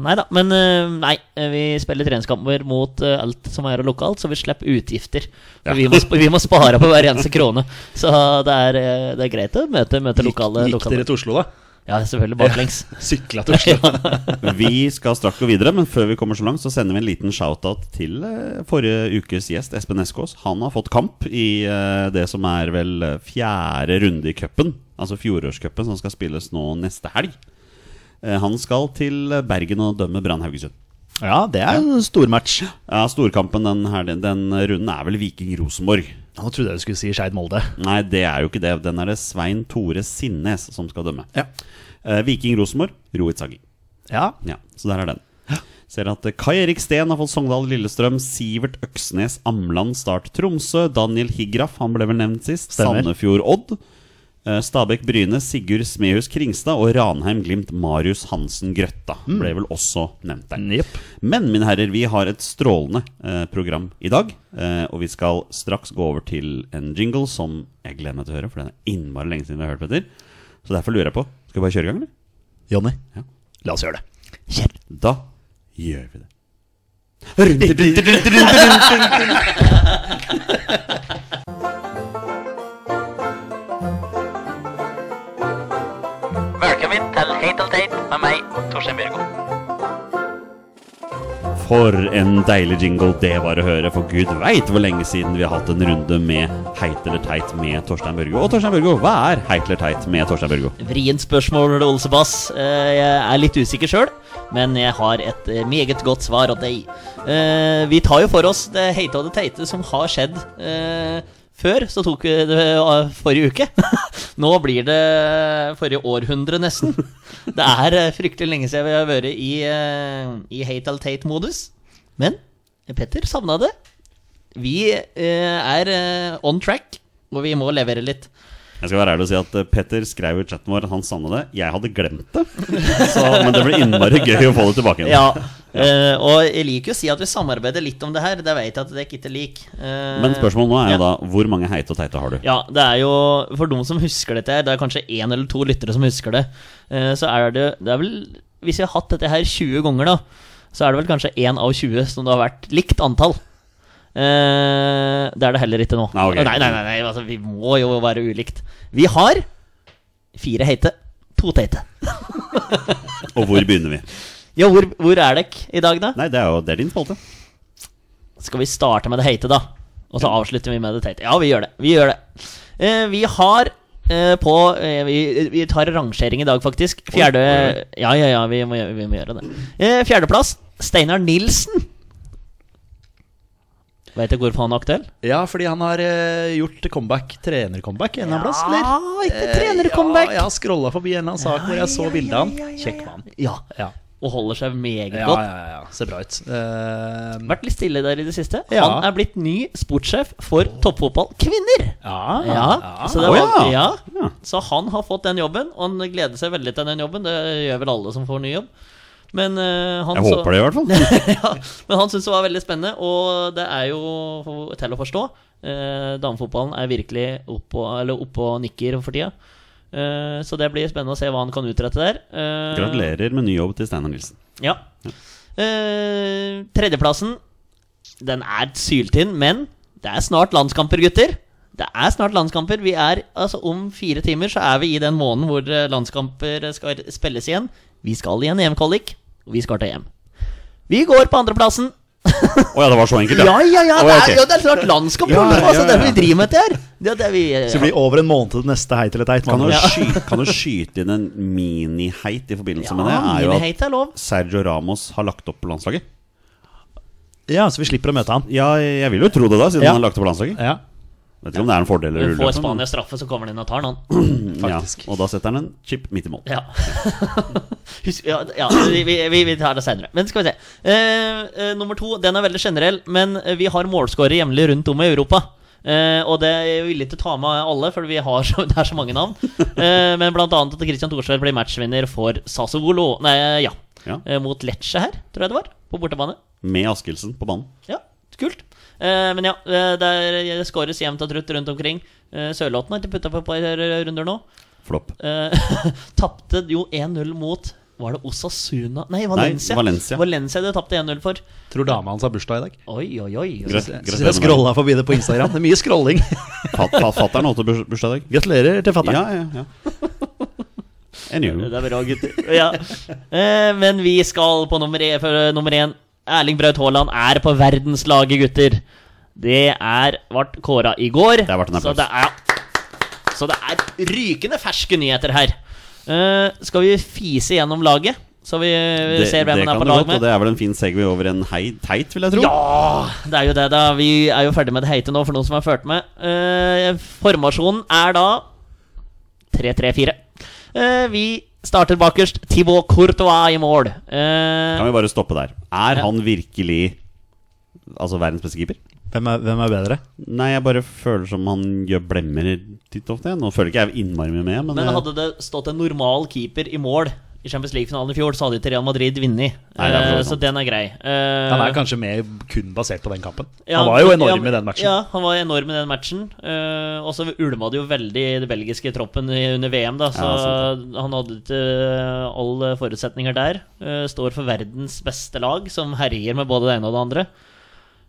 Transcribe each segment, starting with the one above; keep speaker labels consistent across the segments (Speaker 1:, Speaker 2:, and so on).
Speaker 1: Nei da. Men eh, nei, vi spiller treningskamper mot eh, alt som er lokalt, så vi slipper utgifter.
Speaker 2: Ja.
Speaker 1: For vi, må, sp- vi må spare på hver eneste krone. Så det er, eh, det er greit å møte, møte lokale.
Speaker 3: Gikk
Speaker 1: lokale.
Speaker 3: dere til Oslo, da?
Speaker 1: Ja, selvfølgelig baklengs.
Speaker 3: Sykla til Oslo?
Speaker 2: Vi skal straks gå videre, men før vi kommer så langt, så sender vi en liten shout-out til eh, forrige ukes gjest, Espen Eskås. Han har fått kamp i eh, det som er vel eh, fjerde runde i cupen, altså fjorårscupen, som skal spilles nå neste helg. Eh, Han skal til eh, Bergen og dømme Brann Haugesund.
Speaker 3: Ja, det er en stormatch.
Speaker 2: Ja, Storkampen den, her, den, den runden er vel Viking-Rosenborg.
Speaker 3: Nå trodde jeg du skulle si Skeid Molde.
Speaker 2: Nei, det er jo ikke det. Den er det Svein Tore Sinnes som skal dømme.
Speaker 3: Ja.
Speaker 2: Eh, Viking-Rosenborg, Rohit Sagi.
Speaker 3: ja.
Speaker 2: Ja, så der er den. Ser at eh, Kai Erik Steen har fått Sogndal Lillestrøm. Sivert Øksnes Amland Start Tromsø. Daniel Higraf, han ble vel nevnt sist.
Speaker 3: Stemmer.
Speaker 2: Sandefjord Odd. Eh, Stabæk Bryne, Sigurd Smehus Kringstad og Ranheim Glimt Marius Hansen Grøtta ble vel også nevnt der.
Speaker 3: Jepp.
Speaker 2: Men mine herrer, vi har et strålende eh, program i dag. Eh, og vi skal straks gå over til en jingle som jeg gleder meg til å høre, for den er innmari lenge siden vi har hørt, Petter. Så derfor lurer jeg på Skal vi bare kjøre i gang, eller?
Speaker 3: Jonny,
Speaker 2: Ja.
Speaker 3: la oss gjøre det.
Speaker 2: Da gjør vi det.
Speaker 4: Velkommen til Hate og Tate med meg, Torstein Bjørgo.
Speaker 2: For en deilig jingle det var å høre, for gud veit hvor lenge siden vi har hatt en runde med Heit eller teit med Torstein Børgo. Og Torstein Børgo, hva er Heit eller teit med Torstein Børgo?
Speaker 1: Vrient spørsmål, Olsebass. Eh, Jeg er litt usikker sjøl, men jeg har et eh, meget godt svar av deg. Eh, Vi tar jo for oss det heite og det teite som har skjedd. eh, Før så tok vi det eh, forrige uke. Nå blir det forrige århundre, nesten. Det er eh, fryktelig lenge siden vi har vært i, eh, i hate eller tate-modus. Men Petter savna det. Vi eh, er eh, on track, og vi må levere litt.
Speaker 2: Jeg skal være ærlig og si at eh, Petter skrev i chatten vår at han savna det. Jeg hadde glemt det. Så, men det blir innmari gøy å få det tilbake igjen.
Speaker 1: Ja, eh, og jeg liker jo å si at vi samarbeider litt om det her. Det vet jeg at dere ikke liker. Eh,
Speaker 2: Men spørsmålet nå er jo
Speaker 1: ja.
Speaker 2: da hvor mange heite og teite har du?
Speaker 1: Ja, det er jo For de som husker dette her, det er kanskje én eller to lyttere som husker det, eh, så er det Det er vel Hvis vi har hatt dette her 20 ganger, da, så er det vel kanskje én av 20 som det har vært likt antall. Eh, det er det heller ikke nå.
Speaker 2: Nei, Ah, ok.
Speaker 1: nei, nei, nei, nei altså, vi må jo være ulikt. Vi har fire heite, to teite.
Speaker 2: Og hvor begynner vi?
Speaker 1: Ja, hvor, hvor er dere i dag, da?
Speaker 2: Nei, det er jo det er din spalte.
Speaker 1: Skal vi starte med det heite, da? Og så avslutter vi med det teite. Ja, vi gjør det. Vi gjør det. Eh, vi har eh, på eh, vi, vi tar rangering i dag, faktisk. Fjerde Ja, ja, ja, vi må, gjøre- vi må gjøre det. Eh, fjerdeplass, Steinar Nilsen. Vet du hvorfor han er aktuell?
Speaker 3: Ja, fordi han har eh, gjort comeback, trenercomeback, en eller annen plass, eller? Eh,
Speaker 1: Ja, ikke trenercomeback.
Speaker 3: Ja, jeg har scrolla forbi en eller annen sak hvor jeg så bildet av han. Kjekk mann.
Speaker 1: Ja,
Speaker 3: Ja.
Speaker 1: og holder seg meget
Speaker 3: Ja,
Speaker 1: godt.
Speaker 3: ja, ja. Ser bra ut. Eh,
Speaker 1: Vært litt stille der i det siste.
Speaker 3: Ja.
Speaker 1: Han er blitt ny sportssjef for toppfotball kvinner.
Speaker 3: ja,
Speaker 1: Ja, så, det
Speaker 2: Å,
Speaker 1: var, ja.
Speaker 2: ja. Ja.
Speaker 1: så han har fått den jobben, og han gleder seg veldig til den jobben. Det gjør vel alle som får ny jobb. Men, eh, han
Speaker 2: Jeg
Speaker 1: så,
Speaker 2: håper det, i hvert fall.
Speaker 1: ja, men han syntes det var veldig spennende, og det er jo til å forstå. Eh, damefotballen er virkelig oppe og, eller oppe og nikker for tida. Eh, så det blir spennende å se hva han kan utrette der. Eh,
Speaker 2: Gratulerer med ny jobb til Steinar Nilsen.
Speaker 1: Ja. Eh, tredjeplassen, den er syltynn, men det er snart landskamper, gutter. Det er snart landskamper. Vi er, altså Om fire timer så er vi i den måneden hvor eh, landskamper skal spilles igjen. Vi skal i en EM-kvalik, og vi skal til EM. Vi går på andreplassen.
Speaker 2: Å ja, det var så enkelt,
Speaker 1: Ja, ja, ja!
Speaker 2: Å,
Speaker 1: Det
Speaker 2: ja,
Speaker 1: er,
Speaker 2: ok.
Speaker 1: jo, det er snart landskamp!
Speaker 2: Ja,
Speaker 1: Olav,
Speaker 2: ja,
Speaker 1: altså, det
Speaker 2: ja.
Speaker 1: vi driver med dette her. Det er det vi
Speaker 3: Så det blir over en måned til det neste heit eller teit.
Speaker 2: Kan du,
Speaker 3: mann.
Speaker 2: skyte, kan du skyte inn en miniheit i forbindelse
Speaker 1: ja,
Speaker 2: med det? Er jo at
Speaker 1: miniheit Ah, er lov.
Speaker 2: Sergio Ramos har lagt opp på landslaget.
Speaker 3: Ja, så vi slipper å møte han.
Speaker 2: Ja, jeg vil jo tro det, da, siden
Speaker 3: Ja.
Speaker 2: han har lagt opp på landslaget.
Speaker 3: Ja,
Speaker 2: Vet ikke om det er en fordel eller
Speaker 1: Får
Speaker 2: ulempe, men-
Speaker 1: Spania straffe, så kommer den inn og tar den. han.
Speaker 3: faktisk.
Speaker 2: Ja, og da setter han en chip midt i mål.
Speaker 1: Ja. Husk, ja, ja vi, vi, vi- vi tar det seinere. Men skal vi se. Eh, eh, nummer to den er veldig generell, men eh, vi har målskårere jevnlig rundt om i Europa. Eh, og det jeg vil ikke ta med alle, for vi har så, det er så mange navn. Eh, men blant annet at Christian Thorsvedt blir matchvinner for Sassuolo Nei, ja.
Speaker 2: Ja.
Speaker 1: Eh, mot Lecce her, tror jeg det var. På bortebane.
Speaker 2: Med Askildsen på banen.
Speaker 1: Ja, kult. Eh, men ja, eh, der skåres jevnt og trutt rundt omkring. Eh, Sørlotten har ikke putta på et par runder nå.
Speaker 2: Flopp.
Speaker 1: Eh, tapte jo 1-0 mot Var det Osasuna? Nei, Valencia.
Speaker 2: Valencia.
Speaker 1: Valencia det tapte 1-0 for.
Speaker 3: Tror dama hans har bursdag i dag.
Speaker 1: Oi, oi, oi.
Speaker 2: Greit. Gratulerer
Speaker 3: Jeg synes jeg
Speaker 2: med
Speaker 3: scrolla forbi det på Instagram. Det er mye scrolling.
Speaker 2: Fatter'n holdt burs- bursdag i dag.
Speaker 3: Gratulerer til fatter'n.
Speaker 2: Ja, ja, ja. Anywho.
Speaker 1: Det er bra, gutter. Ja. Eh, men vi skal på nummer én. For, eh, nummer én. Erling Braut Haaland er på verdenslaget, gutter. Det er ble kåra i går.
Speaker 2: har vært en
Speaker 1: så,
Speaker 2: applaus.
Speaker 1: det er, så det er rykende ferske nyheter her. Eh, skal vi fise gjennom laget, Så vi vi
Speaker 2: Det, det
Speaker 1: ser hvem han
Speaker 2: kan
Speaker 1: er på
Speaker 2: du
Speaker 1: lag
Speaker 2: godt, og
Speaker 1: med.
Speaker 2: det er vel en fin segway over en hei, teit, vil jeg tro.
Speaker 1: Ja! Det er jo det, da. Vi er jo ferdig med det heite nå, for noen som har ført med. Eh, formasjonen er da 3-3-4. Eh, vi starter bakerst. Thibaut Courtois i mål. Eh,
Speaker 2: Kan vi bare stoppe der. Er han virkelig Altså verdens beste keeper?
Speaker 3: Hvem er, hvem er bedre?
Speaker 2: Nei, jeg bare føler som han gjør blemmer titt og ofte. Nå føler ikke jeg innmari mye med, men,
Speaker 1: Men
Speaker 2: jeg-
Speaker 1: hadde det stått en normal keeper i mål i Champions League-finalen i fjor, så hadde ikke Real Madrid vunnet.
Speaker 2: Nei, det er for så
Speaker 1: Eh,
Speaker 2: vidt
Speaker 1: Så
Speaker 2: sant.
Speaker 1: den er grei. Eh,
Speaker 3: Han er kanskje med kun basert på den kampen.
Speaker 1: ja,
Speaker 3: han var jo enorm
Speaker 1: ja,
Speaker 3: i den matchen.
Speaker 1: Ja, han var enorm i den matchen. Eh, og så ulma det jo veldig i den belgiske troppen i- under VM, da. Så
Speaker 2: Ja,
Speaker 1: han hadde ikke alle forutsetninger der. Eh, står for verdens beste lag, som herjer med både det ene og det andre.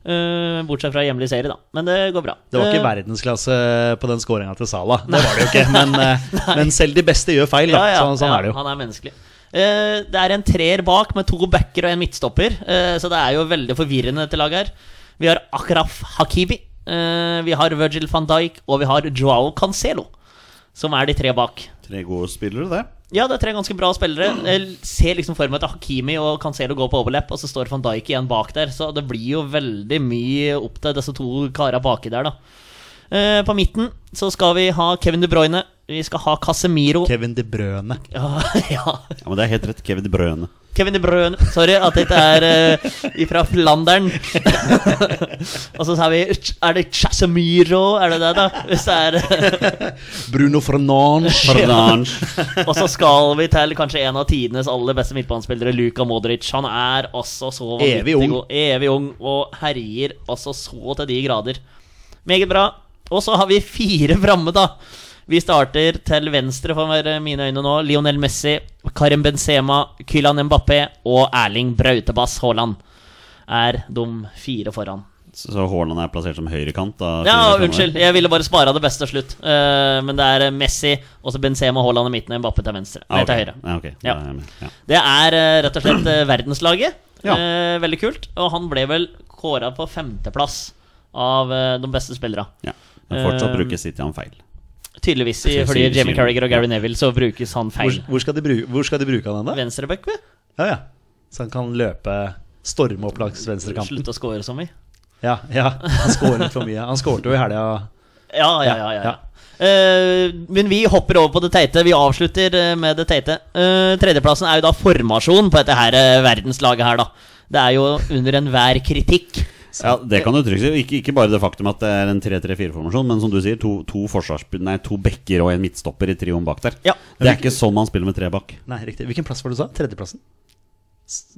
Speaker 1: Eh, bortsett fra hjemlig serie, da. Men det går bra.
Speaker 3: Det var ikke
Speaker 1: Eh,
Speaker 3: verdensklasse på den skåringa til Salah. Det var det jo ikke. Men, eh, men selv de beste gjør feil, da. sånn, sånn
Speaker 1: ja,
Speaker 3: er det jo.
Speaker 1: Han er menneskelig. Eh, det er en treer bak med to backer og en midtstopper, eh, så det er jo veldig forvirrende dette laget her. Vi har Akraf Hakibi, eh, vi har Virgil van Dijk, og vi har Joao Cancelo. Som er de tre bak.
Speaker 2: Tre gode spillere, det.
Speaker 1: Ja, det er tre ganske bra spillere. Jeg ser liksom for meg at Hakimi og Cancelo går på overlepp, og så står van Dijk igjen bak der. Så det blir jo veldig mye opp til disse to kara baki der, da. Eh, på midten så skal vi ha Kevin De Bruyne. Vi skal ha Casemiro.
Speaker 3: Kevin De Brøne.
Speaker 1: Ja, ja.
Speaker 2: Ja, men det er helt rett. Kevin De Brøne.
Speaker 1: Kevin De Bruyne. Sorry at det ikke er eh, ifra Flandern. og så sa vi Er det Casemiro? Er det det, da? Hvis det er eh,
Speaker 3: Bruno Fernange.
Speaker 2: Fernange.
Speaker 1: Og så skal vi til kanskje en av tidenes aller beste midtbanespillere, Luka Modric. Han er altså så vanvittig
Speaker 3: Evig ung.
Speaker 1: god. Evig ung og herjer altså så til de grader. Meget bra. Og så har vi fire framme, da. Vi starter til venstre for meg- mine øyne nå. Lionel Messi, Karim Benzema, Kylan Mbappé og Erling Brautebass Haaland er de fire foran.
Speaker 2: Så så Haaland er plassert som høyrekant. da.
Speaker 1: Ja,
Speaker 2: Fire
Speaker 1: unnskyld. Jeg ville bare spare det beste til slutt. Eh, men det er Messi, og så Benzema, Haaland i midten og Mbappé til venstre.
Speaker 2: Ah,
Speaker 1: Nei,
Speaker 2: ok.
Speaker 1: til høyre.
Speaker 2: Ja, ok.
Speaker 1: Ja.
Speaker 2: Da er jeg med. Ja.
Speaker 1: Det er eh, rett og slett eh, verdenslaget.
Speaker 2: Ja.
Speaker 1: Eh, veldig kult. Og han ble vel kåra på femteplass av eh, de beste spillerne.
Speaker 2: Ja. Men fortsatt
Speaker 1: Um,
Speaker 2: bruker City han feil.
Speaker 1: Tydeligvis i,
Speaker 2: Sier-
Speaker 1: fordi
Speaker 2: sier-
Speaker 1: Jamie
Speaker 2: sier-
Speaker 1: Carriger og Gary Neville så brukes han
Speaker 3: Hvor,
Speaker 1: feil.
Speaker 3: hvor, skal de bruke, hvor skal de bruke han hen, da?
Speaker 1: Venstreback, vel?
Speaker 3: Ja, ja. Så han kan løpe Storme opp langs venstrekanten.
Speaker 1: Slutt å score som vi.
Speaker 3: Ja, ja. Han skåret for mye. Han skårte jo i helga.
Speaker 1: Ja, ja, ja. ja, ja. Eh, men vi hopper over på det teite. Vi avslutter eh, med det teite. Eh, tredjeplassen er jo da formasjon på dette her eh, verdenslaget her, da. Det er jo under enhver kritikk.
Speaker 2: Ja, det kan du trygt si. Ikke, ikke bare det faktum at det er en 3-3-4-formasjon, men som du sier, to, to, forsvarsspill- nei, to bekker og en midtstopper i trioen bak der.
Speaker 1: Ja.
Speaker 2: Det er ikke sånn man spiller med tre bak.
Speaker 3: Nei, riktig. Hvilken plass var det du sa? Tredjeplassen?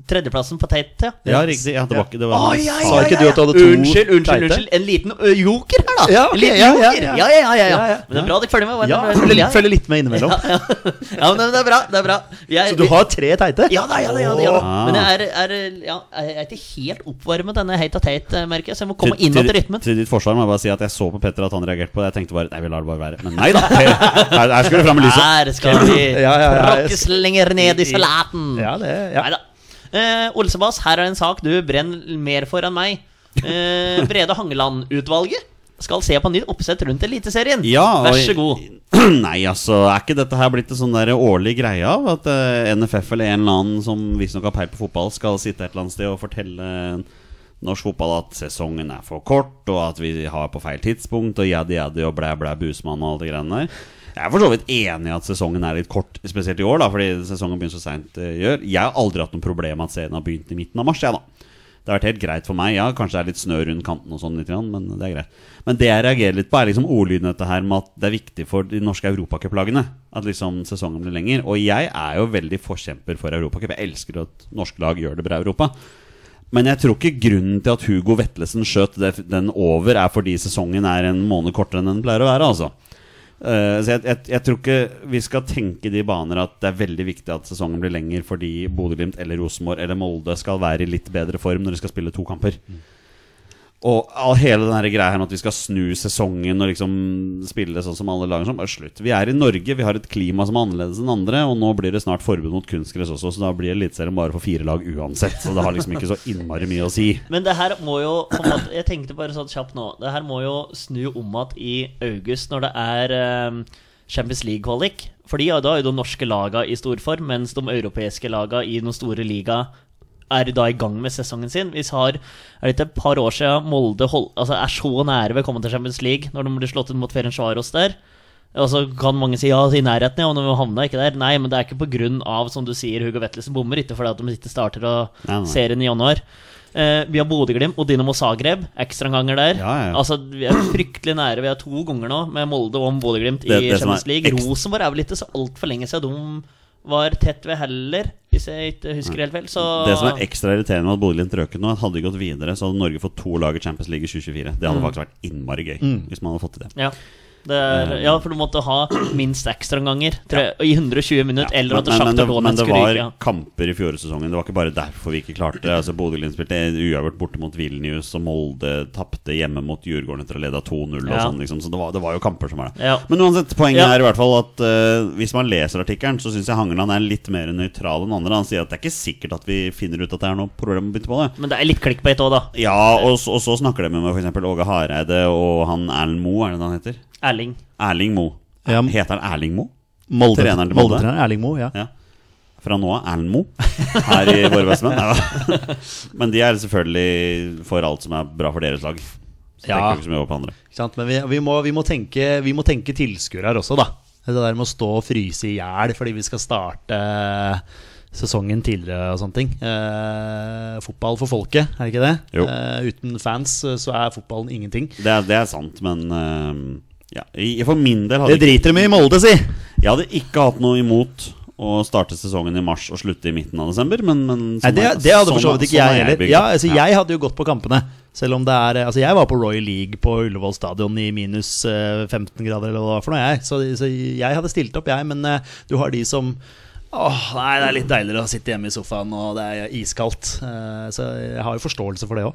Speaker 1: Tredjeplassen på teite.
Speaker 2: Ja, riktig. Ja, det var ikke det var
Speaker 1: Oi, oi,
Speaker 2: Sa
Speaker 1: oi,
Speaker 2: ikke
Speaker 3: ikke du at du hadde to
Speaker 1: Unnskyld, unnskyld,
Speaker 3: teite?
Speaker 1: unnskyld. En liten ø, joker her, da.
Speaker 3: Ja, ok,
Speaker 1: en liten
Speaker 3: ja, ja,
Speaker 1: joker.
Speaker 3: ja.
Speaker 1: Ja, ja, ja, ja,
Speaker 3: Ja, ja.
Speaker 1: Men det er bra dere følger med.
Speaker 3: Ja,
Speaker 1: hva-
Speaker 3: følger litt,
Speaker 1: ja,
Speaker 3: følger litt med innimellom.
Speaker 1: ja, men det er bra. det er bra Vi er,
Speaker 3: Så du har tre teite?
Speaker 1: ja da, ja da, ja da, ja da.
Speaker 2: Åh.
Speaker 1: Men jeg er, er, ja, jeg er ikke helt oppvarmet denne Hate og Tate, merker jeg, så jeg må komme
Speaker 2: Til-
Speaker 1: inn til
Speaker 2: til-
Speaker 1: rytmen.
Speaker 2: Til ditt forsvar må jeg bare si at jeg så på Petter at han reagerte på det. Jeg tenkte bare nei, vi lar det bare være. Men nei da. Her, her skal det fram i lyset.
Speaker 1: Her skal vi
Speaker 3: Ja, ja, ja.
Speaker 1: tråkkes lenger ned i salaten.
Speaker 3: Ja, det ja.
Speaker 1: Neida. Eh, Olsebass, her er en sak du brenner mer for enn meg. Eh, Brede Hangeland-utvalget skal se på nytt oppsett rundt Eliteserien.
Speaker 2: Ja,
Speaker 1: Vær
Speaker 2: og-
Speaker 1: så god.
Speaker 2: Nei, altså, er ikke dette her blitt en sånn der årlig greie av at eh, NFF eller en eller annen som visstnok har peil på fotball, skal sitte et eller annet sted og fortelle norsk fotball at sesongen er for kort, og at vi har på feil tidspunkt, og jaddi jaddi og blæ blæ busmann og alt det greiene der. Jeg er for så vidt enig i at sesongen er litt kort, spesielt i år, da, fordi sesongen begynner så seint. gjør Jeg har aldri hatt noe problem med at serien har begynt i midten av mars, jeg, da. Det har vært helt greit for meg. Ja, kanskje det er litt snø rundt kanten og sånn, litt, grann, men det er greit. Men det jeg reagerer litt på, er liksom ordlyden i dette her med at det er viktig for de norske europacuplagene at liksom sesongen blir lenger. Og jeg er jo veldig forkjemper for europacup. Jeg elsker at norske lag gjør det bra i Europa. Men jeg tror ikke grunnen til at Hugo Vetlesen skjøt det- den over, er fordi sesongen er en måned kortere enn den pleier å være, altså. Eh, så jeg, jeg, jeg tror ikke vi skal tenke i de baner at det er veldig viktig at sesongen blir lenger fordi Bodø-Glimt eller Rosenborg eller Molde skal være i litt bedre form når de skal spille to kamper. Og all, hele den her greia her med at vi skal snu sesongen og liksom spille sånn som alle lager som, bare slutt. Vi er i Norge, vi har et klima som er annerledes enn andre, og nå blir det snart forbud mot kunstgress også, så da blir Eliteserien bare for fire lag uansett. Så det har liksom ikke så innmari mye å si.
Speaker 1: Men det her må jo på en måte, Jeg tenkte bare sånn kjapt nå. Det her må jo snu om igjen i august, når det er eh, Champions League-kvalik. Fordi ja, da er jo de norske laga i storform, mens de europeiske laga i den store liga er da i gang med sesongen sin. Vi har er det ikke et par år siden Molde hold, altså er så nære ved å komme til Champions League, når de blir slått ut mot Ferencvaros der. Og så kan mange si ja, altså, i nærheten, ja, og de havna ikke der. Nei, men det er ikke på grunn av, som du sier, Hugo Vettelsen bommer, ikke fordi at de ikke starter og
Speaker 2: Nei, nei.
Speaker 1: serien i januar. Eh, vi har Bodø-Glimt og Dinamo Zagreb, ekstraomganger der.
Speaker 2: Ja, ja.
Speaker 1: Altså, Vi er fryktelig nære. Vi har to ganger nå med Molde og Bodø-Glimt i
Speaker 2: Det- det som er
Speaker 1: Champions League.
Speaker 2: ekstra-
Speaker 1: Rosenborg er vel ikke så altfor lenge siden de var tett ved heller, hvis jeg ikke husker helt vel. Så
Speaker 2: Det som
Speaker 1: Ah.
Speaker 2: er ekstra irriterende med at Bodø-Glimt røk ut nå, at hadde de gått videre, så hadde Norge fått to lag i Champions League i 2024. Det
Speaker 1: Mm.
Speaker 2: hadde faktisk vært innmari gøy hvis man hadde fått til det.
Speaker 1: ja. Det er,
Speaker 2: Eh.
Speaker 1: ja, for du måtte ha minst ekstraomganger ja. i 120 minutter,
Speaker 2: Ja,
Speaker 1: eller at
Speaker 2: men- men,
Speaker 1: Sjakta
Speaker 2: det, men
Speaker 1: Donetsk
Speaker 2: det
Speaker 1: skulle
Speaker 2: var
Speaker 1: ryke. Ja.
Speaker 2: kamper i fjoråretsesongen. Det var ikke bare derfor vi ikke klarte det. Altså, Bodø-Glimt spilte uavgjort borte mot Vilnius, og Molde tapte hjemme mot Djurgården etter å ha leda 2-0. og
Speaker 1: Ja.
Speaker 2: sånn, Liksom. Så det var, det var jo kamper som var der.
Speaker 1: Ja.
Speaker 2: Men uansett, poenget
Speaker 1: Ja.
Speaker 2: er i hvert fall at eh, hvis man leser artikkelen, så syns jeg Hangeland er litt mer nøytral enn andre. Han sier at det er ikke sikkert at vi finner ut at det er noe problem å bytte på det.
Speaker 1: Men det er litt clickbait òg, da.
Speaker 2: Ja, og, så- og så snakker de med meg f.eks. Åge Hareide og han Erlend Moe, er det han heter?
Speaker 1: Erling.
Speaker 2: Erling Moe.
Speaker 3: Ja.
Speaker 2: Heter han Erling Moe?
Speaker 3: Molde-
Speaker 2: Treneren til Molde.
Speaker 3: Molde-trener Erling Moe, ja.
Speaker 2: Ja. Fra nå av Erlend Moe her i Våre bestemenn. Nei, da. Men de er selvfølgelig for alt som er bra for deres lag. Så tenker
Speaker 3: Ja.
Speaker 2: vi ikke så mye over på andre.
Speaker 3: Ikke sant? Men vi, vi, må, vi, må tenke, vi må tenke tilskuere her også, da. Det der med å stå og fryse i hjel fordi vi skal starte eh, sesongen tidligere og sånne ting. Eh, fotball for folket, er det ikke det?
Speaker 2: Jo.
Speaker 3: Eh, uten fans eh, så er fotballen ingenting.
Speaker 2: Det er, det er sant, men øhm, ja. I- For min del hadde
Speaker 3: Det
Speaker 2: ikke,
Speaker 3: driter de i i Molde, si!
Speaker 2: jeg hadde ikke hatt noe imot å starte sesongen i mars og slutte i midten av desember, men, men sånn
Speaker 3: Nei, det,
Speaker 2: er-
Speaker 3: det hadde
Speaker 2: sånn-
Speaker 3: for så vidt ikke
Speaker 2: sånn er
Speaker 3: jeg heller.
Speaker 2: bygd.
Speaker 3: Ja, altså,
Speaker 2: Ja.
Speaker 3: jeg hadde jo gått på kampene. Selv om det er Altså, jeg var på Royal League på Ullevål stadion i minus eh, 15 grader eller hva det var for noe, jeg. Så, så jeg hadde stilt opp, jeg. Men eh, du har de som Åh, nei, det er litt deiligere å sitte hjemme i sofaen, og det er iskaldt. Eh, så jeg har jo forståelse for det òg.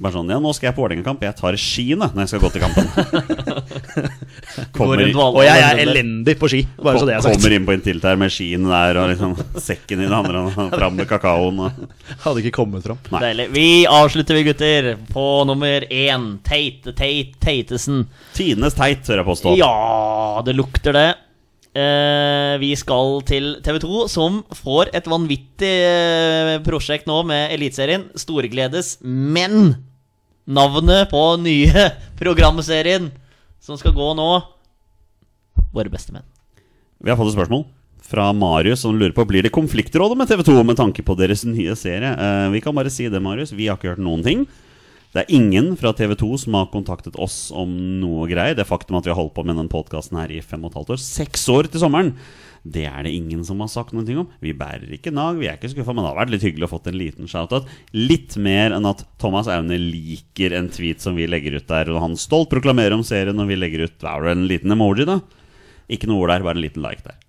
Speaker 2: Bare sånn, ja, nå skal jeg på Vålerenga-kamp. Jeg tar skiene når jeg skal gå til kampen.
Speaker 1: Går rundt
Speaker 3: Og jeg er elendig på ski, bare så det er sagt.
Speaker 2: Kommer inn på en tilt her med skien der og liksom sekken i den andre og fram med kakaoen. Og.
Speaker 3: Hadde ikke kommet fram.
Speaker 2: Nei.
Speaker 1: Deilig. Vi avslutter, vi gutter, på nummer én. Teite, Teit, Teitesen.
Speaker 2: Tidenes teit, tør jeg påstå.
Speaker 1: Ja, det lukter det. Eh, vi skal til TV 2, som får et vanvittig eh, prosjekt nå med Eliteserien. Storgledes. Men navnet på nye programserien som skal gå nå Våre beste menn.
Speaker 2: Vi har fått et spørsmål fra Marius som lurer på Blir det konfliktrådet med TV 2 med tanke på deres nye serie. Eh, vi kan bare si det, Marius. Vi har ikke hørt noen ting. Det er ingen fra TV 2 som har kontaktet oss om noe greier. Det faktum at vi har holdt på med den podkasten her i fem og et halvt år, seks år til sommeren, det er det ingen som har sagt noe om. Vi bærer ikke nag, vi er ikke skuffa, men det har vært litt hyggelig å fått en liten shout-out. Litt mer enn at Thomas Aune liker en tweet som vi legger ut der, og han stolt proklamerer om serien når vi legger ut hva er det, en liten emoji, da. Ikke noe ord der, bare en liten like der.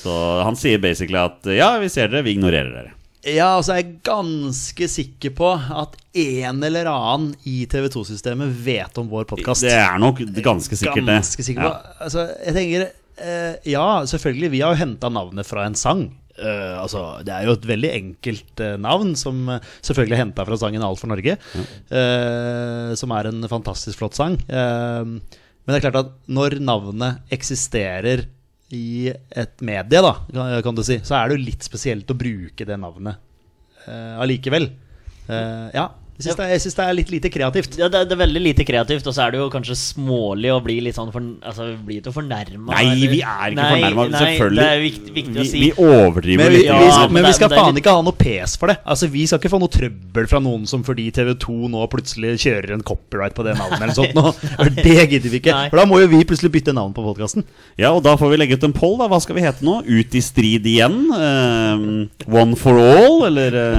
Speaker 2: Så han sier basically at ja, vi ser dere, vi ignorerer dere.
Speaker 3: Ja, altså jeg er ganske sikker på at en eller annen i TV 2-systemet vet om vår podkast.
Speaker 2: Det er nok ganske sikkert det.
Speaker 3: Ganske sikker på. Altså, jeg tenker eh, Ja, selvfølgelig. Vi har jo henta navnet fra en sang. Eh, altså, det er jo et veldig enkelt eh, navn, som eh, selvfølgelig er henta fra sangen 'Alt for Norge'. eh, som er en fantastisk flott sang. Eh, men det er klart at når navnet eksisterer i et medie, da, kan- kan du si, så er det jo litt spesielt å bruke det navnet eh, allikevel. Eh, ja. Jeg syns det, er- jeg syns det er litt lite kreativt.
Speaker 1: Ja, det, er- det er veldig lite kreativt, og så er det jo kanskje smålig å bli litt sånn for, altså, vi blir jo fornærma.
Speaker 2: Nei, vi er ikke fornærma, selvfølgelig.
Speaker 1: Det er viktig, viktig
Speaker 2: vi,
Speaker 1: å si.
Speaker 2: vi overdriver
Speaker 3: Men vi,
Speaker 2: litt.
Speaker 1: Ja,
Speaker 3: vi,
Speaker 1: men
Speaker 3: men
Speaker 1: det er-
Speaker 3: vi skal
Speaker 1: men det er
Speaker 3: faen
Speaker 1: litt-
Speaker 3: ikke ha noe pes for det. Altså, Vi skal ikke få noe trøbbel fra noen som fordi TV2 nå plutselig kjører en copyright på det navnet. eller sånt nå. For Det gidder vi ikke.
Speaker 1: Nei.
Speaker 3: For da må jo vi plutselig bytte navn på podkasten.
Speaker 2: Ja, og da får vi legge ut en poll, da. Hva skal vi hete nå? Ut i strid igjen? Eh, one for all? Eller, eh,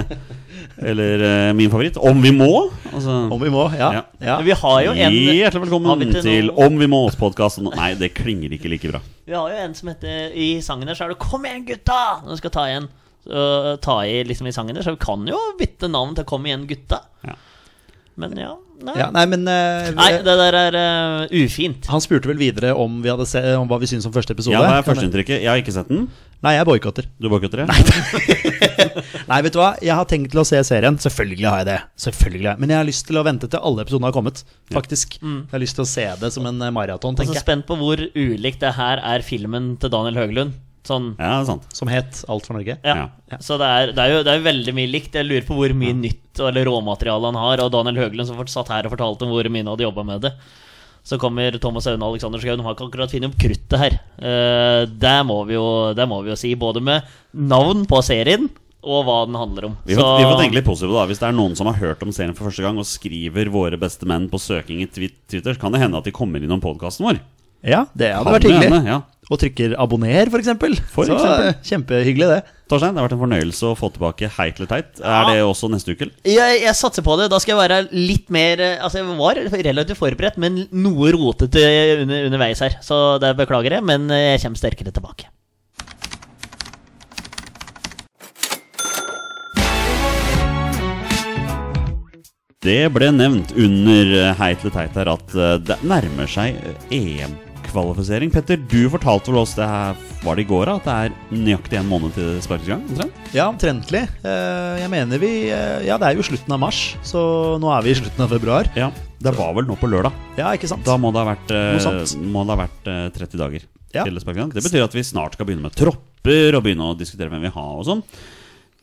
Speaker 2: eller eh, min favoritt, Om vi må? Altså,
Speaker 3: Om vi må. Ja.
Speaker 2: Ja.
Speaker 3: ja.
Speaker 1: Men vi har jo en
Speaker 2: Hjertelig
Speaker 1: Har
Speaker 2: velkommen
Speaker 1: vi ikke
Speaker 2: til
Speaker 1: noe-
Speaker 2: Om vi må-podkasten. Nei, det klinger ikke like bra.
Speaker 1: Vi har jo en som heter I sangen der så er det 'Kom igjen, gutta!' Når du skal ta igjen. eh, Så, ta i liksom i sangen der, så vi kan jo bytte navn til 'Kom igjen, gutta'.
Speaker 2: Ja.
Speaker 1: Men ja. Nei,
Speaker 3: Ja, nei, men eh,
Speaker 1: nei det der er eh, ufint.
Speaker 3: Han spurte vel videre om, vi hadde se, om hva vi syns om første episode.
Speaker 2: Ja, hva er
Speaker 3: Kan jeg-
Speaker 2: førsteinntrykket? Jeg har ikke sett den.
Speaker 3: Nei, jeg boikotter.
Speaker 2: Du boikotter det?
Speaker 3: Nei, vet du hva? Jeg har tenkt til å se serien. Selvfølgelig har jeg det. Selvfølgelig har jeg. Men jeg har lyst til å vente til alle episodene har kommet. Faktisk. Jeg har lyst til å se det som en eh, maraton,
Speaker 1: Jeg
Speaker 3: tenker
Speaker 1: er så
Speaker 3: jeg.
Speaker 1: spent på hvor ulikt det her er filmen til Daniel Høglund. Sånn
Speaker 2: Ja, sant.
Speaker 3: Som het Alt for Norge.
Speaker 1: ja. Så det er, det, er jo, det er jo veldig mye likt. Jeg lurer på hvor mye nytt og- eller råmateriale han har. Og Daniel Høglund som fort- satt her og fortalte om hvor mye han hadde jobba med det. Så kommer Thomas Aune og Alexander Schou. De har ikke akkurat funnet opp kruttet her. Eh, det, må vi jo, det må vi jo si. Både med navn på serien og hva den handler om.
Speaker 2: Vi får, vi får tenke litt positivt da Hvis det er noen som har hørt om serien for første gang og skriver 'Våre beste menn' på søking i twi- Twitter, så kan det hende at de kommer innom podkasten vår.
Speaker 3: Ja, det hadde
Speaker 2: Kan
Speaker 3: vært hyggelig.
Speaker 2: hende, ja.
Speaker 3: Og trykker abonner, for eksempel.
Speaker 2: For
Speaker 3: så,
Speaker 2: eksempel.
Speaker 3: eh, Kjempehyggelig, det.
Speaker 2: Torstein, det har vært en fornøyelse å få tilbake Heit eller teit. Er det også neste uke? eller?
Speaker 1: Jeg, jeg satser på det. Da skal jeg være litt mer eh, Altså, jeg var relativt forberedt, men noe rotete under, underveis her. Så det beklager jeg, men eh, jeg kommer sterkere tilbake.
Speaker 2: Det ble nevnt under eh, Heit eller teit her at eh, det nærmer seg eh, EM-kvalifisering. Petter, du fortalte vel oss det her var det i går, da, at det er nøyaktig en måned til det sparkes i gang? omtrent?
Speaker 3: Ja, omtrentlig. Eh, Jeg mener vi eh, Ja, det er jo slutten av mars, så nå er vi i slutten av februar.
Speaker 2: Ja, det var vel nå på lørdag.
Speaker 3: Ja, ikke sant?
Speaker 2: Da må det ha vært, eh,
Speaker 3: Noe sant.
Speaker 2: må det ha vært eh, 30 dager.
Speaker 3: Ja.
Speaker 2: til det sparker i gang. Det betyr at vi snart skal begynne med tropper og begynne å diskutere hvem vi har og sånn.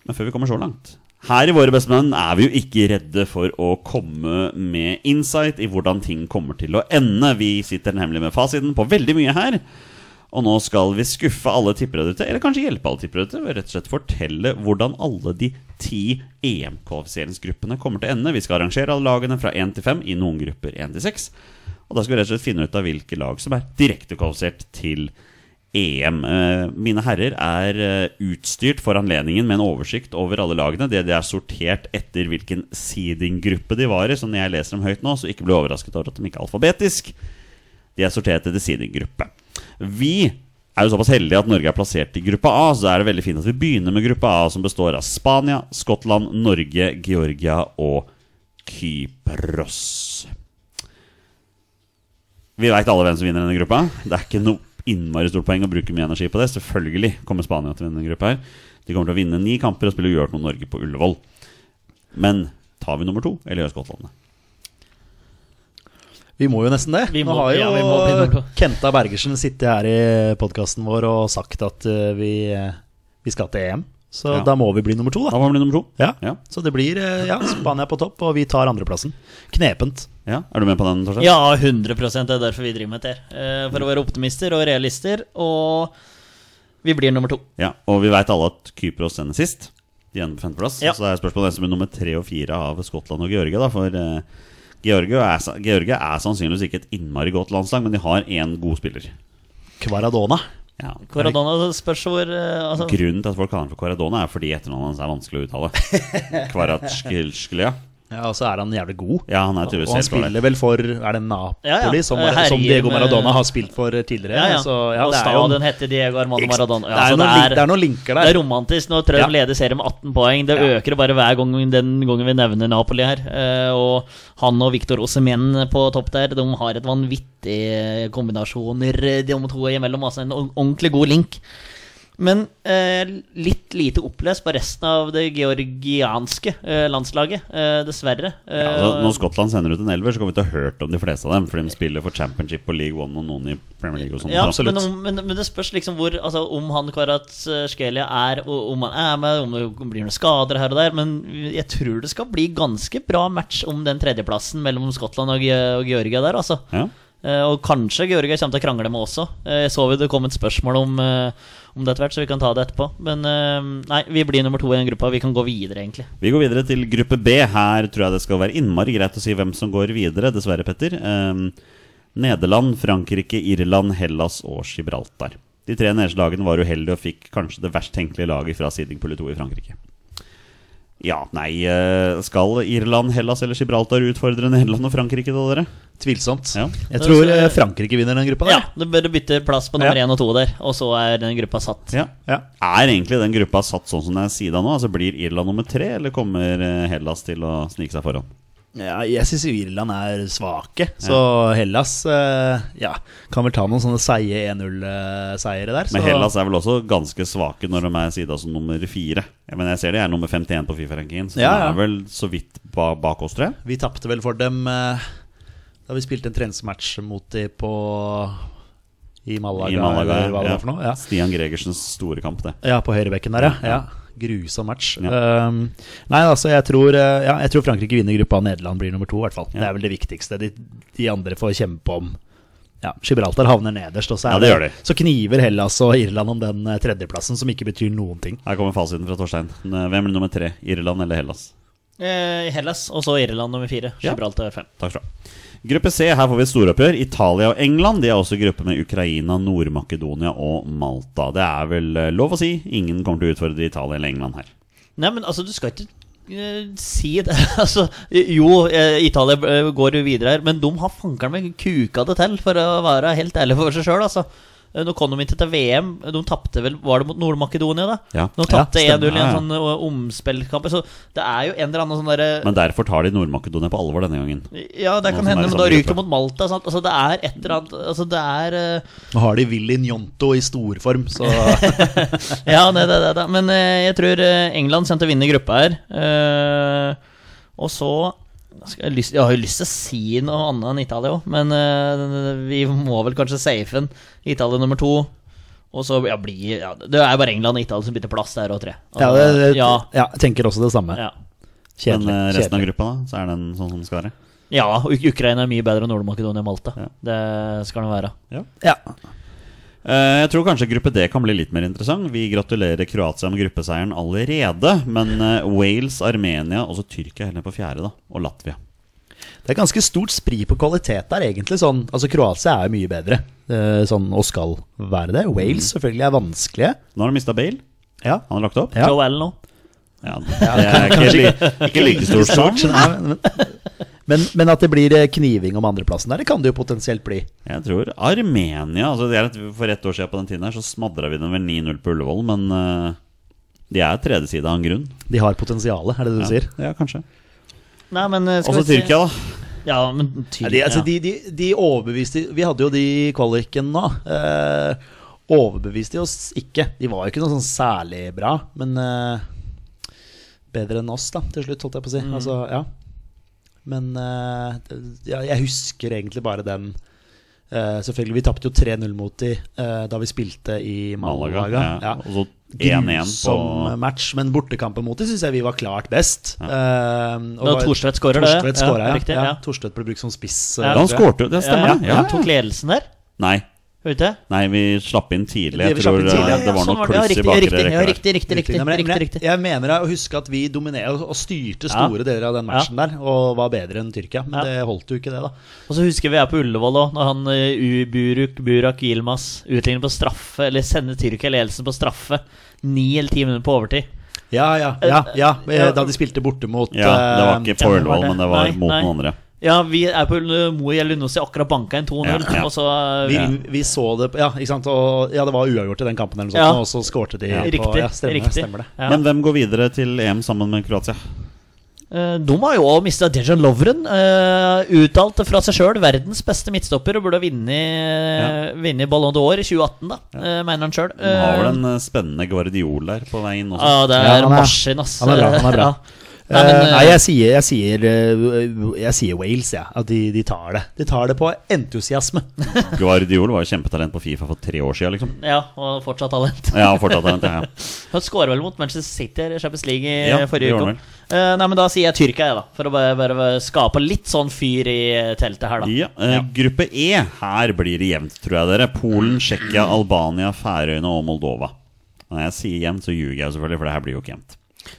Speaker 2: Men før vi kommer så langt Her i Våre bestemenn er vi jo ikke redde for å komme med insight i hvordan ting kommer til å ende. Vi sitter nemlig med fasiten på veldig mye her. Og nå skal vi skuffe alle tippere ute, eller kanskje hjelpe alle tippere ute, ved rett og slett fortelle hvordan alle de ti EM-kvalifiseringsgruppene kommer til å ende. Vi skal arrangere alle lagene fra én til fem, i noen grupper én til seks. Og da skal vi rett og slett finne ut av hvilke lag som er direkte kvalifisert til EM. Eh, Mine herrer er eh, utstyrt for anledningen med en oversikt over alle lagene. Det de er sortert etter hvilken seedinggruppe de var i, så når jeg leser dem høyt nå, så ikke bli overrasket over at de ikke er alfabetisk. De er sortert etter sin gruppe. Vi er jo såpass heldige at Norge er plassert i gruppa A, så da er det veldig fint at vi begynner med gruppa A, som består av Spania, Skottland, Norge, Georgia og Kypros. Vi veit alle hvem som vinner denne gruppa. Det er ikke noe innmari stort poeng å bruke mye energi på det. Selvfølgelig kommer Spania til å vinne denne gruppa her. De kommer til å vinne ni kamper og spille uavgjort mot Norge på Ullevål. Men tar vi nummer to, eller gjør Skottland det?
Speaker 3: Vi må jo nesten det.
Speaker 1: Vi
Speaker 3: Nå
Speaker 1: må-
Speaker 3: har jo
Speaker 1: ja, vi må begynne på-
Speaker 3: Kenta Bergersen sittet her i podkasten vår og sagt at eh, vi, eh, vi skal til EM. Så
Speaker 2: Ja.
Speaker 3: da må vi bli nummer to,
Speaker 2: Da
Speaker 3: da.
Speaker 2: må vi bli nummer to.
Speaker 3: Ja.
Speaker 2: Ja.
Speaker 3: Så det blir eh, ja, Spania på topp, og vi tar andreplassen. Knepent.
Speaker 2: Ja, Er du med på den, Torstein?
Speaker 1: Ja, 100 Det er derfor vi driver med dette. her. Eh, For å være optimister og realister. Og vi blir nummer to.
Speaker 2: Ja, og vi veit alle at Kypros ender sist. De ender på femteplass.
Speaker 1: Ja.
Speaker 2: Så det er spørsmålet hvem som blir nummer tre og fire av Skottland og Georgia. Da, for eh, Georgia, er, sa- Georgia er sannsynligvis ikke et innmari godt landslag, men de har én god spiller.
Speaker 3: Kvaradona.
Speaker 2: Ja.
Speaker 1: Corradona spørs hvor eh, altså,
Speaker 2: Grunnen til at folk kaller ham for Corradona, er fordi etternavnet hans er vanskelig å uttale. Kvaratskilsklia.
Speaker 3: Ja, og så er han jævlig god.
Speaker 2: Ja, han er
Speaker 3: Og
Speaker 2: tydeligvis
Speaker 3: han
Speaker 2: helt klar.
Speaker 3: spiller vel for Er det Napoli,
Speaker 1: Ja, ja.
Speaker 3: Som,
Speaker 1: Eh, herjer
Speaker 3: som Diego
Speaker 1: med-
Speaker 3: Maradona har spilt for eh, tidligere?
Speaker 1: ja, ja.
Speaker 3: Så, altså, ja,
Speaker 1: og
Speaker 3: det er jo-
Speaker 1: stadion heter Diego Armando
Speaker 3: Ikke sant? det,
Speaker 1: Maradona.
Speaker 3: er
Speaker 1: Ja, så
Speaker 3: noen, link-
Speaker 1: det
Speaker 3: det
Speaker 1: er-
Speaker 3: er noen linker der.
Speaker 1: det er romantisk når Trøm
Speaker 3: Ja.
Speaker 1: leder serien med 18 poeng. Det
Speaker 3: Ja.
Speaker 1: øker bare hver gang den gangen vi nevner Napoli her. Eh, Og han og Victor Osemen på topp der, de har et vanvittig eh, kombinasjoner, eh, de to imellom. Altså en ord- ordentlig god link. Men eh, litt lite opplest på resten av det georgianske eh, landslaget, eh, dessverre. Eh,
Speaker 2: Ja, altså, når Skottland sender ut en elver, så kommer vi til å ha hørt om de fleste av dem. For de spiller for Championship og League One og noen i Premier League og sånn.
Speaker 1: Ja,
Speaker 2: Så-
Speaker 1: men, om, men, men det spørs liksom hvor altså, Om han Kvaratskhelia er, og om han er med, om det blir noen skader her og der. Men jeg tror det skal bli ganske bra match om den tredjeplassen mellom Skottland og, Ge- og Georgia der, altså.
Speaker 2: Ja.
Speaker 1: Eh, og kanskje Georgia kommer til å krangle med også. Eh, jeg så jo det kom et spørsmål om, eh, om det etter hvert, så vi kan ta det etterpå. Men eh, nei, vi blir nummer to i den gruppa. Vi kan gå videre, egentlig.
Speaker 2: Vi går videre til gruppe B. Her tror jeg det skal være innmari greit å si hvem som går videre, dessverre, Petter. Ehm, Nederland, Frankrike, Irland, Hellas og Gibraltar. De tre nederlagene var uheldige og fikk kanskje det verst tenkelige laget fra Sidingpulje 2 i Frankrike. Ja, nei eh, Skal Irland, Hellas eller Gibraltar utfordre Nederland og Frankrike, da, dere?
Speaker 3: Tvilsomt.
Speaker 2: Ja.
Speaker 3: Jeg tror eh, Frankrike vinner den gruppa.
Speaker 1: Ja,
Speaker 3: der.
Speaker 1: du bør bytte plass på nummer
Speaker 3: Ja.
Speaker 1: én og to der, og så er den gruppa satt.
Speaker 2: Ja.
Speaker 3: Ja.
Speaker 2: Er egentlig den gruppa satt sånn som den er sida nå? Altså Blir Irland nummer tre, eller kommer eh, Hellas til å snike seg foran?
Speaker 3: Ja, jeg syns jo Irland er svake. Så Hellas eh, ja, kan vel ta noen sånne seige 1-0-seiere der. Så.
Speaker 2: Men Hellas er vel også ganske svake når de er sida som nummer fire. Ja, Men jeg ser de er nummer 51 på Fifa-rankingen, så
Speaker 3: Ja,
Speaker 2: de
Speaker 3: ja.
Speaker 2: er vel så vidt ba bak oss, tror jeg.
Speaker 3: Vi tapte vel for dem eh, da vi spilte en treningsmatch mot de på I Malaga,
Speaker 2: I Malaga.
Speaker 3: eller hva det
Speaker 2: ja.
Speaker 3: var for noe. Ja.
Speaker 2: Stian Gregersens store kamp, det.
Speaker 3: Ja, på høyrebekken der, ja. ja. Grusom match.
Speaker 2: Ja.
Speaker 3: Um, nei, altså, jeg tror, eh, ja, jeg tror Frankrike vinner gruppa, Nederland blir nummer to, i hvert fall.
Speaker 2: Ja.
Speaker 3: Det er vel det viktigste. De, de andre får kjempe om ja, Gibraltar havner nederst, og så, er
Speaker 2: Ja, det gjør de.
Speaker 3: så kniver Hellas og Irland om den eh, tredjeplassen, som ikke betyr noen ting.
Speaker 2: Her kommer fasiten fra Torstein. Hvem blir nummer tre? Irland eller Hellas?
Speaker 1: Eh, Hellas, og så Irland nummer fire.
Speaker 2: Ja.
Speaker 1: Gibraltar fem.
Speaker 2: Takk skal du ha. Gruppe C, her får vi storoppgjør. Italia og England. De er også i gruppe med Ukraina, Nord-Makedonia og Malta. Det er vel eh, lov å si. Ingen kommer til å utfordre Italia eller England her.
Speaker 1: Nei, men altså, du skal ikke eh, si det. altså, jo, eh, Italia eh, går jo videre her, men de har fankeren meg kuka det til, for å være helt ærlig for seg sjøl, altså. Eh, Nå kom de ikke til VM. De tapte vel Var det mot Nord-Makedonia, da?
Speaker 2: Ja.
Speaker 1: Nå tapte
Speaker 2: Ja,
Speaker 1: 1-0 i
Speaker 2: stemmer, ja,
Speaker 1: en
Speaker 2: ja.
Speaker 1: sånn eh, omspillkamp. Så det er jo en eller annen sånn derre
Speaker 2: Men derfor tar de Nord-Makedonia på alvor denne gangen.
Speaker 1: Ja, det
Speaker 2: Noen som
Speaker 1: kan
Speaker 2: er
Speaker 1: hende,
Speaker 2: i
Speaker 1: men
Speaker 2: samme
Speaker 1: da ryker
Speaker 2: gruppe.
Speaker 1: du mot Malta. Sant? Altså, det er et eller annet altså, Det er eh,
Speaker 3: Nå har de Willy Njonto i storform, så
Speaker 1: Ja, det, det, det, det. Men eh, jeg tror eh, England kommer til å vinne gruppa her. Eh, og så skal jeg, lyst, jeg har jo lyst til å si noe annet enn Italia òg, men eh, vi må vel kanskje safe en Italia nummer to. Og så ja, blir ja, Det er jo bare England og Italia som bytter plass der òg, tror jeg.
Speaker 3: ja, det, det, ja.
Speaker 1: ja,
Speaker 3: jeg tenker også det samme.
Speaker 1: ja.
Speaker 3: Kjedelig.
Speaker 2: Men eh, resten av
Speaker 3: kjedelig.
Speaker 2: gruppa, da? Så er den sånn som den skal være?
Speaker 1: ja, og Uk- Ukraina er mye bedre enn Nord-Makedonia og Malta.
Speaker 2: Ja.
Speaker 1: Det skal den være.
Speaker 3: Ja.
Speaker 2: Eh, Jeg tror kanskje gruppe D kan bli litt mer interessant. Vi gratulerer Kroatia med gruppeseieren allerede. Men eh, Wales, Armenia og så Tyrkia heller på fjerde, da. Og Latvia.
Speaker 3: Det er ganske stort spri på kvalitet der, egentlig. Sånn, altså, Kroatia er jo mye bedre, eh, sånn, og skal være det. Wales
Speaker 2: Mm.
Speaker 3: selvfølgelig er vanskelige.
Speaker 2: Nå har de mista Bale.
Speaker 3: Ja.
Speaker 2: Han har lagt opp.
Speaker 3: Ja.
Speaker 1: Joe Allen nå.
Speaker 2: Ja, det er ikke, li, ikke like stort som.
Speaker 3: Men, men, men at det blir eh, kniving om andreplassen der, det kan det jo potensielt bli.
Speaker 2: Jeg tror Armenia altså det er et, For ett år siden på den tiden her så smadra vi dem vel 9-0 på Ullevål, men eh, de er tredje side av en grunn.
Speaker 3: De har potensialet, er det det du sier?
Speaker 2: Ja, kanskje.
Speaker 1: Nei, men eh, skal
Speaker 2: Også
Speaker 1: vi si-
Speaker 2: Tyrkia, da.
Speaker 1: Ja, men Tyrkia
Speaker 3: Ja, de, altså, de, de, de overbeviste Vi hadde jo de i kvaliken nå. Eh, overbeviste de oss ikke. De var jo ikke noe sånn særlig bra, men eh, bedre enn oss, da, til slutt, holdt jeg på å si. Altså, ja. Men eh, det- ja, jeg husker egentlig bare den eh, Selvfølgelig, vi tapte jo 3-0 mot de eh, da vi spilte i Malaga.
Speaker 2: Malaga. Ja.
Speaker 3: Ja.
Speaker 2: Og så 1-1 på
Speaker 3: Grusom match, men bortekampen mot dem syns jeg vi var klart best. Eh, og
Speaker 1: Da
Speaker 3: var-
Speaker 1: Thorstvedt skårer, det.
Speaker 3: Thorstvedt
Speaker 1: Ja,
Speaker 3: skårer, ja.
Speaker 1: riktig,
Speaker 3: ja.
Speaker 1: ja.
Speaker 3: Thorstvedt ble brukt som spiss. eh,
Speaker 1: Ja.
Speaker 2: Ja, han
Speaker 3: tror jeg.
Speaker 2: skårte jo, det stemmer.
Speaker 1: ja,
Speaker 2: det.
Speaker 1: ja,
Speaker 2: Ja,
Speaker 1: Han
Speaker 2: ja,
Speaker 1: tok
Speaker 2: ja.
Speaker 1: ledelsen der,
Speaker 2: Nei.
Speaker 1: vet du?
Speaker 2: Nei, vi slapp inn tidlig.
Speaker 3: Det
Speaker 2: Jeg
Speaker 3: vi
Speaker 2: tror
Speaker 3: slapp inn
Speaker 2: eh,
Speaker 3: tidlig, ja,
Speaker 2: det var
Speaker 1: sånn
Speaker 2: noe
Speaker 1: ja,
Speaker 2: kluss i
Speaker 1: riktig,
Speaker 2: bakre
Speaker 1: riktig, ja,
Speaker 2: rekke. der.
Speaker 1: riktig, riktig, riktig,
Speaker 3: Nei, men jeg-
Speaker 1: riktig,
Speaker 3: men
Speaker 1: riktig.
Speaker 3: Jeg, jeg mener å huske at vi dominerer og og styrte
Speaker 1: Ja.
Speaker 3: store deler av den matchen der og var bedre enn Tyrkia, men
Speaker 1: Ja.
Speaker 3: det holdt jo ikke det, da.
Speaker 1: Og så husker vi her på Ullevål òg, når han eh, U- Buruk Burak Yilmaz utligner på straffe, eller sender Tyrkia ledelsen på straffe, ni eller ti minutter på overtid.
Speaker 3: Ja, ja, ja, ja. eh, Da de spilte borte mot
Speaker 2: Ja, det var
Speaker 3: eh,
Speaker 2: ikke på
Speaker 1: Ja, det var
Speaker 2: Ullevål,
Speaker 1: det.
Speaker 2: men det var
Speaker 1: Nei,
Speaker 2: mot
Speaker 1: nei.
Speaker 2: noen andre.
Speaker 1: Ja, vi er på Ulle- Mo i Elunås i akkurat banka inn 2-0,
Speaker 2: Ja, ja.
Speaker 1: og så eh,
Speaker 3: vi, vi så det Ja, ikke sant? Og, ja, det var uavgjort i den kampen, eller noe
Speaker 1: Ja.
Speaker 3: sånt, og så skårte de
Speaker 1: ja,
Speaker 3: på
Speaker 1: Riktig.
Speaker 3: ja, stemmer,
Speaker 1: riktig.
Speaker 3: stemmer det.
Speaker 1: Ja.
Speaker 2: Men hvem går videre til EM sammen med Kroatia?
Speaker 1: Eh, De har jo òg mista Dejan Lovren. eh, uttalte fra seg sjøl verdens beste midtstopper og burde ha vunnet vunnet Ballon d'Or i 2018, da, eh, mener han sjøl.
Speaker 2: De har vel en eh, spennende Guardiol der på vei inn også.
Speaker 1: Ja, det
Speaker 3: Ja,
Speaker 1: er
Speaker 3: han er-
Speaker 1: maskin, ass.
Speaker 3: han er bra, han er bra.
Speaker 1: Ja. Nei, men,
Speaker 3: Eh, Nei, jeg sier, jeg sier, eh, jeg sier Wales, jeg. Ja. At de, de tar det. De tar det på entusiasme.
Speaker 2: Guardiol var jo kjempetalent på Fifa for tre år siden, liksom.
Speaker 1: Ja, og fortsatt talent.
Speaker 2: Ja, fortsatt talent, ja. ja.
Speaker 1: Han skårer vel mot Manchester City her i Champions League i
Speaker 2: Ja, det
Speaker 1: forrige
Speaker 2: gjorde han
Speaker 1: uke.
Speaker 2: vel.
Speaker 1: Eh, nei, men da sier jeg Tyrkia, jeg, da. For å bare, bare skape litt sånn fyr i teltet her, da.
Speaker 2: Ja, eh, Gruppe E, her blir det jevnt, tror jeg dere. Polen, Tsjekkia, Albania, Færøyene og Moldova. Når jeg sier jevnt, så ljuger jeg selvfølgelig, for det her blir jo ikke jevnt.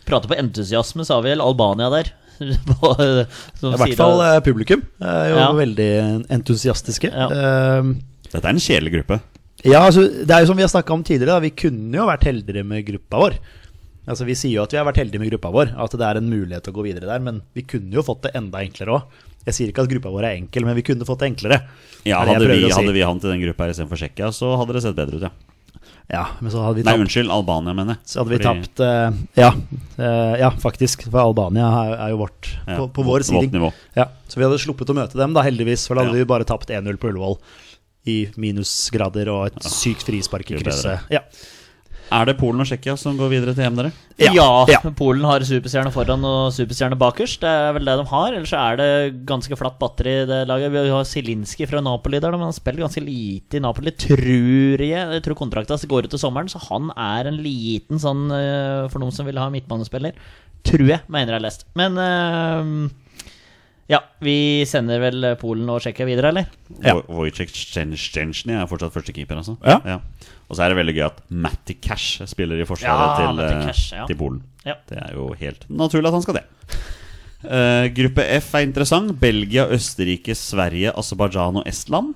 Speaker 1: Prater på entusiasme, sa vi vel. Albania der. På, eh, som
Speaker 3: I hvert
Speaker 1: sier
Speaker 3: fall
Speaker 1: det-
Speaker 3: eh, publikum. eh, Jo
Speaker 1: Ja.
Speaker 3: veldig entusiastiske.
Speaker 1: Ja.
Speaker 3: Eh,
Speaker 2: Dette er en kjedelig gruppe.
Speaker 3: Ja, altså, det er jo som vi har snakka om tidligere, da. vi kunne jo vært heldigere med gruppa vår. Altså, Vi sier jo at vi har vært heldige med gruppa vår, at det er en mulighet til å gå videre der, men vi kunne jo fått det enda enklere òg. Jeg sier ikke at gruppa vår er enkel, men vi kunne fått det enklere.
Speaker 2: Ja,
Speaker 3: Det er
Speaker 2: hadde vi,
Speaker 3: det jeg prøver å si.
Speaker 2: hadde vi han til den gruppa her istedenfor Tsjekkia, så hadde det sett bedre ut, ja.
Speaker 3: Ja, men så hadde vi
Speaker 2: Nei,
Speaker 3: tapt.
Speaker 2: unnskyld. Albania, mener jeg.
Speaker 3: Så hadde vi
Speaker 2: Fordi-
Speaker 3: tapt eh, ja, eh, ja, faktisk. For Albania er, er jo vårt
Speaker 2: Ja,
Speaker 3: på, på vår
Speaker 2: vårt
Speaker 3: siding.
Speaker 2: nivå.
Speaker 3: Ja, så vi hadde sluppet å møte dem, da heldigvis. For da hadde
Speaker 2: Ja.
Speaker 3: vi bare tapt 1-0 på Ullevål. I minusgrader og et sykt frispark i
Speaker 2: gud
Speaker 3: krysset. Ja.
Speaker 2: Er det Polen og Tsjekkia som går videre til EM, dere?
Speaker 1: Ja,
Speaker 3: ja.
Speaker 1: Polen har superstjerne foran og superstjerne bakerst. Det er vel det de har. Ellers er det ganske flatt batteri i det laget. Vi har Zielinski fra Napoli der, men han spiller ganske lite i Napoli, tror jeg. Jeg tror kontrakta går ut til sommeren, så han er en liten sånn eh, for noen som vil ha midtbanespiller. Tror jeg, mener jeg har lest. Men eh, ja, vi sender vel Polen og Tsjekkia videre, eller?
Speaker 3: Ja.
Speaker 2: Wo- Wojciech Szczęsny er fortsatt førstekeeper, altså.
Speaker 3: Ja.
Speaker 2: Og så er det veldig gøy at Matty Cash spiller i
Speaker 1: Ja,
Speaker 2: forsvaret til,
Speaker 1: Matty
Speaker 2: eh,
Speaker 1: Cash, ja.
Speaker 2: til Polen.
Speaker 1: Ja.
Speaker 2: Det er jo helt naturlig at han skal det. Eh, gruppe F er interessant. Belgia, Østerrike, Sverige, Aserbajdsjan og Estland.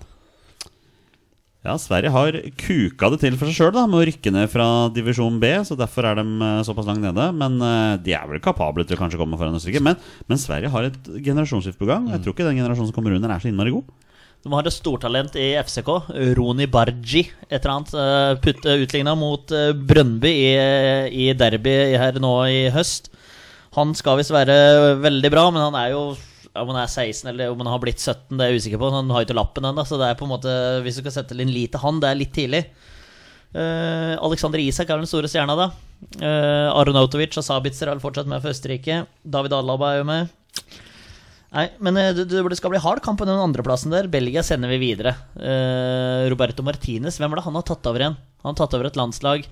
Speaker 2: Ja, Sverige har kuka det til for seg sjøl med å rykke ned fra divisjon B. Så derfor er de eh, såpass langt nede. Men eh, de er vel kapable til å kanskje komme foran Østerrike. Men, men Sverige har et generasjonsskift på gang. Jeg tror ikke den generasjonen som kommer under, er så innmari god.
Speaker 1: De har et stortalent i FCK, Roni Bargi, et eller annet. eh, putt- eh, Utligna mot eh, Brøndby i, i derby her nå i høst. Han skal visst være veldig bra, men han er jo om han er 16 eller om han har blitt 17, det er jeg usikker på. Han har ikke lappen ennå, så det er på en måte Hvis du skal sette inn lit til han, det er litt tidlig. Eh, Alexander Isak er den store stjerna, da. Eh, Aronautovic og Sabitzer er vel fortsatt med for Østerrike. David Alaba er jo med. Nei, men eh, det, det skal bli hard kamp på den andreplassen der. Belgia sender vi videre. Eh, Roberto Martinez, hvem er det han har tatt over igjen? Han har tatt over et landslag.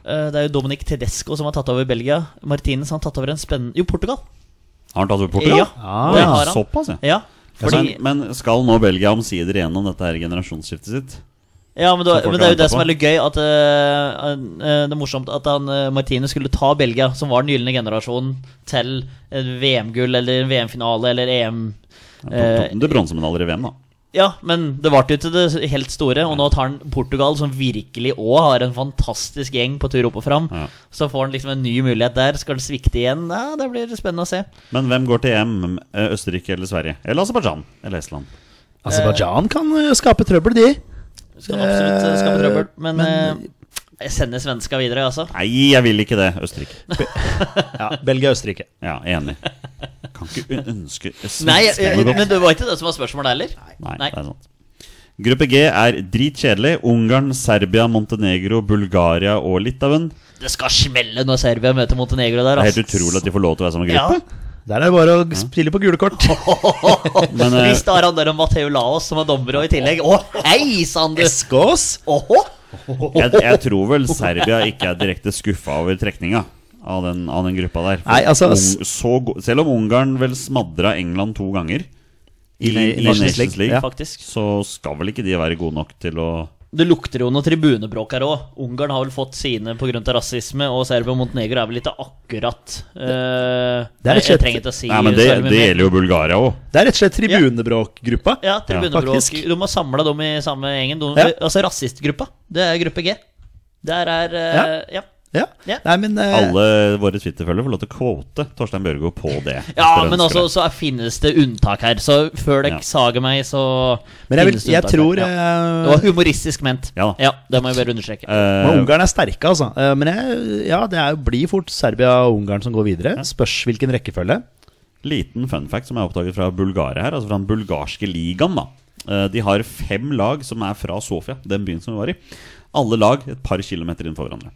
Speaker 1: Eh, det er jo Dominic Tedesco som har tatt over Belgia. Martinez han har tatt over en spennende Jo, Portugal!
Speaker 2: Har han tatt over Portugal?
Speaker 1: Ja,
Speaker 2: Ah.
Speaker 1: det har han.
Speaker 2: Såpass, ja.
Speaker 1: Ja, fordi,
Speaker 2: men, men skal nå Belgia omsider igjennom dette her generasjonsskiftet sitt?
Speaker 1: ja men, det,
Speaker 2: Som folk
Speaker 1: men det er
Speaker 2: har
Speaker 1: jo det
Speaker 2: ventet
Speaker 1: som
Speaker 2: på.
Speaker 1: er litt gøy. At, eh, han- eh, det er morsomt at han, eh, Martinez skulle ta Belgia, som var den gylne generasjonen, til et VM-gull eller VM-finale eller EM. eh,
Speaker 2: Det bronsemedaljer i VM, da.
Speaker 1: Ja, men det varte jo til det helt store, og nå tar han Portugal, som virkelig òg har en fantastisk gjeng på tur opp og fram.
Speaker 2: Ja.
Speaker 1: Så får han liksom en ny mulighet der. Skal han svikte igjen? Ja, det blir spennende å se.
Speaker 2: Men hvem går til EM? Eh, Østerrike eller Sverige? Eller Aserbajdsjan? Eller Estland?
Speaker 3: Aserbajdsjan kan eh, skape trøbbel, de.
Speaker 1: Skal absolutt eh, skape trøbbel. Men,
Speaker 3: Men-
Speaker 1: eh, jeg sender svenska videre, altså.
Speaker 2: Nei, jeg vil ikke det. Østerrike.
Speaker 3: Ja, Belgia og Østerrike.
Speaker 2: Ja, enig. Kan ikke un- ønske
Speaker 1: Nei, eh,
Speaker 2: svenskene noe
Speaker 1: men
Speaker 2: godt.
Speaker 1: det var ikke det som var spørsmålet heller.
Speaker 2: Nei,
Speaker 1: Nei.
Speaker 2: det er sant. Gruppe G er dritkjedelig. Ungarn, Serbia, Montenegro, Bulgaria og Litauen.
Speaker 1: Det skal smelle når Serbia møter Montenegro der,
Speaker 2: Det er
Speaker 1: altså.
Speaker 2: helt utrolig at de får lov til å være samme
Speaker 1: Ja.
Speaker 2: gruppe.
Speaker 3: Der er det bare å spille på gule kort.
Speaker 2: Men, eh,
Speaker 1: Hvis det er han der om Matheo Laos som er dommer og i tillegg Å, hei sann, du!
Speaker 3: Skås!
Speaker 1: Åhå!
Speaker 2: jeg, jeg tror vel Serbia ikke er direkte skuffa over trekninga av den, av den gruppa der. For
Speaker 3: Nei, altså, s-
Speaker 2: Ung, så, go- selv om Ungarn vel smadra England to ganger i,
Speaker 3: I- i Nations League, ja.
Speaker 1: Faktisk.
Speaker 2: så skal vel ikke de være gode nok til å
Speaker 1: Det lukter jo noe tribunebråk her òg. Ungarn har vel fått sine pga. rasisme, og Serbia og Montenegro er vel ikke akkurat
Speaker 3: Det
Speaker 1: eh,
Speaker 3: er
Speaker 1: jeg,
Speaker 3: rett og
Speaker 1: jeg
Speaker 3: slett-
Speaker 1: trenger ikke å si
Speaker 2: Nei, men det,
Speaker 1: så veldig mye
Speaker 2: det
Speaker 1: mer.
Speaker 2: gjelder jo Bulgaria òg.
Speaker 3: Det er rett og slett tribunebråkgruppa.
Speaker 1: Ja, tribunebråk.
Speaker 3: Faktisk.
Speaker 1: de har samla dem i samme gjengen. De,
Speaker 3: Ja.
Speaker 1: Altså rasistgruppa. Det er gruppe G. Der er eh, ja.
Speaker 3: Ja.
Speaker 1: Ja.
Speaker 3: Nei, men eh,
Speaker 2: Alle våre Twitter-følgere får lov til å kvote Torstein Bjørgo på det. hvis
Speaker 1: Ja,
Speaker 2: dere
Speaker 1: men
Speaker 2: ønsker
Speaker 1: altså,
Speaker 2: det.
Speaker 1: så er, finnes det unntak her. Så før dere
Speaker 2: Ja.
Speaker 1: sager meg, så
Speaker 3: Men jeg, vil,
Speaker 1: finnes det
Speaker 3: jeg
Speaker 1: unntak
Speaker 3: tror
Speaker 1: her. ja.
Speaker 3: eh,
Speaker 1: Det var humoristisk ment.
Speaker 2: Ja da.
Speaker 1: det må jeg bare understreke.
Speaker 2: Eh,
Speaker 3: men Ungarn er sterke, altså. Eh, Men jeg, ja, det er, blir fort Serbia og Ungarn som går videre. Spørs hvilken rekkefølge.
Speaker 2: Liten fun fact som jeg oppdaget fra Bulgaria her, altså fra den bulgarske ligaen, da. Eh, De har fem lag som er fra Sofia, den byen som vi var i. Alle lag et par kilometer innenfor hverandre.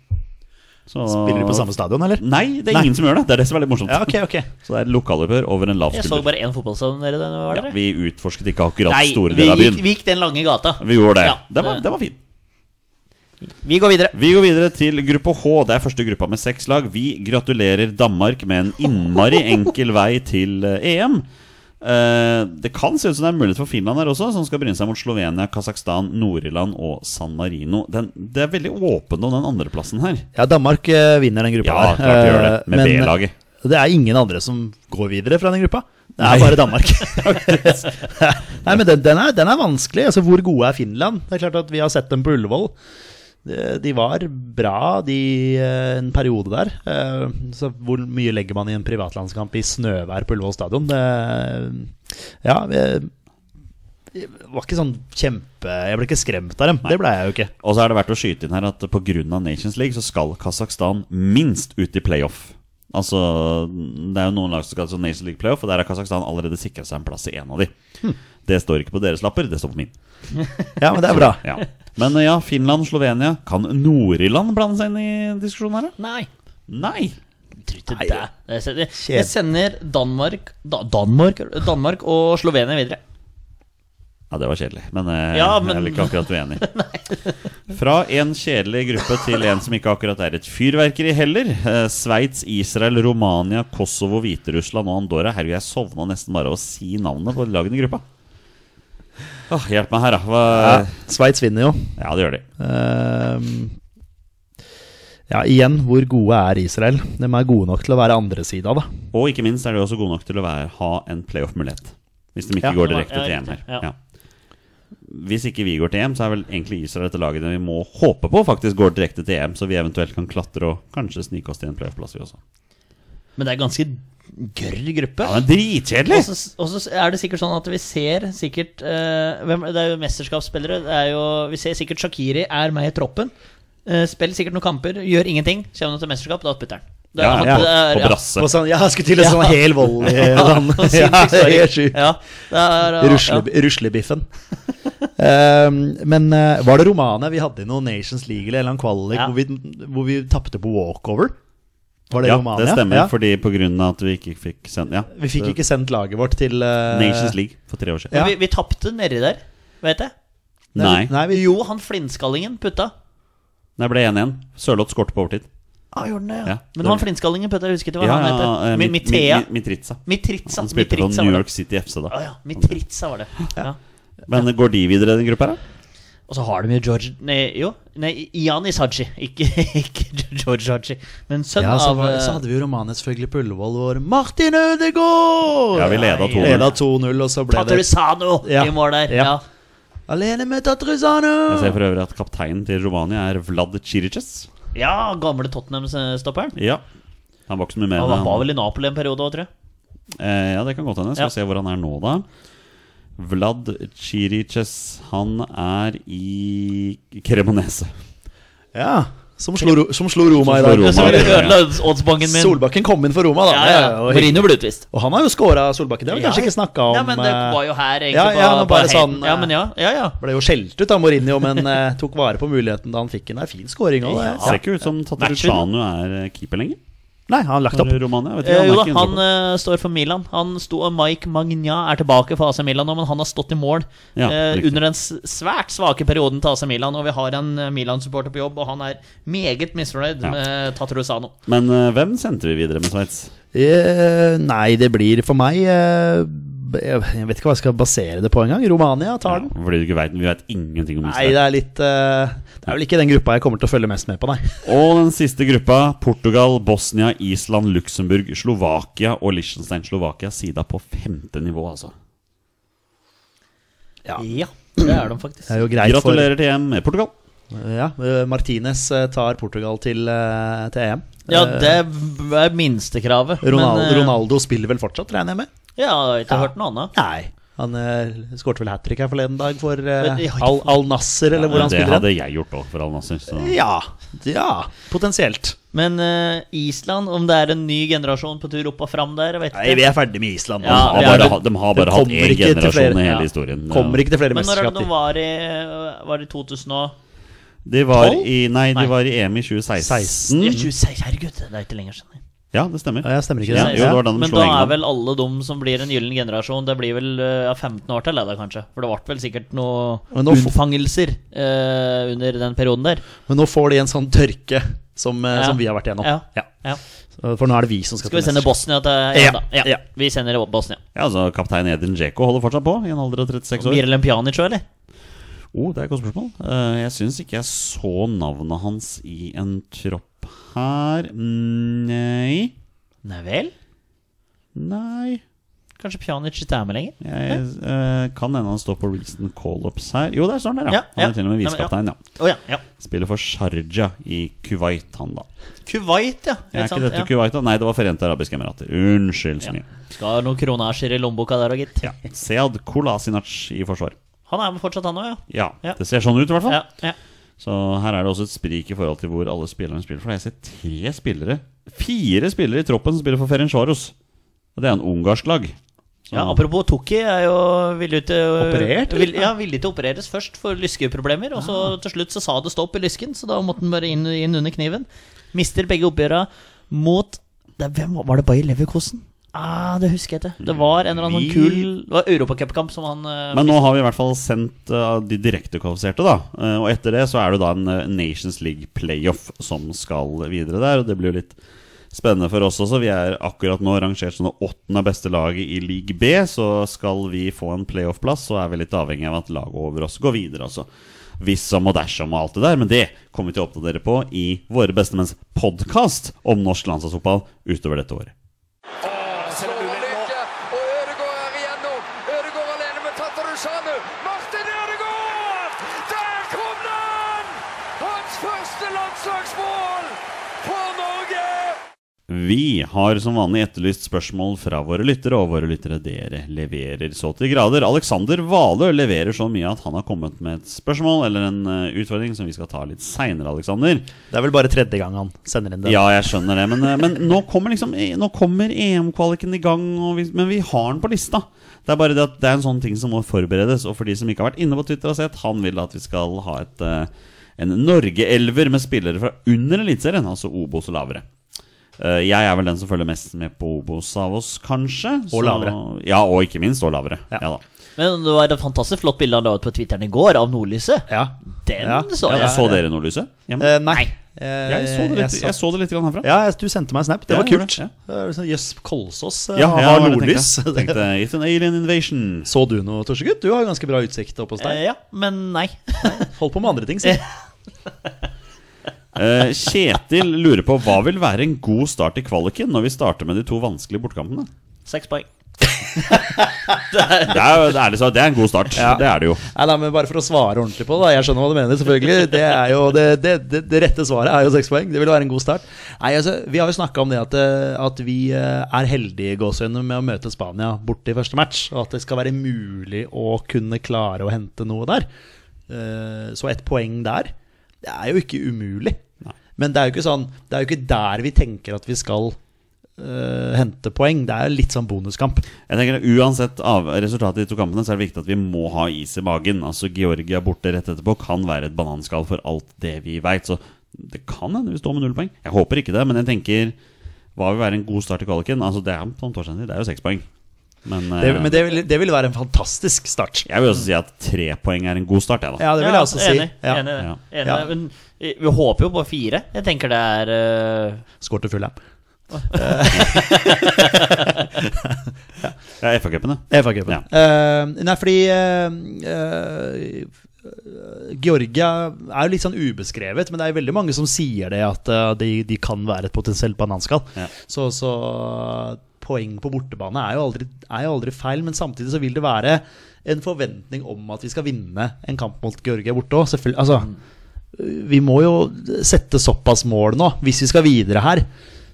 Speaker 2: Så-
Speaker 3: Spiller de på samme stadion, eller?
Speaker 2: Nei, det er
Speaker 3: Nei.
Speaker 2: ingen som gjør det. Det er det som er litt morsomt.
Speaker 3: Ja, ok, ok
Speaker 2: Så det er lokaloppgjør over en lav
Speaker 1: Jeg så
Speaker 2: skulder.
Speaker 1: bare én fotballstadion nede. der, Var det?
Speaker 2: Ja, vi utforsket ikke akkurat
Speaker 1: Nei,
Speaker 2: store
Speaker 1: vi
Speaker 2: deler av
Speaker 1: gikk,
Speaker 2: byen.
Speaker 1: vi gikk den lange gata.
Speaker 2: Vi gjorde det.
Speaker 1: Ja,
Speaker 2: det, var, det var fint.
Speaker 1: Vi går videre.
Speaker 2: Vi går videre til gruppe H. Det er første gruppa med seks lag. Vi gratulerer Danmark med en innmari enkel vei til eh, EM. Eh, det kan se ut som det er mulighet for Finland her også, som skal bryne seg mot Slovenia, Kasakhstan, Nord-Irland og San Marino. Den, det er veldig åpent om den andreplassen her.
Speaker 3: Ja, Danmark eh, vinner den gruppa.
Speaker 2: Ja,
Speaker 3: der.
Speaker 2: klart de gjør det.
Speaker 3: Eh,
Speaker 2: Med
Speaker 3: men
Speaker 2: B-laget.
Speaker 3: Det er ingen andre som går videre fra den gruppa. Det
Speaker 2: Nei.
Speaker 3: er bare Danmark. Nei, men den, den, er, den er vanskelig. Altså, hvor gode er Finland? Det er klart at Vi har sett dem på Ullevål. De- De var bra de, eh, en periode der. Eh, Så hvor mye legger man i en privatlandskamp i snøvær på Ullevål stadion? Det, ja, eh, var ikke sånn kjempe Jeg ble ikke skremt av dem. Det ble jeg jo ikke.
Speaker 2: Og så er det verdt å skyte inn her at pga. Nations League så skal Kasakhstan minst ut i playoff. Altså, Det er jo noen lag som skal til Nations League playoff, og der har Kasakhstan allerede sikra seg en plass i en av de. Det står ikke på deres lapper, det står på min.
Speaker 3: Hm. Ja, men det er bra.
Speaker 2: Ja. Men eh, ja, Finland, Slovenia Kan Nord-Irland blande seg inn i diskusjonen her? da?
Speaker 1: Nei.
Speaker 2: Nei!
Speaker 1: Tror ikke det. Jeg sender, jeg sender Danmark, da, Danmark Danmark og Slovenia videre.
Speaker 2: Ja, det var kjedelig, men, eh,
Speaker 1: Ja, men-
Speaker 2: jeg er vel ikke akkurat uenig. Fra en kjedelig gruppe til en som ikke akkurat er et fyrverkeri heller. Eh, Sveits, Israel, Romania, Kosovo, Hviterussland og Andorra. Herregud, jeg sovna nesten bare av å si navnet på lagene i gruppa. Åh, hjelp meg her, da. Hva...
Speaker 3: Sveits vinner jo.
Speaker 2: Ja, det gjør de.
Speaker 3: Ehm, ja, igjen, hvor gode er Israel? De er gode nok til å være andre sida, da.
Speaker 2: Og ikke minst er de også gode nok til å være, ha en playoff-mulighet. Hvis de ikke
Speaker 3: Ja.
Speaker 2: går direkte
Speaker 1: Ja,
Speaker 2: til EM
Speaker 1: riktig,
Speaker 2: her.
Speaker 1: ja.
Speaker 2: Ja. Hvis ikke vi går til EM, så er vel egentlig Israel dette laget vi må håpe på faktisk går direkte til EM, så vi eventuelt kan klatre og kanskje snike oss til en playoff-plass, vi også.
Speaker 1: Men det er ganske gørr gruppe.
Speaker 2: Ja, men dritkjedelig!
Speaker 1: Og så- Og så er det sikkert sånn at vi ser sikkert eh, hvem, Det er jo mesterskapsspillere. Det er jo, vi ser sikkert Shakiri er med i troppen. Eh, spiller sikkert noen kamper, gjør ingenting. Kommer han til mesterskap, da putter han. Det er-
Speaker 2: Ja, ja,
Speaker 1: det er-
Speaker 2: på
Speaker 1: ja.
Speaker 2: brasse.
Speaker 3: Og sånn, ja, jeg skulle til å si sånn hel volley. Sånn.
Speaker 1: Sånn
Speaker 3: Ja,
Speaker 1: sinnssykt sorry.
Speaker 3: helt sjukt.
Speaker 1: Ja, det er, ja,
Speaker 3: Rusle, ruslebiffen. Ehm, men eh, var det Romania vi hadde i noe Nations League eller en eller annen kvalik
Speaker 1: Ja.
Speaker 3: hvor vi, hvor vi tapte på walkover? Var det
Speaker 2: Ja,
Speaker 3: Romania?
Speaker 2: det stemmer,
Speaker 3: Ja.
Speaker 2: fordi på grunn av at vi ikke fikk sendt Ja.
Speaker 3: Vi fikk ikke sendt laget vårt til eh,
Speaker 2: Nations League for tre år siden.
Speaker 1: Ja.
Speaker 3: Ja.
Speaker 1: Vi, vi tapte nedi der, vet jeg.
Speaker 2: Nei.
Speaker 3: Nei, vi,
Speaker 1: Jo, han flintskallingen putta.
Speaker 2: Det ble 1-1. Sørloth skårte på overtid.
Speaker 1: Ja, gjorde han det, ja.
Speaker 2: Ja.
Speaker 1: Men han flintskallingen putta, jeg husker ikke hva han
Speaker 2: eh,
Speaker 1: heter. Mi-
Speaker 2: Mit-
Speaker 1: Mitea.
Speaker 2: Mi- Mitritsa.
Speaker 1: Mitritsa.
Speaker 2: Han spilte på
Speaker 1: Mitritsa
Speaker 2: New
Speaker 1: var det.
Speaker 2: York City FC da.
Speaker 1: Å ja, Mitritsa var det. Ja.
Speaker 2: Men går de videre i den gruppa her, da?
Speaker 1: Og så har de jo George Nei, jo. Nei, Janis Haji. Ikke, ikke George Haji, men sønn
Speaker 3: ja, så,
Speaker 1: av
Speaker 3: var,
Speaker 1: eh,
Speaker 3: så hadde vi jo Romania selvfølgelig på Ullevål hvor Martin Ødegaard!
Speaker 2: Ja, vi leda 2-0.
Speaker 3: Leda 2-0, og så ble det
Speaker 1: Tatarusano
Speaker 3: Ja.
Speaker 1: i mål der.
Speaker 3: Ja.
Speaker 1: Ja.
Speaker 3: Alene med Tatruzano!
Speaker 2: Jeg ser for øvrig at kapteinen til Romania er Vlad Cirices.
Speaker 1: ja. gamle Tottenham-stopperen.
Speaker 2: Ja. Han var ikke så mye mer
Speaker 1: Han
Speaker 2: enn
Speaker 1: var vel i Napoli en periode òg, tror jeg.
Speaker 2: Eh, ja, det kan godt hende. Skal
Speaker 1: Ja.
Speaker 2: vi se hvor han er nå, da. Vlad Cirices, han er i Cremonese.
Speaker 3: Ja, som slo, Ro- som slo Roma
Speaker 2: Som
Speaker 3: i
Speaker 2: slo
Speaker 3: dag.
Speaker 2: Roma.
Speaker 1: Så
Speaker 2: Romar,
Speaker 1: vi
Speaker 2: ja.
Speaker 1: ødela oddsbanken min.
Speaker 3: Solbakken kom inn for Roma, da.
Speaker 1: Ja,
Speaker 3: Det
Speaker 1: ja.
Speaker 3: er jo hyggelig.
Speaker 1: Mourinho ble utvist.
Speaker 3: Og han har jo scora Solbakken. Det har vi
Speaker 1: Ja.
Speaker 3: kanskje ikke snakka om.
Speaker 1: Ja, men det
Speaker 3: eh,
Speaker 1: var jo her, egentlig.
Speaker 3: ja, ja,
Speaker 1: på-
Speaker 3: men
Speaker 1: på
Speaker 3: bare
Speaker 1: heiden.
Speaker 3: sånn,
Speaker 1: Ja, men ja. ja, ja.
Speaker 3: Ble jo skjelt ut av Mourinho, men eh, tok vare på muligheten da han fikk en. Det er fin scoring òg.
Speaker 1: Ja.
Speaker 2: Ser ikke ut som Tatarusanu er eh, keeper lenger.
Speaker 3: Nei, han har lagt opp.
Speaker 2: For Romania, vet
Speaker 1: Eh,
Speaker 2: ikke,
Speaker 1: jo
Speaker 2: han
Speaker 1: da,
Speaker 2: er ikke sånn-
Speaker 1: han
Speaker 2: innsatt.
Speaker 1: eh, står for Milan. Han sto og Mike Magna er tilbake for AC Milan nå, men han har stått i mål
Speaker 2: Ja,
Speaker 1: eh,
Speaker 2: riktig.
Speaker 1: under den s- svært svake perioden til AC Milan. Og vi har en eh, Milan-supporter på jobb, og han er meget misfornøyd
Speaker 2: Ja.
Speaker 1: med Tatarusano.
Speaker 2: Men eh, hvem sendte vi videre med Sveits?
Speaker 3: Eh, nei, det blir for meg eh, b- Jeg vet ikke hva jeg skal basere det på engang. Romania tar den.
Speaker 2: Fordi du ikke vet, Vi vet ingenting om
Speaker 3: Nei,
Speaker 2: Israel.
Speaker 3: det er litt eh, Det er vel ikke den gruppa jeg kommer til å følge mest med på, nei.
Speaker 2: Og den siste gruppa, Portugal, Bosnia, Island, Luxembourg, Slovakia og Liechtenstein. Slovakia sida på femte nivå, altså.
Speaker 3: Ja.
Speaker 1: Ja, det er de faktisk.
Speaker 3: Det er jo greit
Speaker 2: Gratulerer til EM med Portugal.
Speaker 3: for ja, eh, Martinez eh, tar Portugal til, eh, til EM.
Speaker 1: Ja,
Speaker 3: Eh,
Speaker 1: det er minstekravet. men,
Speaker 3: Ronaldo,
Speaker 1: eh,
Speaker 3: Ronaldo spiller vel fortsatt, regner jeg med?
Speaker 1: Ja, jeg har ikke
Speaker 3: Ja.
Speaker 1: hørt noe annet.
Speaker 3: Nei. Han eh, skårte vel hat trick her forleden dag for eh,
Speaker 1: Men de har ikke-
Speaker 3: Al, Al Nasser, eller hvor han
Speaker 2: det
Speaker 3: spiller den.
Speaker 2: hadde jeg gjort òg, for all nasser. Så.
Speaker 3: Ja, ja, potensielt.
Speaker 1: Men eh, Island, om det er en ny generasjon på tur opp og fram der, jeg vet
Speaker 3: Nei,
Speaker 1: ikke.
Speaker 3: vi er ferdig med Island
Speaker 2: De
Speaker 3: nå.
Speaker 1: Ja,
Speaker 2: har
Speaker 1: vi er
Speaker 2: bare,
Speaker 1: vel-
Speaker 2: ha- de har
Speaker 3: Det
Speaker 2: bare hatt
Speaker 3: kommer
Speaker 2: én
Speaker 3: ikke til flere-
Speaker 2: generasjon i
Speaker 3: ja.
Speaker 2: hele historien.
Speaker 3: Kommer ikke til flere
Speaker 1: Men når er det de
Speaker 3: mesterskap.
Speaker 1: var i eh, Var det 2000 og
Speaker 2: De var
Speaker 1: Tolv?
Speaker 2: i, nei, de
Speaker 1: Nei.
Speaker 2: var i EM i 2016.
Speaker 1: Ja, 26, herregud, det er ikke lenger siden.
Speaker 2: Ja, det stemmer.
Speaker 3: Ja, jeg stemmer ikke
Speaker 2: Ja,
Speaker 3: det.
Speaker 2: jo, det var da de
Speaker 1: Men
Speaker 2: slo
Speaker 1: da er
Speaker 2: England.
Speaker 1: vel alle de som blir en gyllen generasjon, det blir vel eh, ja, 15 år til, er det kanskje? For det ble vel sikkert
Speaker 3: Men
Speaker 1: noen
Speaker 3: nå f-
Speaker 1: unnfangelser eh, under den perioden der.
Speaker 3: Men nå får de en sånn tørke som, eh,
Speaker 1: Ja.
Speaker 3: som vi har vært igjennom.
Speaker 1: Ja.
Speaker 3: Ja.
Speaker 1: Ja.
Speaker 3: For nå er det vi som skal,
Speaker 1: Skal vi sende
Speaker 3: mesterskap.
Speaker 1: Bosnia til
Speaker 3: Ja,
Speaker 1: ja, da. Ja.
Speaker 3: ja.
Speaker 1: Vi sender Bosnia.
Speaker 2: Ja, altså, Kaptein Edin Djeko holder fortsatt på i en alder av 36 år.
Speaker 1: Mirelem Pjanic òg, eller?
Speaker 2: Oh, det er et godt spørsmål. Eh, jeg syns ikke jeg så navnet hans i en tropp her. Nei
Speaker 1: Nei vel?
Speaker 2: Nei
Speaker 1: Kanskje Pjanic ikke er med lenger?
Speaker 2: jeg, eh, Kan hende han står på recent call-ups her. Jo, der står han der, ja.
Speaker 1: Ja,
Speaker 2: Han
Speaker 1: ja.
Speaker 2: er til og med
Speaker 1: Nei, men ja.
Speaker 2: visekaptein, ja.
Speaker 1: Å ja. ja.
Speaker 2: Spiller for Sharjah i Kuwait, han da.
Speaker 1: Kuwait, ja.
Speaker 2: Er ikke
Speaker 1: Helt sant,
Speaker 2: dette Kuwait, da? Nei, det var Forente arabiske emirater. Unnskyld så mye.
Speaker 1: ja. Skal ha noen kronasjer i lommeboka der òg, gitt.
Speaker 2: Ja. Sead Kolasinac i forsvar.
Speaker 1: Han er med fortsatt, han òg, ja.
Speaker 2: Ja,
Speaker 1: Ja.
Speaker 2: det ser sånn ut i hvert fall.
Speaker 1: Ja, ja.
Speaker 2: Så her er det også et sprik i forhold til hvor alle spillerne spiller. For jeg ser tre spillere, fire spillere i troppen som spiller for Ferencvaros. Og det er en ungarsk lag. Så-
Speaker 1: Ja, apropos Tokki er jo villig til å-
Speaker 3: Operert, eller?
Speaker 1: eh, Vil, ja, villig til å opereres først for lyskeproblemer, og så til slutt så sa det stopp i lysken, så da måtte han bare inn, inn under kniven. Mister begge oppgjøra mot det, Hvem var- var det Bayer Leverkosen? Ah, det husker jeg ikke. Det var en eller annen
Speaker 2: Vi-
Speaker 1: sånn kul Det var europacupkamp som han eh,
Speaker 2: Men nå har vi i hvert fall sendt eh, de direktekvalifiserte, da. Eh, og etter det så er det da en eh, Nations League playoff som skal videre der. Og det blir jo litt spennende for oss også. Vi er akkurat nå rangert som det åttende beste laget i league B. Så skal vi få en playoff-plass, så er vi litt avhengig av at laget over oss går videre, altså. Hvis som og dersom og alt det der, men det kommer vi til å oppdatere på i Våre bestemenns podkast om norsk landslagsfotball utover dette året.
Speaker 5: Slår han ikke, og Ødegaard er igjennom. Ødegaard alene med Tatarusanu. Martin Ødegaard! Der kom den! Hans første landslagsmål for Norge!
Speaker 2: Vi har som vanlig etterlyst spørsmål fra våre lyttere, og våre lyttere dere leverer så til grader. Alexander Valø leverer så mye at han har kommet med et spørsmål eller en eh, utfordring som vi skal ta litt seinere, Alexander.
Speaker 3: Det er vel bare tredje gang han sender inn det.
Speaker 2: Ja, jeg skjønner det, men, eh, men nå kommer liksom Nå kommer EM-kvaliken i gang, og vi, men vi har den på lista. Det er bare det at det er en sånn ting som må forberedes, og for de som ikke har vært inne på Twitter og sett, han vil at vi skal ha et, eh, en Norge-elver med spillere fra under Eliteserien, altså Obos og lavere. Eh, Jeg er vel den som følger mest med på Obos av oss, kanskje.
Speaker 3: Og lavere.
Speaker 2: Ja, og ikke minst og lavere.
Speaker 3: Ja.
Speaker 2: Ja, da.
Speaker 1: Men det var et fantastisk flott bilde han la ut på Twitteren i går av nordlyset.
Speaker 3: Ja.
Speaker 1: Den
Speaker 3: Ja.
Speaker 1: så
Speaker 2: Ja,
Speaker 1: jeg.
Speaker 2: så dere nordlyset? Hjemme?
Speaker 3: Eh, nei. Eh,
Speaker 2: Jeg så det litt,
Speaker 3: sa-
Speaker 2: jeg så det litt grann herfra.
Speaker 3: Ja, jeg- du sendte meg en snap. Det
Speaker 2: Ja,
Speaker 3: var
Speaker 2: jeg
Speaker 3: kult.
Speaker 2: gjorde det,
Speaker 3: Eh, sånn, Jøss, Kolsås eh,
Speaker 2: Ja, ja,
Speaker 3: har
Speaker 2: det tenkte jeg.
Speaker 3: nordlys.
Speaker 2: Tenkte, It's an alien invasion.
Speaker 3: Så du noe, Torsegutt? Du har jo ganske bra utsikt oppe hos
Speaker 1: Eh,
Speaker 3: deg.
Speaker 1: Ja, men nei.
Speaker 3: Hold på med andre ting, si.
Speaker 2: Eh, Kjetil lurer på hva vil være en god start i kvaliken når vi starter med de to vanskelige bortekampene.
Speaker 1: Seks poeng.
Speaker 2: Det er, jo- det er, liksom, det er en god start. Det er det jo.
Speaker 3: Nei, nei, men Bare for å svare ordentlig på det, da. jeg skjønner hva du mener, selvfølgelig. Det, er jo, det, det, det, det rette svaret er jo seks poeng. Det vil være en god start. Nei, altså, Vi har jo snakka om det at, eh, at vi eh, er heldige i gåseøynene med å møte Spania borte i første match, og at det skal være mulig å kunne klare å hente noe der. Eh, Så ett poeng der, det er jo ikke umulig. Men det er jo ikke sånn Det er jo ikke der vi tenker at vi skal eh, hente poeng. Det er jo litt sånn bonuskamp.
Speaker 2: Jeg tenker at Uansett av resultatet i de to kampene, så er det viktig at vi må ha is i magen. Altså Georgia borte rett etterpå kan være et bananskall for alt det vi veit. Så det kan hende vi står med null poeng. Jeg håper ikke det, men jeg tenker hva vil være en god start i kvaliken? Altså, det er som Torstein sier, det er jo seks poeng. Men, eh,
Speaker 3: Det, men det vil, det vil være en fantastisk start.
Speaker 2: jeg vil også si at tre poeng er en god start, jeg, da.
Speaker 3: Ja, det vil jeg også si.
Speaker 1: Enig.
Speaker 3: Ja.
Speaker 1: enig,
Speaker 2: Ja.
Speaker 1: enig.
Speaker 3: Ja.
Speaker 1: Men eh, vi håper jo på fire. Jeg tenker det er eh,
Speaker 3: Skår til Fulham.
Speaker 2: Ja, FA-cupen, ja.
Speaker 3: FA-cupen.
Speaker 2: Ja.
Speaker 3: Eh, nei, fordi eh, eh, Georgia er jo litt sånn ubeskrevet, men det er jo veldig mange som sier det, at eh, de, de kan være et potensielt bananskall.
Speaker 2: Ja.
Speaker 3: Så, så poeng på bortebane er jo, aldri, er jo aldri feil, men samtidig så vil det være en forventning om at vi skal vinne en kamp mot Georgia borte òg. Altså,
Speaker 2: Mm.
Speaker 3: vi må jo sette såpass mål nå. Hvis vi skal videre her,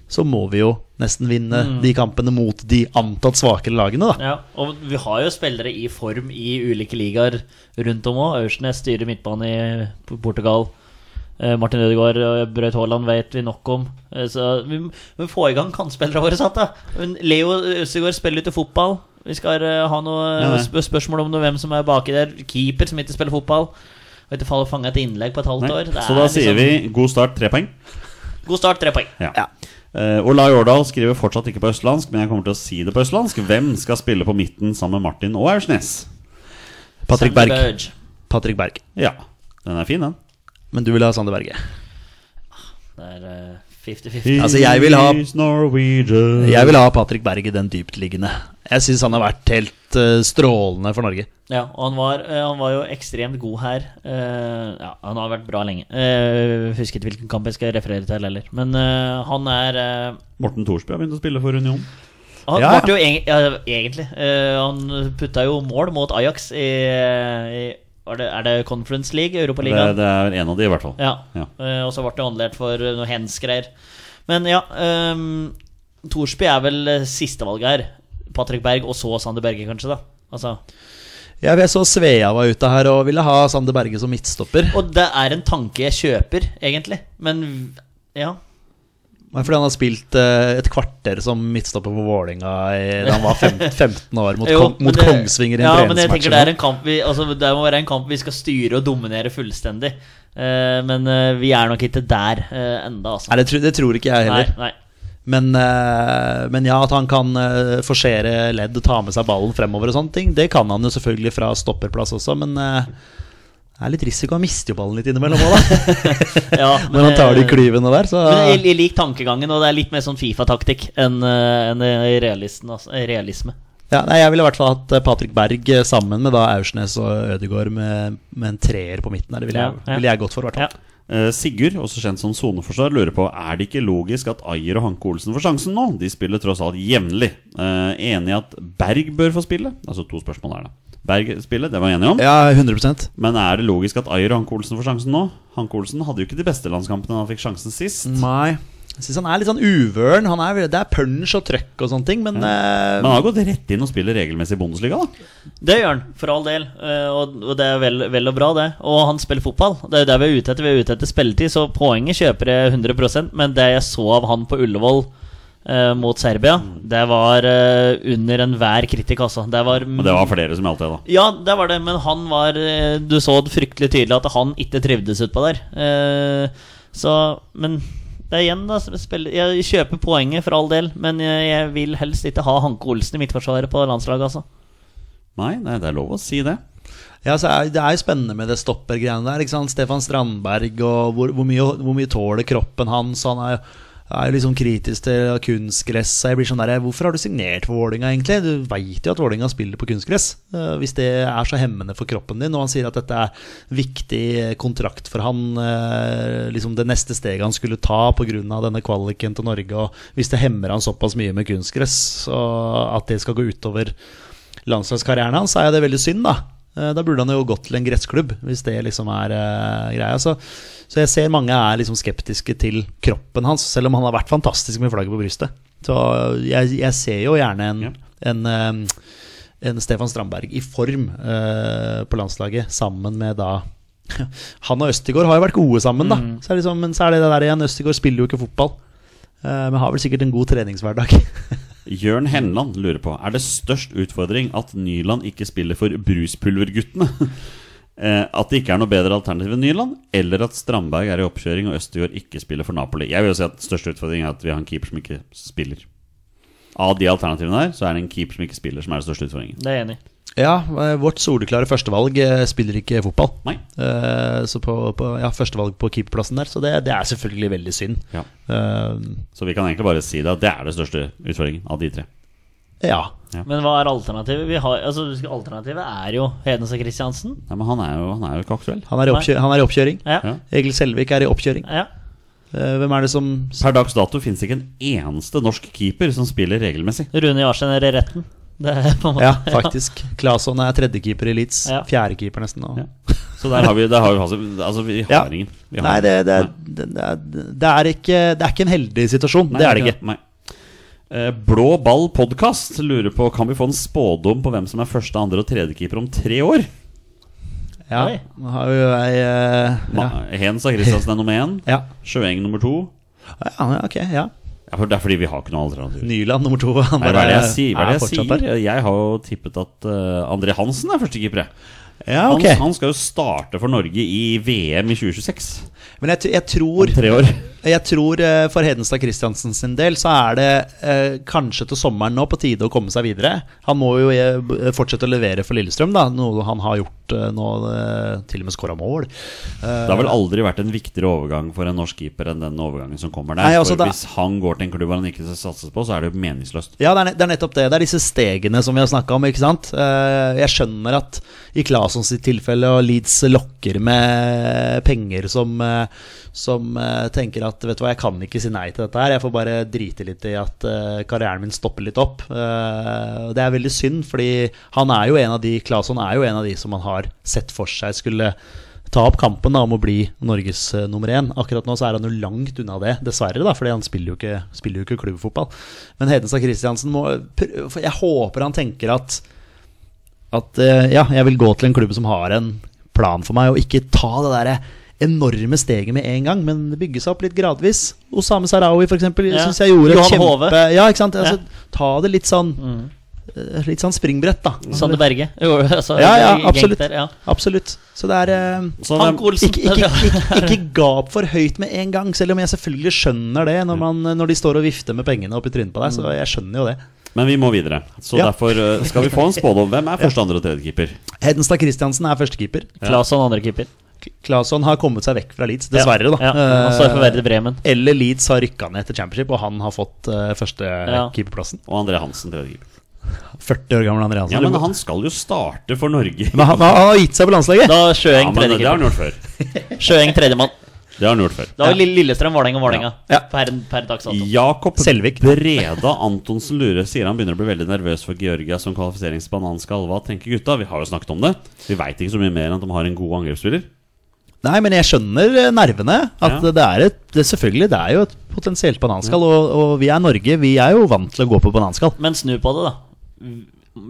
Speaker 3: så må vi jo nesten vinne
Speaker 2: Mm.
Speaker 3: de kampene mot de antatt svakere lagene, da.
Speaker 1: Ja, og vi har jo spillere i form i ulike ligaer rundt om òg. Aursnes styrer midtbane i P- Portugal. Eh, Martin Ødegaard og Braut Haaland vet vi nok om. Eh, Så vi må vi må få i gang kantspillerne våre, sant da. Men Leo Østegård spiller ute fotball. Vi skal eh, ha noe
Speaker 2: Ja, ja.
Speaker 1: sp spørsmål om noe, hvem som er baki der. Keeper som ikke spiller fotball. Og ikke faller fanga et innlegg på et halvt år.
Speaker 2: Nei. Så da
Speaker 3: liksom-
Speaker 2: sier vi god start, tre poeng.
Speaker 1: vi God start, tre poeng.
Speaker 2: Ja. Eh, Olai Årdal skriver fortsatt ikke på østlandsk, men jeg kommer til å si det på østlandsk. Hvem skal spille på midten sammen med Martin og Aursnes?
Speaker 3: Patrick
Speaker 1: Sander
Speaker 3: Berg.
Speaker 1: Berge.
Speaker 3: Patrick Berg.
Speaker 2: Ja, den er fin, den.
Speaker 3: Men du vil ha Sander Berge.
Speaker 1: Det er eh, 50-50.
Speaker 3: Altså, jeg vil ha-
Speaker 2: He's
Speaker 1: Mm.
Speaker 2: Norwegian.
Speaker 3: Jeg vil ha Patrick Berg i den dyptliggende. Jeg syns han har vært helt eh, strålende for Norge.
Speaker 1: Ja, og han var, eh, han var jo ekstremt god her. Eh, ja, han har vært bra lenge. Uh, husker ikke hvilken kamp jeg skal referere til heller. Men eh, han er eh,
Speaker 2: Morten Thorsby har begynt å spille for Union.
Speaker 1: Han
Speaker 3: Ja.
Speaker 1: ble jo egen, ja, egentlig eh, Han putta jo mål mot Ajax i, i var det, Er det Conference League?
Speaker 2: Det,
Speaker 1: Europaligaen?
Speaker 2: det er en av de, i hvert fall.
Speaker 1: Ja.
Speaker 2: Ja.
Speaker 1: Eh, og så ble det annullert for noe hens-greier. Men ja, um, Thorsby er vel eh, sistevalget her. Patrick Berg og så Sander Berge, kanskje, da. Altså
Speaker 3: Ja, jeg så Svea var ute her og ville ha Sander Berge som midtstopper.
Speaker 1: Og det er en tanke jeg kjøper, egentlig. Men ja.
Speaker 3: Nei, Fordi han har spilt eh, et kvarter som midtstopper på Vålinga i- da han var fem, 15 år, mot,
Speaker 1: Jo,
Speaker 3: Kong- mot
Speaker 1: men det-
Speaker 3: Kongsvinger i en
Speaker 1: ja, men jeg
Speaker 3: treningsmatch.
Speaker 1: tenker det, er
Speaker 3: eller
Speaker 1: en kamp vi, altså, det må være en kamp vi skal styre og dominere fullstendig. Eh, men eh, vi er nok ikke der uh, enda,
Speaker 3: noe.
Speaker 1: altså.
Speaker 3: Nei, det, tro- det tror ikke jeg heller.
Speaker 1: Nei, nei.
Speaker 3: Men, eh, men ja, at han kan eh, forsere ledd, ta med seg ballen fremover og sånne ting, det kan han jo selvfølgelig fra stopperplass også, men eh, det er litt risiko. Han mister jo ballen litt innimellom òg, da.
Speaker 1: Ja,
Speaker 3: Når han tar de
Speaker 1: eh,
Speaker 3: klyvene der, så
Speaker 1: Men jeg, jeg liker tankegangen, og det er litt mer sånn Fifa-taktikk enn eh, enn, eh, realisten, altså, eh, realisme.
Speaker 3: ja, nei, Jeg ville i hvert fall hatt eh, Patrick Berg eh, sammen med da Aursnes og Ødegaard med, med en treer på midten der. Det ville jeg,
Speaker 1: Ja, ja.
Speaker 3: ville jeg gått for, i hvert
Speaker 1: Ja.
Speaker 3: fall.
Speaker 2: Eh, Sigurd, også kjent som soneforsvar, lurer på Er det ikke logisk at Ayer og Hanke Olsen får sjansen nå. De spiller tross alt jevnlig. Eh, enig i at Berg bør få spille? Altså to spørsmål her, da. Berg spille, det var jeg enig om.
Speaker 3: Ja, 100
Speaker 2: Men er det logisk at Ayer og Hanke Olsen får sjansen nå? Hanke Olsen hadde jo ikke de beste landskampene han fikk sjansen sist.
Speaker 3: Nei. Jeg syns han er litt sånn uvøren. Han er, det er punch og trøkk og sånne ting, men eh,
Speaker 2: Men han har gått rett inn og spiller regelmessig i Bundesliga, da.
Speaker 1: Det gjør han, for all del. eh, Og og det er vel, vel og bra, det. Og han spiller fotball. Det er jo der vi er ute etter. Vi er ute etter spilletid, så poenget kjøper jeg 100 Men det jeg så av han på Ullevål eh, mot Serbia, det var eh, under enhver kritikk, altså. Det var,
Speaker 2: Og det var flere som gjaldt det, da.
Speaker 1: Ja, det var det, men han var eh, Du så det fryktelig tydelig at han ikke trivdes utpå der. Eh, Så Men det er igjen, da. spill- Jeg kjøper poenget for all del, men jeg jeg vil helst ikke ha Hanke Olsen i midtforsvaret på landslaget, altså.
Speaker 2: Nei, nei, det er lov å si det.
Speaker 3: Ja, så er, Det er jo spennende med det stoppergreiene der. ikke sant? Stefan Strandberg og hvor, hvor, mye, hvor mye tåler kroppen hans? Han er, er jo liksom kritisk til kunstgress. Så jeg blir sånn der, Hvorfor har du signert for Vålinga egentlig? Du veit jo at Vålinga spiller på kunstgress. eh, hvis det er så hemmende for kroppen din. Og han sier at dette er viktig kontrakt for han. eh, liksom Det neste steget han skulle ta pga. denne kvaliken til Norge. Og hvis det hemmer han såpass mye med kunstgress, og at det skal gå utover landslagskarrieren hans, er jo det veldig synd, da. Eh, Da burde han jo gått til en gressklubb, hvis det liksom er eh, greia. Så, så jeg ser mange er liksom skeptiske til kroppen hans, selv om han har vært fantastisk med flagget på brystet. Så jeg, jeg ser jo gjerne en,
Speaker 2: Ja.
Speaker 3: en, eh, en Stefan Strandberg i form eh, på landslaget, sammen med da Han og Østigård har jo vært gode sammen, da. Så er det liksom, men så er det det der igjen, Østigård spiller jo ikke fotball. eh, Men har vel sikkert en god treningshverdag.
Speaker 2: Jørn Henland lurer på Er det størst utfordring at Nyland ikke spiller for bruspulverguttene? Eh, At det ikke er noe bedre alternativ enn Nyland? Eller at Strandberg er i oppkjøring og Østegård ikke spiller for Napoli? Jeg vil jo si at største utfordring er at vi har en keeper som ikke spiller. Av de alternativene her, så er det en keeper som ikke spiller, som er den største utfordringen.
Speaker 1: Det er jeg enig i.
Speaker 3: Ja, eh, vårt soleklare førstevalg eh, spiller ikke fotball.
Speaker 2: Nei.
Speaker 3: Eh, Så på, på ja, førstevalg på keeperplassen der, så det, det er selvfølgelig veldig synd.
Speaker 2: Ja.
Speaker 3: Eh,
Speaker 2: Så vi kan egentlig bare si det at det er det største utfordringen av de tre.
Speaker 3: ja.
Speaker 1: Men hva er alternativet? Vi har, altså, husk, alternativet er jo Hednes og Kristiansen.
Speaker 2: Nei, men han er jo, han er jo ikke aktuell.
Speaker 3: Han er, i oppkjø han er i oppkjøring.
Speaker 1: Ja.
Speaker 2: Ja.
Speaker 3: Egil Selvik er i oppkjøring.
Speaker 1: ja.
Speaker 3: Eh, Hvem er det som
Speaker 2: Per dags dato fins ikke en eneste norsk keeper som spiller regelmessig.
Speaker 1: Rune Jarstein er i retten. Det er på en måte
Speaker 3: Ja, faktisk. Claesson er tredjekeeper i Leeds.
Speaker 1: Ja.
Speaker 3: Fjerdekeeper, nesten. Og...
Speaker 2: Ja. Så der har vi, der har vi altså- Altså, vi har
Speaker 3: Ja.
Speaker 2: ingen. Vi har
Speaker 3: Nei, det, det,
Speaker 2: Nei.
Speaker 3: det, det, er, det, er ikke, det er ikke en heldig situasjon.
Speaker 2: Nei,
Speaker 3: det er det ikke.
Speaker 2: Nei. Eh, Blå ball podkast lurer på Kan vi få en spådom på hvem som er første, andre og tredjekeeper om tre år?
Speaker 3: Ja,
Speaker 1: Oi.
Speaker 3: nå har jo jeg eh, ja.
Speaker 2: Ma Hens og Christiansen er nummer én.
Speaker 3: Ja.
Speaker 2: Sjøeng nummer to.
Speaker 3: ja, ok. Ja.
Speaker 2: Ja, for det er fordi vi har ikke noe alternativ.
Speaker 3: Nyland nummer to. Han
Speaker 2: Nei, hva er det jeg
Speaker 3: bare
Speaker 2: sier? Hva er
Speaker 3: er
Speaker 2: det jeg,
Speaker 3: fortsatt
Speaker 2: sier?
Speaker 3: der.
Speaker 2: jeg har jo tippet at eh, André Hansen er førstekeeper. jeg.
Speaker 3: Ja,
Speaker 2: Han,
Speaker 3: ok.
Speaker 2: han skal jo starte for Norge i VM i 2026.
Speaker 3: Men jeg, t- jeg
Speaker 2: Om
Speaker 3: tror
Speaker 2: tre år.
Speaker 3: Jeg tror eh, for Hedenstad Christiansen sin del så er det eh, kanskje til sommeren nå på tide å komme seg videre. Han må jo eh, b- fortsette å levere for Lillestrøm, da, noe han har gjort eh, nå, eh, til og med skåra mål. Eh,
Speaker 2: Det har vel aldri vært en viktigere overgang for en norsk keeper enn den overgangen som kommer der.
Speaker 3: Nei, altså,
Speaker 2: for
Speaker 3: da-
Speaker 2: hvis han går til en klubb han ikke satses på, så er det jo meningsløst.
Speaker 3: Ja, det er, ne- det er nettopp det. Det er disse stegene som vi har snakka om. ikke sant? Eh, Jeg skjønner at i Claessons sitt tilfelle og Leeds lokker med penger som, eh, som eh, tenker at vet du hva, jeg kan ikke si nei til dette her. Jeg får bare drite litt i at eh, karrieren min stopper litt opp. Eh, og Det er veldig synd, fordi han er jo en av de, Claesson er jo en av de som man har sett for seg skulle ta opp kampen da, om å bli Norges eh, nummer én. Akkurat nå så er han jo langt unna det, dessverre, da, fordi han spiller jo ikke, spiller jo ikke klubbfotball. Men Hedenstad Christiansen må pr- for Jeg håper han tenker at at eh, ja, jeg vil gå til en klubb som har en plan for meg, og ikke ta det derre enorme steget med en gang, men bygge seg opp litt gradvis. Osame Sarawi, for eksempel,
Speaker 1: Ja.
Speaker 3: syns jeg gjorde et
Speaker 1: Johan
Speaker 3: kjempe
Speaker 1: Hove. Mm.
Speaker 3: Ja, ikke sant? Altså, Ta det litt sånn eh, Litt sånn springbrett, da.
Speaker 1: Sander Berge. Jo, altså,
Speaker 3: Ja, ja,
Speaker 1: det gikk
Speaker 3: absolutt.
Speaker 1: Der, ja.
Speaker 3: Absolutt. Så det er eh,
Speaker 2: Så
Speaker 1: Frank
Speaker 2: det,
Speaker 1: Olsen.
Speaker 3: ikke, ikke, ikke, ikke gap for høyt med en gang, selv om jeg selvfølgelig skjønner det når, man, når de står og vifter med pengene opp i trynet på deg.
Speaker 1: Mm.
Speaker 3: Så jeg skjønner jo det.
Speaker 2: men vi må videre. Så
Speaker 3: Ja.
Speaker 2: derfor eh, skal vi få en spådom. Hvem er første, andre og tredje keeper?
Speaker 3: Hedenstad Christiansen er førstekeeper.
Speaker 1: Claesson, andre keeper.
Speaker 3: Claesson har kommet seg vekk fra Leeds, dessverre, da. Eh,
Speaker 1: Ja, Han står for Verde Bremen.
Speaker 3: Eller Leeds har rykka ned til championship, og han har fått eh, første
Speaker 1: Ja.
Speaker 3: keeperplassen.
Speaker 2: Og André Hansen, tredje keeper.
Speaker 3: 40 år gammel André Hansen.
Speaker 2: Ja, men han skal jo starte for Norge.
Speaker 3: Men han, han har gitt seg på landslaget!
Speaker 1: Da
Speaker 2: Ja,
Speaker 1: Sjøeng,
Speaker 2: men
Speaker 1: tredje
Speaker 2: det har han
Speaker 1: keeper.
Speaker 2: gjort før.
Speaker 1: Sjøeng, tredjemann.
Speaker 2: Det har han gjort før.
Speaker 1: Da var Lille- Lillestrøm, Vålerenga, Vålerenga.
Speaker 3: Ja.
Speaker 1: Per, per dags dato.
Speaker 2: Jakob
Speaker 3: Selvik.
Speaker 2: Breda Antonsen Lure sier han begynner å bli veldig nervøs for Georgia som kvalifiseringsbanan skal. Hva tenker gutta? Vi har jo snakket om det. Vi veit ikke så mye mer enn at de har en god angrepsspiller.
Speaker 3: Nei, men jeg skjønner eh, nervene. At
Speaker 2: Ja.
Speaker 3: det er et, det, selvfølgelig, det er jo et potensielt bananskall. Og, og vi er Norge, vi er jo vant til å gå på bananskall.
Speaker 1: Men snu på det, da.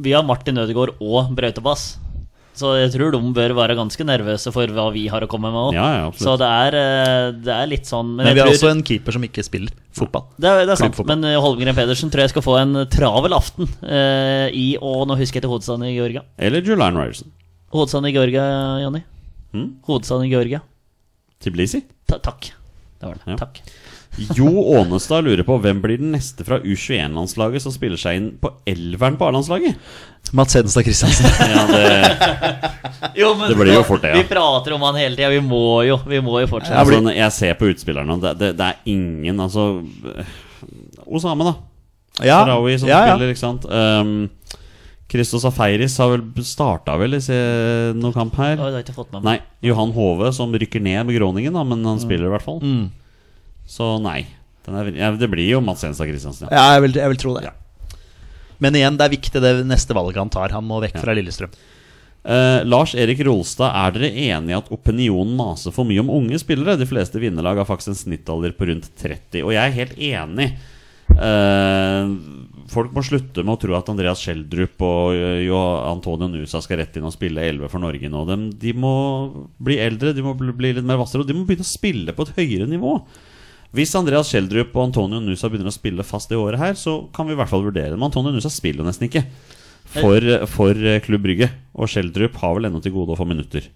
Speaker 1: Vi har Martin Ødegaard og Brautebass. Så jeg tror de bør være ganske nervøse for hva vi har å komme med òg.
Speaker 2: Ja, ja, absolutt.
Speaker 1: så det er, eh, det er litt sånn
Speaker 3: Men
Speaker 1: jeg
Speaker 3: vi har
Speaker 1: tror-
Speaker 3: også en keeper som ikke spiller fotball.
Speaker 1: Det er, det er sant,
Speaker 3: Klubbfotball.
Speaker 1: men eh, Holmgren Pedersen tror jeg skal få en travel aften eh, i Og nå husker jeg til hovedstaden i Georgia.
Speaker 2: Eller Julian Ryerson.
Speaker 1: Hovedstaden i Georgia, Jonny.
Speaker 2: Hmm?
Speaker 1: Hovedstaden i Georgia.
Speaker 2: Tiblisi.
Speaker 1: Ta takk. Det var det.
Speaker 2: Ja.
Speaker 1: Takk.
Speaker 2: Jo Ånestad lurer på hvem blir den neste fra U21-landslaget som spiller seg inn på elveren på A-landslaget?
Speaker 3: Mats Hedenstad Christiansen.
Speaker 2: Ja, det,
Speaker 1: Jo, men
Speaker 2: Det blir jo fort det, ja.
Speaker 1: Vi prater om han hele tida. Vi må jo vi må jo fortsette.
Speaker 2: altså, jeg ser på utspillerne, og det, det, det er ingen Altså Osame, da.
Speaker 3: Ja,
Speaker 2: Sarawi som
Speaker 3: ja, ja.
Speaker 2: spiller, ikke sant. Um, Christos Aferis har vel starta vel i se- noen kamp her.
Speaker 1: Oi, det har jeg ikke fått med meg.
Speaker 2: Nei, Johan Hove som rykker ned med Groningen, da, men han spiller i hvert fall. Så nei. Den er, ja, det blir jo Mats Enstad Christiansen, ja.
Speaker 3: Ja, jeg vil, jeg vil tro det. Men igjen, det er viktig det neste valget han tar. Han må vekk fra Lillestrøm.
Speaker 2: Eh, Lars Erik Rolstad, er dere enig i at opinionen maser for mye om unge spillere? De fleste vinnerlag har faktisk en snittalder på rundt 30, og jeg er helt enig. Eh, folk må slutte med å tro at Andreas Schjelderup og eh, jo Antonio Nusa skal rett inn og spille 11 for Norge nå. De, de må bli eldre, de må bli, bli litt mer hvassere, og de må begynne å spille på et høyere nivå. Hvis Andreas Schjelderup og Antonio Nusa begynner å spille fast det året her, så kan vi i hvert fall vurdere det. Men Antonio Nusa spiller jo nesten ikke for, for eh, Klubb Brygge. Og Schjelderup har vel ennå til gode å få minutter.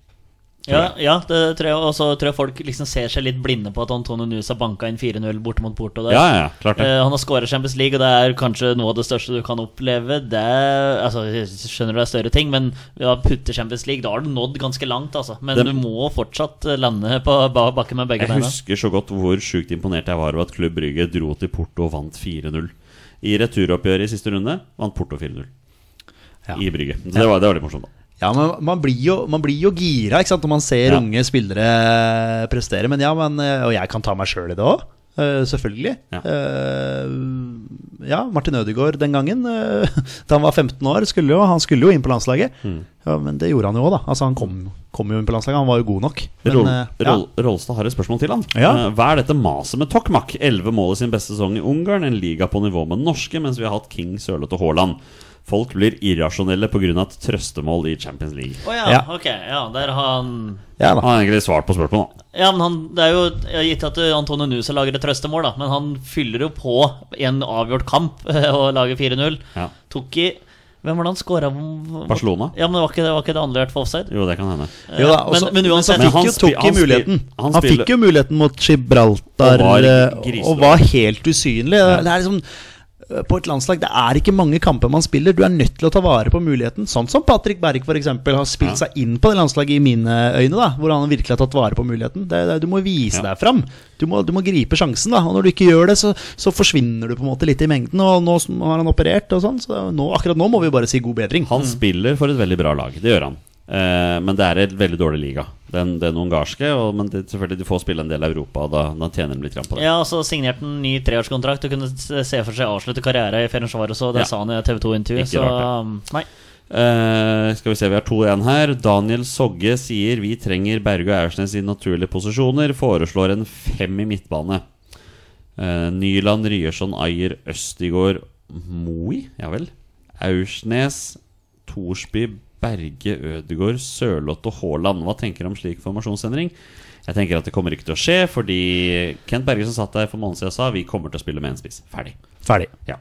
Speaker 1: Ja, ja det tror jeg. Og så tror jeg folk liksom ser seg litt blinde på at Antonio Nusa banka inn 4-0 borte mot Porto der.
Speaker 2: Ja, ja, ja, klart det.
Speaker 1: Eh, han har skåra Champions League, og det er kanskje noe av det største du kan oppleve. Det er, altså, jeg skjønner det er større ting, men ja, putte Champions League, da har du nådd ganske langt. Altså. Men
Speaker 2: Det-
Speaker 1: du må fortsatt eh, lande på ba- bakken med begge
Speaker 2: Jeg
Speaker 1: beina.
Speaker 2: husker så godt hvor sjukt imponert jeg var over at Klubb Brygge dro til Porto og vant 4-0. I returoppgjøret i siste runde vant Porto 4-0
Speaker 3: Ja.
Speaker 2: i Brygge. Så det var, det var litt morsomt, da.
Speaker 3: Ja, men Man blir jo, man blir jo gira ikke sant, når man ser
Speaker 2: Ja.
Speaker 3: unge spillere eh, prestere. Men ja, men, eh, Og jeg kan ta meg sjøl i det òg. selvfølgelig.
Speaker 2: Ja.
Speaker 3: Eh, ja, Martin Ødegaard den gangen, eh, da han var 15 år, skulle jo, han skulle jo inn på landslaget. Ja, Men det gjorde han jo òg, da. Altså, han kom, kom jo inn på landslaget, han var jo god nok. Men,
Speaker 2: Rol,
Speaker 3: eh, ja.
Speaker 2: Rol, Rolstad har et spørsmål til han.
Speaker 3: Ja.
Speaker 2: Eh, Hva er dette maset med Tokmak? 11 mål i sin beste sesong i Ungarn, en liga på nivå med den norske, mens vi har hatt King, Sørloth og Haaland. Folk blir irrasjonelle pga. et trøstemål i Champions League.
Speaker 1: Å ja,
Speaker 3: Ja.
Speaker 1: ok. Ja, der har han
Speaker 3: ja da.
Speaker 2: Han har egentlig svart på spørsmålet, da.
Speaker 1: Ja, men han, det er jo jeg har gitt at eh, Antonio Nusa lager et trøstemål, da. Men han fyller jo på i en avgjort kamp og lager 4-0.
Speaker 2: Ja.
Speaker 1: Tokki Hvem var det han skåra
Speaker 2: Barcelona?
Speaker 1: Ja, men var ikke det, var ikke det annullert for offside?
Speaker 2: Jo, det kan hende.
Speaker 3: Jo da, og
Speaker 1: men-
Speaker 3: så-
Speaker 1: men
Speaker 3: så
Speaker 1: uansett-
Speaker 2: Men han
Speaker 3: fikk jo
Speaker 2: spil-
Speaker 3: Tokki
Speaker 2: han spil-
Speaker 3: muligheten.
Speaker 2: han
Speaker 3: Han,
Speaker 2: spiller-
Speaker 3: fikk jo muligheten mot Gibraltar
Speaker 2: Og var
Speaker 3: eh,
Speaker 2: grisedårlig.
Speaker 3: og var helt usynlig. Det er liksom eh, på et landslag det er ikke mange kamper man spiller. Du er nødt til å ta vare på muligheten. Sånn som Patrick Berg for eksempel, har spilt
Speaker 2: Ja.
Speaker 3: seg inn på det landslaget i mine øyne. da Hvor han virkelig har tatt vare på muligheten. Det, det, du må vise
Speaker 2: Ja.
Speaker 3: deg fram. Du må, du må gripe sjansen. da Og når du ikke gjør det, så, så forsvinner du på en måte litt i mengden. Og nå som- har han operert og sånn, så nå, akkurat nå må vi bare si god bedring.
Speaker 2: Han spiller for et veldig bra lag, det gjør han. Eh, men det er et veldig dårlig liga. Den, den ungarske, og, men det, selvfølgelig de får spille en del i Europa, og da, da tjener de litt grann på det.
Speaker 1: Ja, og så signerte han ny treårskontrakt og kunne s- se for seg å avslutte karriere i Ferencvaros, og det
Speaker 2: Ja.
Speaker 1: sa han i TV 2-intervjuet.
Speaker 2: Ikke
Speaker 1: Så
Speaker 2: rart,
Speaker 1: um, nei.
Speaker 2: Eh, skal vi se, vi har 2-1 her. Daniel Sogge sier vi trenger Berge og Aursnes i naturlige posisjoner. Foreslår en fem i midtbane. Eh, Nyland, Ryerson, Ayer, Østigård, Moi? Ja vel. Aursnes, Thorsby, Berge, Ødegaard, Sørloth og Haaland. Hva tenker du om slik formasjonsendring? Jeg tenker at det kommer ikke til å skje, fordi Kent Berge som satt der for måneden siden, sa vi kommer til å spille med én spiss. Ferdig.
Speaker 3: Ferdig.
Speaker 2: Ja.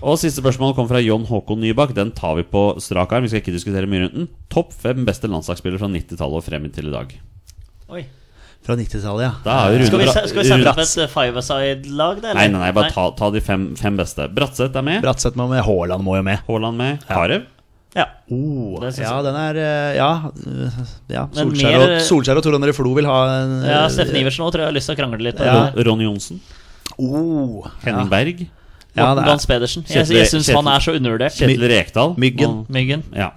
Speaker 2: Og siste spørsmål kom fra Jon Håkon Nybakk. Den tar vi på strak arm. Vi skal ikke diskutere mye rundt den. Topp fem beste landslagsspillere fra 90-tallet og frem til i dag.
Speaker 1: Oi.
Speaker 3: Fra 90-tallet, ja.
Speaker 2: Da er jo Rune
Speaker 1: Skal vi, se-
Speaker 2: Bra-
Speaker 1: skal vi sette opp
Speaker 2: Rats-
Speaker 1: et five-a-side-lag, da? eller?
Speaker 2: Nei, nei, nei, bare ta, ta de fem, fem beste. Bratseth er med.
Speaker 3: Bratseth må med, Haaland må jo med.
Speaker 2: Haaland med. Karev.
Speaker 1: Ja.
Speaker 3: Oh,
Speaker 1: Det synes
Speaker 3: ja,
Speaker 1: jeg.
Speaker 3: den er eh, Ja. eh, ja.
Speaker 1: Men
Speaker 3: Solskjær,
Speaker 1: mer- eh,
Speaker 3: og, Solskjær og Tor André Flo vil ha en eh,
Speaker 1: ja Steffen Iversen òg tror jeg har lyst til å krangle litt. på
Speaker 3: Ja.
Speaker 1: det.
Speaker 2: Ron- Ronny Johnsen.
Speaker 3: Oh,
Speaker 2: Henning
Speaker 3: ja.
Speaker 2: Berg.
Speaker 3: Ja,
Speaker 1: Morten
Speaker 3: det er
Speaker 1: Gans Pedersen. Jeg,
Speaker 2: Kjetil-
Speaker 1: jeg syns han
Speaker 2: Kjetil-
Speaker 1: er så undervurdert.
Speaker 2: Kjetil Rekdal.
Speaker 3: Myggen.
Speaker 1: Myggen.
Speaker 2: Ja.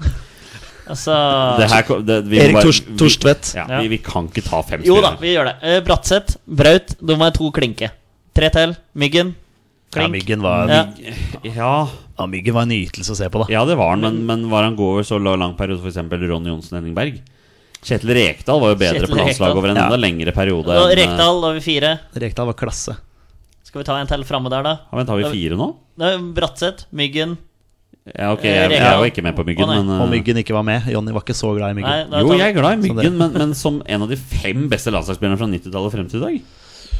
Speaker 1: Altså
Speaker 2: Det her, kom- det, vi må
Speaker 3: Erik
Speaker 2: bare-
Speaker 3: Tors-
Speaker 2: vi-
Speaker 3: Torstvedt.
Speaker 2: Ja, vi, vi kan ikke ta fem
Speaker 1: Jo da,
Speaker 2: spillere.
Speaker 1: vi gjør det. Eh, Bratseth, Braut. De var to klinke. Tre til. Myggen.
Speaker 3: Ja,
Speaker 1: Klink.
Speaker 3: myggen, var,
Speaker 1: Ja.
Speaker 2: Ja,
Speaker 3: ja, myggen var en nytelse å se på, da.
Speaker 2: ja, det var han, men, men var han god over så la- lang periode, f.eks. Ronny Johnsen Henning Berg? Kjetil Rekdal var jo bedre
Speaker 1: Kjetil
Speaker 2: på landslaget
Speaker 1: Rekdal.
Speaker 2: over en
Speaker 3: Ja.
Speaker 2: enda lengre periode.
Speaker 1: Og
Speaker 2: enn, eh,
Speaker 1: Rekdal, da har vi fire.
Speaker 3: Rekdal var klasse.
Speaker 1: Skal vi ta en til framme der, da?
Speaker 2: Ja, vent, har vi fire nå?
Speaker 1: Det er Bratseth, Myggen
Speaker 2: Ja, ok, jeg, jeg er jo ikke med på Myggen,
Speaker 1: Eh, Å, nei.
Speaker 2: men eh,
Speaker 3: Og myggen ikke var med. Jonny var ikke så glad i myggen.
Speaker 1: Nei, da
Speaker 2: Jo,
Speaker 1: tar vi- sånn
Speaker 2: jeg er glad i
Speaker 3: Som
Speaker 2: Myggen, men, men som en av de fem beste landslagsspillerne fra 90-tallet og frem til i dag?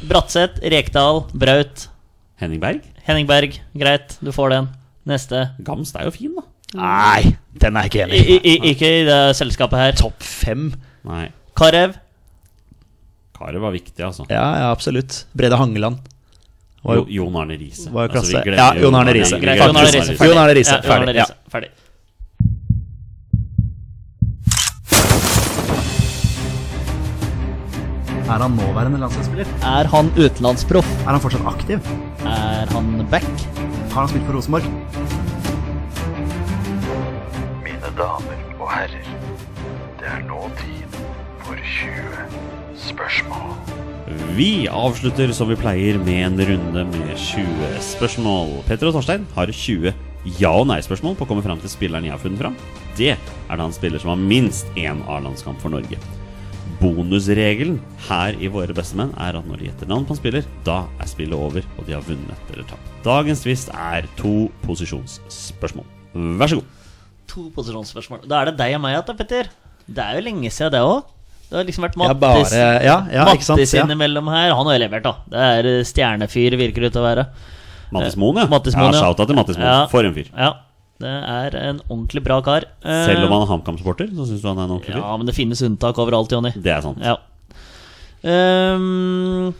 Speaker 1: Bratseth, Rekdal, Braut,
Speaker 2: Henning Berg?
Speaker 1: Henning Berg. Greit, du får den. Neste.
Speaker 2: Gamst er jo fin, da.
Speaker 3: Nei, den er jeg ikke
Speaker 1: I,
Speaker 3: enig i.
Speaker 1: i, i, ikke i det selskapet her.
Speaker 3: Topp fem?
Speaker 2: Nei,
Speaker 1: Karev.
Speaker 2: Karev var viktig, altså.
Speaker 3: Ja, ja, absolutt. Brede Hangeland. Var
Speaker 2: Jo,
Speaker 3: jo,
Speaker 2: Jon Arne Riise.
Speaker 3: var jo
Speaker 2: Altså, vi
Speaker 3: klasse.
Speaker 2: glemmer
Speaker 3: ja,
Speaker 2: jo
Speaker 3: Jon Arne Riise.
Speaker 2: Vi
Speaker 1: Greit,
Speaker 2: glemmer
Speaker 1: Jon Arne Riise.
Speaker 3: Jon Arne Riise.
Speaker 1: Ja, Jon Arne
Speaker 3: Ferdig. Ja.
Speaker 1: Riise, Ferdig.
Speaker 3: Er han nåværende landslagsspiller?
Speaker 1: Er han utenlandsproff?
Speaker 3: Er han fortsatt aktiv?
Speaker 1: Er han back?
Speaker 3: Har han spilt for Rosenborg?
Speaker 6: Mine damer og herrer, det er nå tid for 20 spørsmål.
Speaker 2: Vi avslutter som vi pleier med en runde med 20 spørsmål. Petter og Torstein har 20 ja- og nei-spørsmål på å komme fram til spilleren jeg har funnet fram. Det er da en spiller som har minst én A-landskamp for Norge. Bonusregelen her i Våre bestemenn er at når de gjetter navn på en spiller, da er spillet over, og de har vunnet eller tapt. Dagens tvist er to posisjonsspørsmål. Vær så god.
Speaker 1: To posisjonsspørsmål. Da er det deg og meg igjen, da, Petter. Det er jo lenge siden, det òg. Det har liksom vært
Speaker 3: Ja,
Speaker 1: Mattis,
Speaker 3: bare Ja, ja ikke sant?
Speaker 1: Mattis
Speaker 3: Ja.
Speaker 1: innimellom her. Han har jo levert, da. Det er eh, stjernefyr, virker det ut til å være.
Speaker 2: Mattis Moen, ja.
Speaker 1: Eh, Mattis Moen,
Speaker 2: ja.
Speaker 1: ja.
Speaker 2: Shouta til Mattis Moen.
Speaker 1: Ja. Eh.
Speaker 2: For en fyr.
Speaker 1: Ja. Det er en ordentlig bra kar. Eh,
Speaker 2: Selv om han er HamKam-supporter, så syns du han er en ordentlig fyr?
Speaker 1: Ja, men det finnes unntak overalt, Jonny.
Speaker 2: Det er sant.
Speaker 1: Ja. Ehm,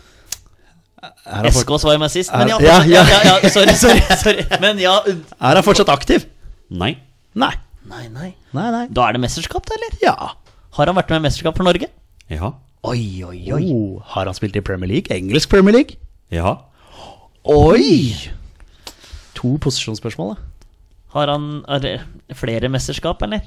Speaker 3: Er, han
Speaker 1: SK
Speaker 3: fort,
Speaker 1: svarer meg sist,
Speaker 3: Er-
Speaker 1: men ja,
Speaker 3: Ja,
Speaker 1: fortsatt, ja,
Speaker 3: ja.
Speaker 1: ja, ja sorry, sorry, sorry. Men ja unn-
Speaker 3: er han fortsatt aktiv?
Speaker 2: Nei.
Speaker 3: Nei.
Speaker 1: Nei, nei.
Speaker 3: Nei, nei.
Speaker 1: Da er det mesterskap, da, eller?
Speaker 3: Ja.
Speaker 1: Har han vært med i mesterskap for Norge?
Speaker 2: Ja.
Speaker 1: Oi, oi, oi.
Speaker 3: Oh, har han spilt i Premier League? Engelsk Premier League?
Speaker 2: Ja.
Speaker 3: Oi! To posisjonsspørsmål, da.
Speaker 1: Har han er det flere mesterskap, eller?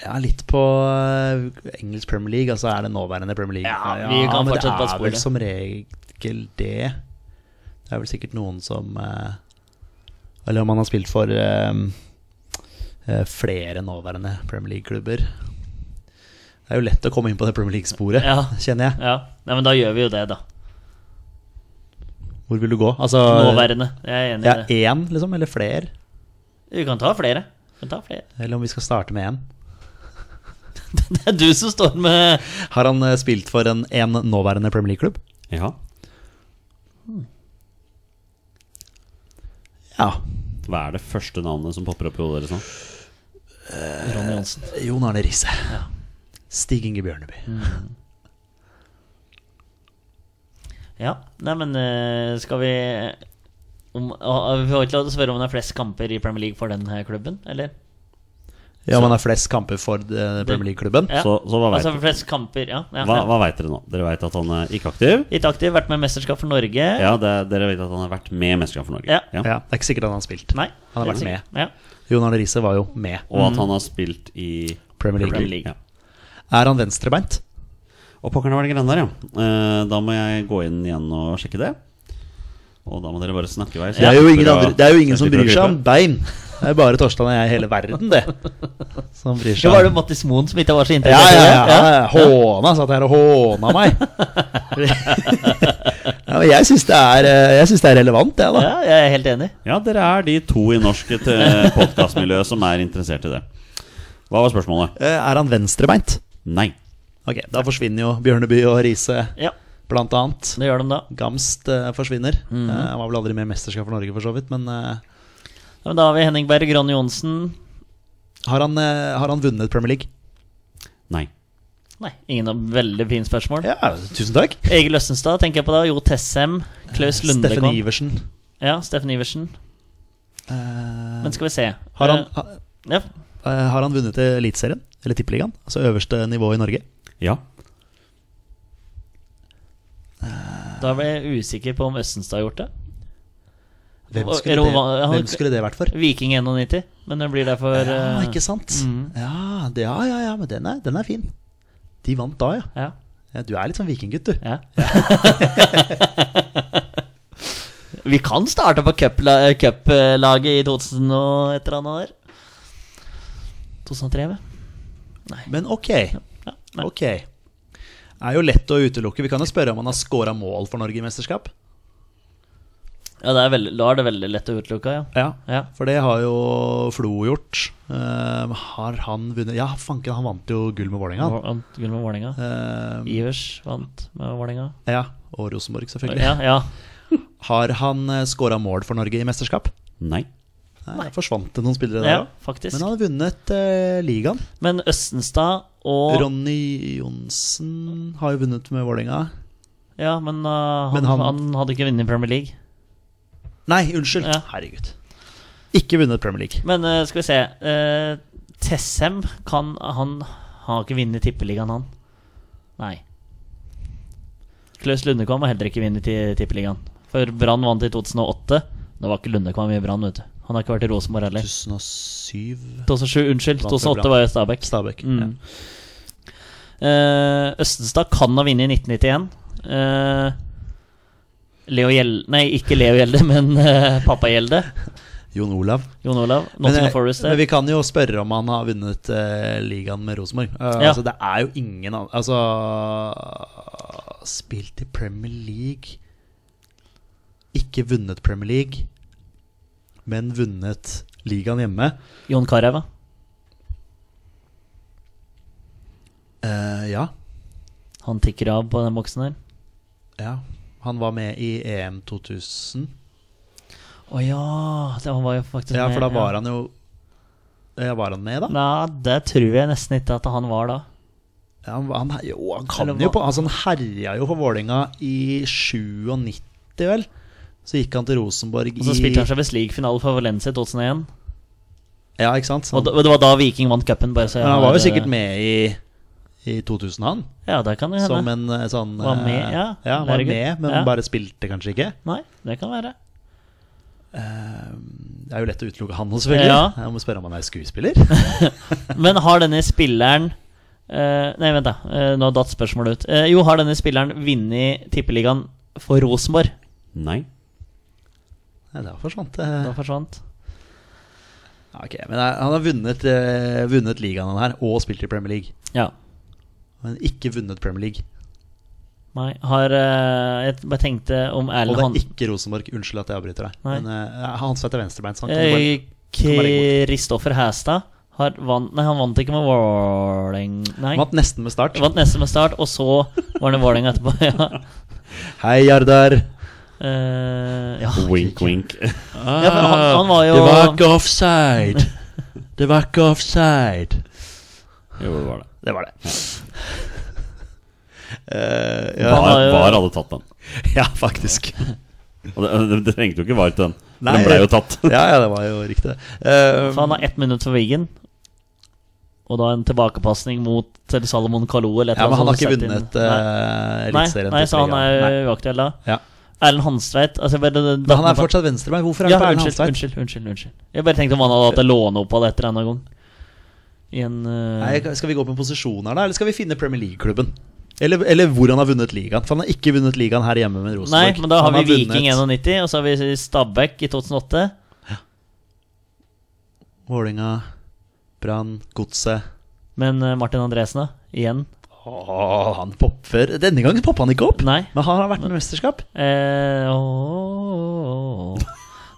Speaker 3: Ja, litt på eh, engelsk Premier League. Altså, er det nåværende Premier League?
Speaker 1: Ja, vi kan
Speaker 3: men
Speaker 1: fortsette på
Speaker 3: Det er vel
Speaker 1: sporet.
Speaker 3: som regel det. Det er vel sikkert noen som eh, Eller om han har spilt for eh, eh, flere nåværende Premier League-klubber. Det er jo lett å komme inn på det Premier League-sporet,
Speaker 1: Ja.
Speaker 3: kjenner jeg.
Speaker 1: Ja, nei, men da gjør vi jo det, da.
Speaker 3: Hvor vil du gå? Altså
Speaker 1: Nåværende. Jeg er enig
Speaker 3: Ja,
Speaker 1: i det.
Speaker 3: én, liksom? Eller flere?
Speaker 1: Vi kan ta flere. Vi kan ta flere.
Speaker 3: Eller om vi skal starte med én.
Speaker 1: Det er du som står med
Speaker 3: Har han eh, spilt for en, en nåværende Premier League-klubb?
Speaker 2: Ja.
Speaker 3: Ja.
Speaker 2: Hva er det første navnet som popper opp i hodet deres nå? Eh.
Speaker 1: Ronny Johnsen.
Speaker 3: Jon Arne Riise. Stig Inge Bjørneby.
Speaker 1: Ja, nei, men eh, skal vi om, å, Vi får ikke lov til å spørre om det er flest kamper i Premier League for den her klubben, eller?
Speaker 3: Ja, man har flest kamper for eh, Premier League-klubben.
Speaker 1: Ja.
Speaker 2: Så- så hva vet
Speaker 1: altså,
Speaker 2: du?
Speaker 1: flest kamper, ja. ja,
Speaker 2: Hva,
Speaker 1: ja.
Speaker 2: hva veit dere nå? Dere veit at han er ikke aktiv.
Speaker 1: Ikke aktiv, vært med i mesterskap for Norge.
Speaker 2: Ja, det, Dere vet at han har vært med i Mesterskapet for Norge.
Speaker 1: Ja.
Speaker 3: Ja, det er ikke sikkert han har spilt.
Speaker 1: Nei.
Speaker 3: Han har vært
Speaker 1: helt
Speaker 3: med.
Speaker 1: sikkert. Ja.
Speaker 3: Jon Arne Riise var jo med.
Speaker 2: Og at han har spilt i
Speaker 3: Mm. Premier League.
Speaker 1: Premier League.
Speaker 2: Ja.
Speaker 3: Er han venstrebeint?
Speaker 2: Og pokkerne var det greiene der, ja. Eh, da må jeg gå inn igjen og sjekke det. Og da må dere bare snakke i vei. så
Speaker 3: Det er
Speaker 2: jeg
Speaker 3: jo
Speaker 2: slipper
Speaker 3: ingen,
Speaker 2: å-
Speaker 3: andre, det er jo ingen
Speaker 2: jeg
Speaker 3: som
Speaker 2: slipper å
Speaker 3: bryr seg om
Speaker 2: klippe.
Speaker 3: bein. Det er bare Torstein og jeg i hele verden, det. Som bryr
Speaker 1: Så
Speaker 3: seg
Speaker 1: var det
Speaker 3: om
Speaker 1: Mattis Moen som ikke var så
Speaker 3: ja, ja,
Speaker 1: interessert i det.
Speaker 3: ja, ja, ja. Håna satt her og håna meg. ja, men jeg syns det, er, eh, jeg synes det er relevant, jeg, da.
Speaker 1: Ja, jeg er helt enig.
Speaker 2: Ja, dere er de to i norsk eh, podcastmiljø som er interessert i det. Hva var spørsmålet?
Speaker 3: Eh, Er han venstrebeint?
Speaker 2: Nei.
Speaker 3: Ok, Da forsvinner jo Bjørneby og Riise,
Speaker 1: Ja,
Speaker 3: blant annet.
Speaker 1: det gjør de da.
Speaker 3: Gamst eh, forsvinner. Eh, Han var vel aldri med i mesterskap for Norge, for så vidt. Men eh,
Speaker 1: Ja, Men da har vi Henning Berg, Ronny Johnsen
Speaker 3: har, han, eh, har han vunnet Premier League?
Speaker 2: Nei.
Speaker 1: Nei, ingen av veldig fine spørsmål.
Speaker 3: Ja, tusen takk.
Speaker 1: Egil Østenstad tenker jeg på da. Jo Tessem. Klaus
Speaker 3: Eh, Steffen
Speaker 1: Lundekvam.
Speaker 3: Iversen.
Speaker 1: Ja, Steffen Iversen.
Speaker 3: Eh,
Speaker 1: Men skal vi se.
Speaker 3: har, han,
Speaker 1: Eh,
Speaker 3: ha-
Speaker 1: ja.
Speaker 3: eh, har han vunnet Eliteserien? Eller Tippeligaen? Altså øverste nivå i Norge?
Speaker 2: Ja.
Speaker 1: Da ble jeg usikker på om Østenstad har gjort det.
Speaker 3: Hvem
Speaker 1: Og-
Speaker 3: skulle,
Speaker 1: Rovan-
Speaker 3: det,
Speaker 1: han-
Speaker 3: hvem skulle det vært for?
Speaker 1: Viking 91, men det blir derfor
Speaker 3: Ja,
Speaker 1: eh,
Speaker 3: ikke sant?
Speaker 1: mm.
Speaker 3: Ja, det, ja, ja, ja, men den er, den er fin. De vant da, ja.
Speaker 1: Ja,
Speaker 3: ja. Du er litt sånn vikinggutt, du.
Speaker 1: ja. Vi kan starte på cupla- cuplaget i 2000 og et eller annet der. 2003, vel?
Speaker 3: Men ok.
Speaker 1: Ja, nei.
Speaker 3: Ok. Det er jo lett å utelukke. Vi kan jo spørre om han har scora mål for Norge i mesterskap.
Speaker 1: ja det er veldig, da er det veldig lett å utelukke, ja.
Speaker 3: Ja.
Speaker 1: ja.
Speaker 3: For det har jo Flo gjort. Eh, har han vunnet Ja, fanken, han vant jo gull med Vålerenga. han.
Speaker 1: Vant gull med Vålerenga.
Speaker 3: Eh,
Speaker 1: Ivers vant med Vålerenga.
Speaker 3: ja. Og Rosenborg, selvfølgelig.
Speaker 1: Ja, ja.
Speaker 3: Har han scora mål for Norge i mesterskap?
Speaker 2: Nei.
Speaker 3: Nei, forsvant det noen spillere der
Speaker 1: ja
Speaker 3: òg?
Speaker 1: faktisk.
Speaker 3: Men
Speaker 1: Men,
Speaker 3: han har vunnet eh, ligaen.
Speaker 1: Østenstad og
Speaker 3: Ronny Johnsen har jo vunnet med Vålerenga.
Speaker 1: Ja, men, uh, han,
Speaker 3: Men
Speaker 1: han,
Speaker 3: han-
Speaker 1: hadde ikke vunnet i Premier League.
Speaker 3: Nei, unnskyld.
Speaker 1: Ja.
Speaker 3: Herregud. Ikke vunnet Premier League.
Speaker 1: Men uh, skal vi se uh, Tessem kan Han har ikke vunnet Tippeligaen, han. Nei. Klaus Lundekvam har heller ikke vunnet i Tippeligaen. For Brann vant i 2008. Det var ikke Lundekvam i Brann, vet du. Han har ikke vært i Rosenborg heller.
Speaker 3: 2007
Speaker 1: 2007, unnskyld.
Speaker 3: Vant i
Speaker 1: 2008
Speaker 3: Brann.
Speaker 1: var jo Stabæk.
Speaker 3: Stabæk.
Speaker 1: Mm.
Speaker 3: Ja.
Speaker 1: Eh, Østenstad kan ha vunnet i 1991. Eh, Leo Gjelde Nei, ikke Leo Gjelde, men eh, pappa Gjelde.
Speaker 3: Jon Olav.
Speaker 1: Jon Olav.
Speaker 3: Men,
Speaker 1: Nottingham
Speaker 3: eh,
Speaker 1: Forest.
Speaker 3: men
Speaker 1: der.
Speaker 3: vi kan jo spørre om han har vunnet eh, ligaen med Rosenborg. Eh,
Speaker 1: Ja.
Speaker 3: Altså, det er jo ingen andre Altså Spilt i Premier League Ikke vunnet Premier League, men vunnet ligaen hjemme.
Speaker 1: Jon Carew.
Speaker 3: Eh, ja.
Speaker 1: Han tikker av på den boksen der.
Speaker 3: ja. Han var med i E EM 2000.
Speaker 1: Å ja! det- Han var jo faktisk
Speaker 3: Ja,
Speaker 1: med,
Speaker 3: for da var han jo ja, Var han med, da?
Speaker 1: Nei, det tror jeg nesten ikke at han var da.
Speaker 3: Ja, han, han, jo, han kan
Speaker 1: Eller
Speaker 3: jo
Speaker 1: hva-
Speaker 3: på Altså, han herja jo for Vålinga i 97, vel? Så gikk han til Rosenborg
Speaker 1: Og så
Speaker 3: i
Speaker 1: spilte han Champions League-finale for Valencia i 2001.
Speaker 3: Ja, ikke sant?
Speaker 1: Og da- og det var da Viking vant cupen. bare så jeg
Speaker 3: Men Sånn. han
Speaker 1: har,
Speaker 3: var jo
Speaker 1: eh,
Speaker 3: sikkert med i, i 2000, han.
Speaker 1: Ja, det kan jo hende.
Speaker 3: Som en eh, sånn
Speaker 1: Var
Speaker 3: eh,
Speaker 1: med, ja.
Speaker 3: ja han var
Speaker 1: Herregud.
Speaker 3: med, men
Speaker 1: Ja.
Speaker 3: bare spilte kanskje ikke.
Speaker 1: Nei, det kan være.
Speaker 3: Det er jo lett å utelukke han også, selvfølgelig.
Speaker 1: Ja.
Speaker 3: Jeg må spørre om han er skuespiller.
Speaker 1: Men har denne spilleren eh, Nei, vent, da. eh, nå datt spørsmålet ut. Eh, jo, har denne spilleren vunnet Tippeligaen for Rosenborg?
Speaker 2: Nei.
Speaker 3: Nei, da forsvant det.
Speaker 1: Da forsvant.
Speaker 3: eh. Ja, ok, men eh, han har vunnet, eh, vunnet ligaen, han her, og spilt i Premier League.
Speaker 1: Ja.
Speaker 3: Men ikke vunnet Premier League.
Speaker 1: Nei, har eh, Jeg bare tenkte om
Speaker 3: Og
Speaker 1: Erlend
Speaker 3: det
Speaker 1: Han...
Speaker 3: er ikke Rosenborg. Unnskyld at jeg avbryter deg.
Speaker 1: Nei.
Speaker 3: Men eh, Hans Vedt er venstrebeint, så han kan bare
Speaker 1: Eh,
Speaker 3: kan bare legge
Speaker 1: Kristoffer Hæstad har vant Nei, han vant ikke med Våling... Nei.
Speaker 3: Vant nesten med start.
Speaker 1: Vant neste med start, og så var det Våling etterpå. Ja.
Speaker 3: Hei, Jardar.
Speaker 1: Eh, ja.
Speaker 2: Wink, wink.
Speaker 3: Oh.
Speaker 1: ja for han, han var jo
Speaker 3: offside. Det var ikke offside.
Speaker 2: Jo, det var det.
Speaker 3: Det var det. Eh, ja.
Speaker 1: Han var
Speaker 2: Var,
Speaker 1: jo-
Speaker 2: var hadde tatt den.
Speaker 3: ja, faktisk.
Speaker 2: Og det, det, det trengte jo ikke var til den.
Speaker 3: Nei.
Speaker 2: den ble jo tatt.
Speaker 3: Ja, ja, det var jo riktig, det. Eh,
Speaker 1: For han har ett minutt for Wiggen. Og da en tilbakepasning mot Ted Salomon Kalou. Eller et
Speaker 3: ja, men
Speaker 1: eller
Speaker 3: han har
Speaker 1: annet
Speaker 3: ikke
Speaker 1: sånt
Speaker 3: vunnet
Speaker 1: sett inn. Nei.
Speaker 3: uh, Eliteserien.
Speaker 1: Nei, nei, så han er
Speaker 3: Tippeligaen. Nei.
Speaker 1: uaktuell da.
Speaker 3: Ja.
Speaker 1: Erlend Hanstveit altså, jeg bare,
Speaker 3: Men han er fortsatt venstrebeint. Hvorfor er
Speaker 1: ja,
Speaker 3: han på Erlend
Speaker 1: unnskyld,
Speaker 3: Hanstveit?
Speaker 1: unnskyld, unnskyld, unnskyld. Jeg bare tenkte om han hadde hatt et låneopphold et eller annet gang. I en eh,
Speaker 3: Nei, Skal vi gå på posisjoner da, eller skal vi finne Premier League-klubben? Eller, eller hvor han har vunnet ligaen. For han har ikke vunnet ligaen her hjemme med
Speaker 1: nei,
Speaker 3: Rosenborg.
Speaker 1: men da har
Speaker 3: Han
Speaker 1: vi Viking
Speaker 3: vunnet
Speaker 1: 91, og så har vi Stabæk i 2008.
Speaker 3: Vålinga, Brann, Godset.
Speaker 1: Men eh, Martin Andresen, da? Igjen?
Speaker 3: Åh, han popper Denne gangen poppa han ikke opp.
Speaker 1: Nei.
Speaker 3: Men har han vært med i mesterskap?
Speaker 1: Eh, åh, åh, åh.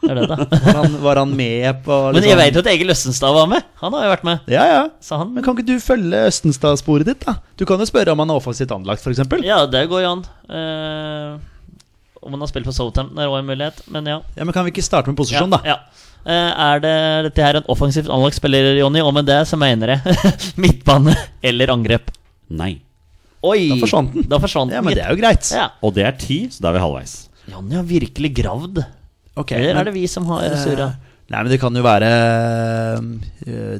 Speaker 1: Det er det, da.
Speaker 3: Var han, var han med på liksom
Speaker 1: Men jeg vet jo at Egil Østenstad var med. Han har jo vært med.
Speaker 3: Ja, ja.
Speaker 1: Sa han.
Speaker 3: Men kan ikke du følge Østenstad-sporet ditt, da? Du kan jo spørre om han er offensivt anlagt, f.eks.
Speaker 1: Ja, det går jo an. Eh, om han har spilt for Southampton er òg en mulighet, men ja.
Speaker 3: Ja, men kan vi ikke starte med
Speaker 1: ja,
Speaker 3: posisjon, da?
Speaker 1: ja. Eh, er det dette her en offensivt anlagt spiller, Jonny? Og med det så mener jeg midtbane eller angrep.
Speaker 2: Nei.
Speaker 1: Oi!
Speaker 3: Da forsvant den.
Speaker 1: Da forsvant
Speaker 3: Ja, men
Speaker 1: den,
Speaker 3: det er jo greit.
Speaker 1: gitt. ja.
Speaker 2: Og det er ti, så da er vi halvveis.
Speaker 1: Jonny har virkelig gravd.
Speaker 3: Ok,
Speaker 1: Eller
Speaker 3: men- eh,
Speaker 1: er det vi som har surra?
Speaker 3: Nei, men det kan jo være øh,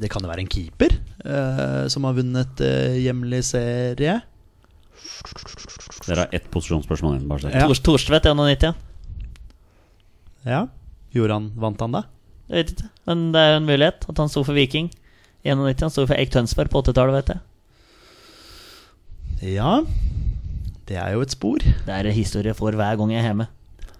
Speaker 3: Det kan jo være en keeper øh, som har vunnet øh, hjemlig serie.
Speaker 2: Dere har ett posisjonsspørsmål igjen. bare så.
Speaker 3: Ja.
Speaker 1: Thors- Thorstvedt 91.
Speaker 3: Ja. Gjorde han Vant han, da?
Speaker 1: Jeg vet ikke, men det er jo en mulighet at han sto for Viking. 91, Han sto for Eik Tønsberg på 80-tallet, vet jeg.
Speaker 3: Ja. Det er jo et spor.
Speaker 1: Det er en historie for hver gang jeg er hjemme.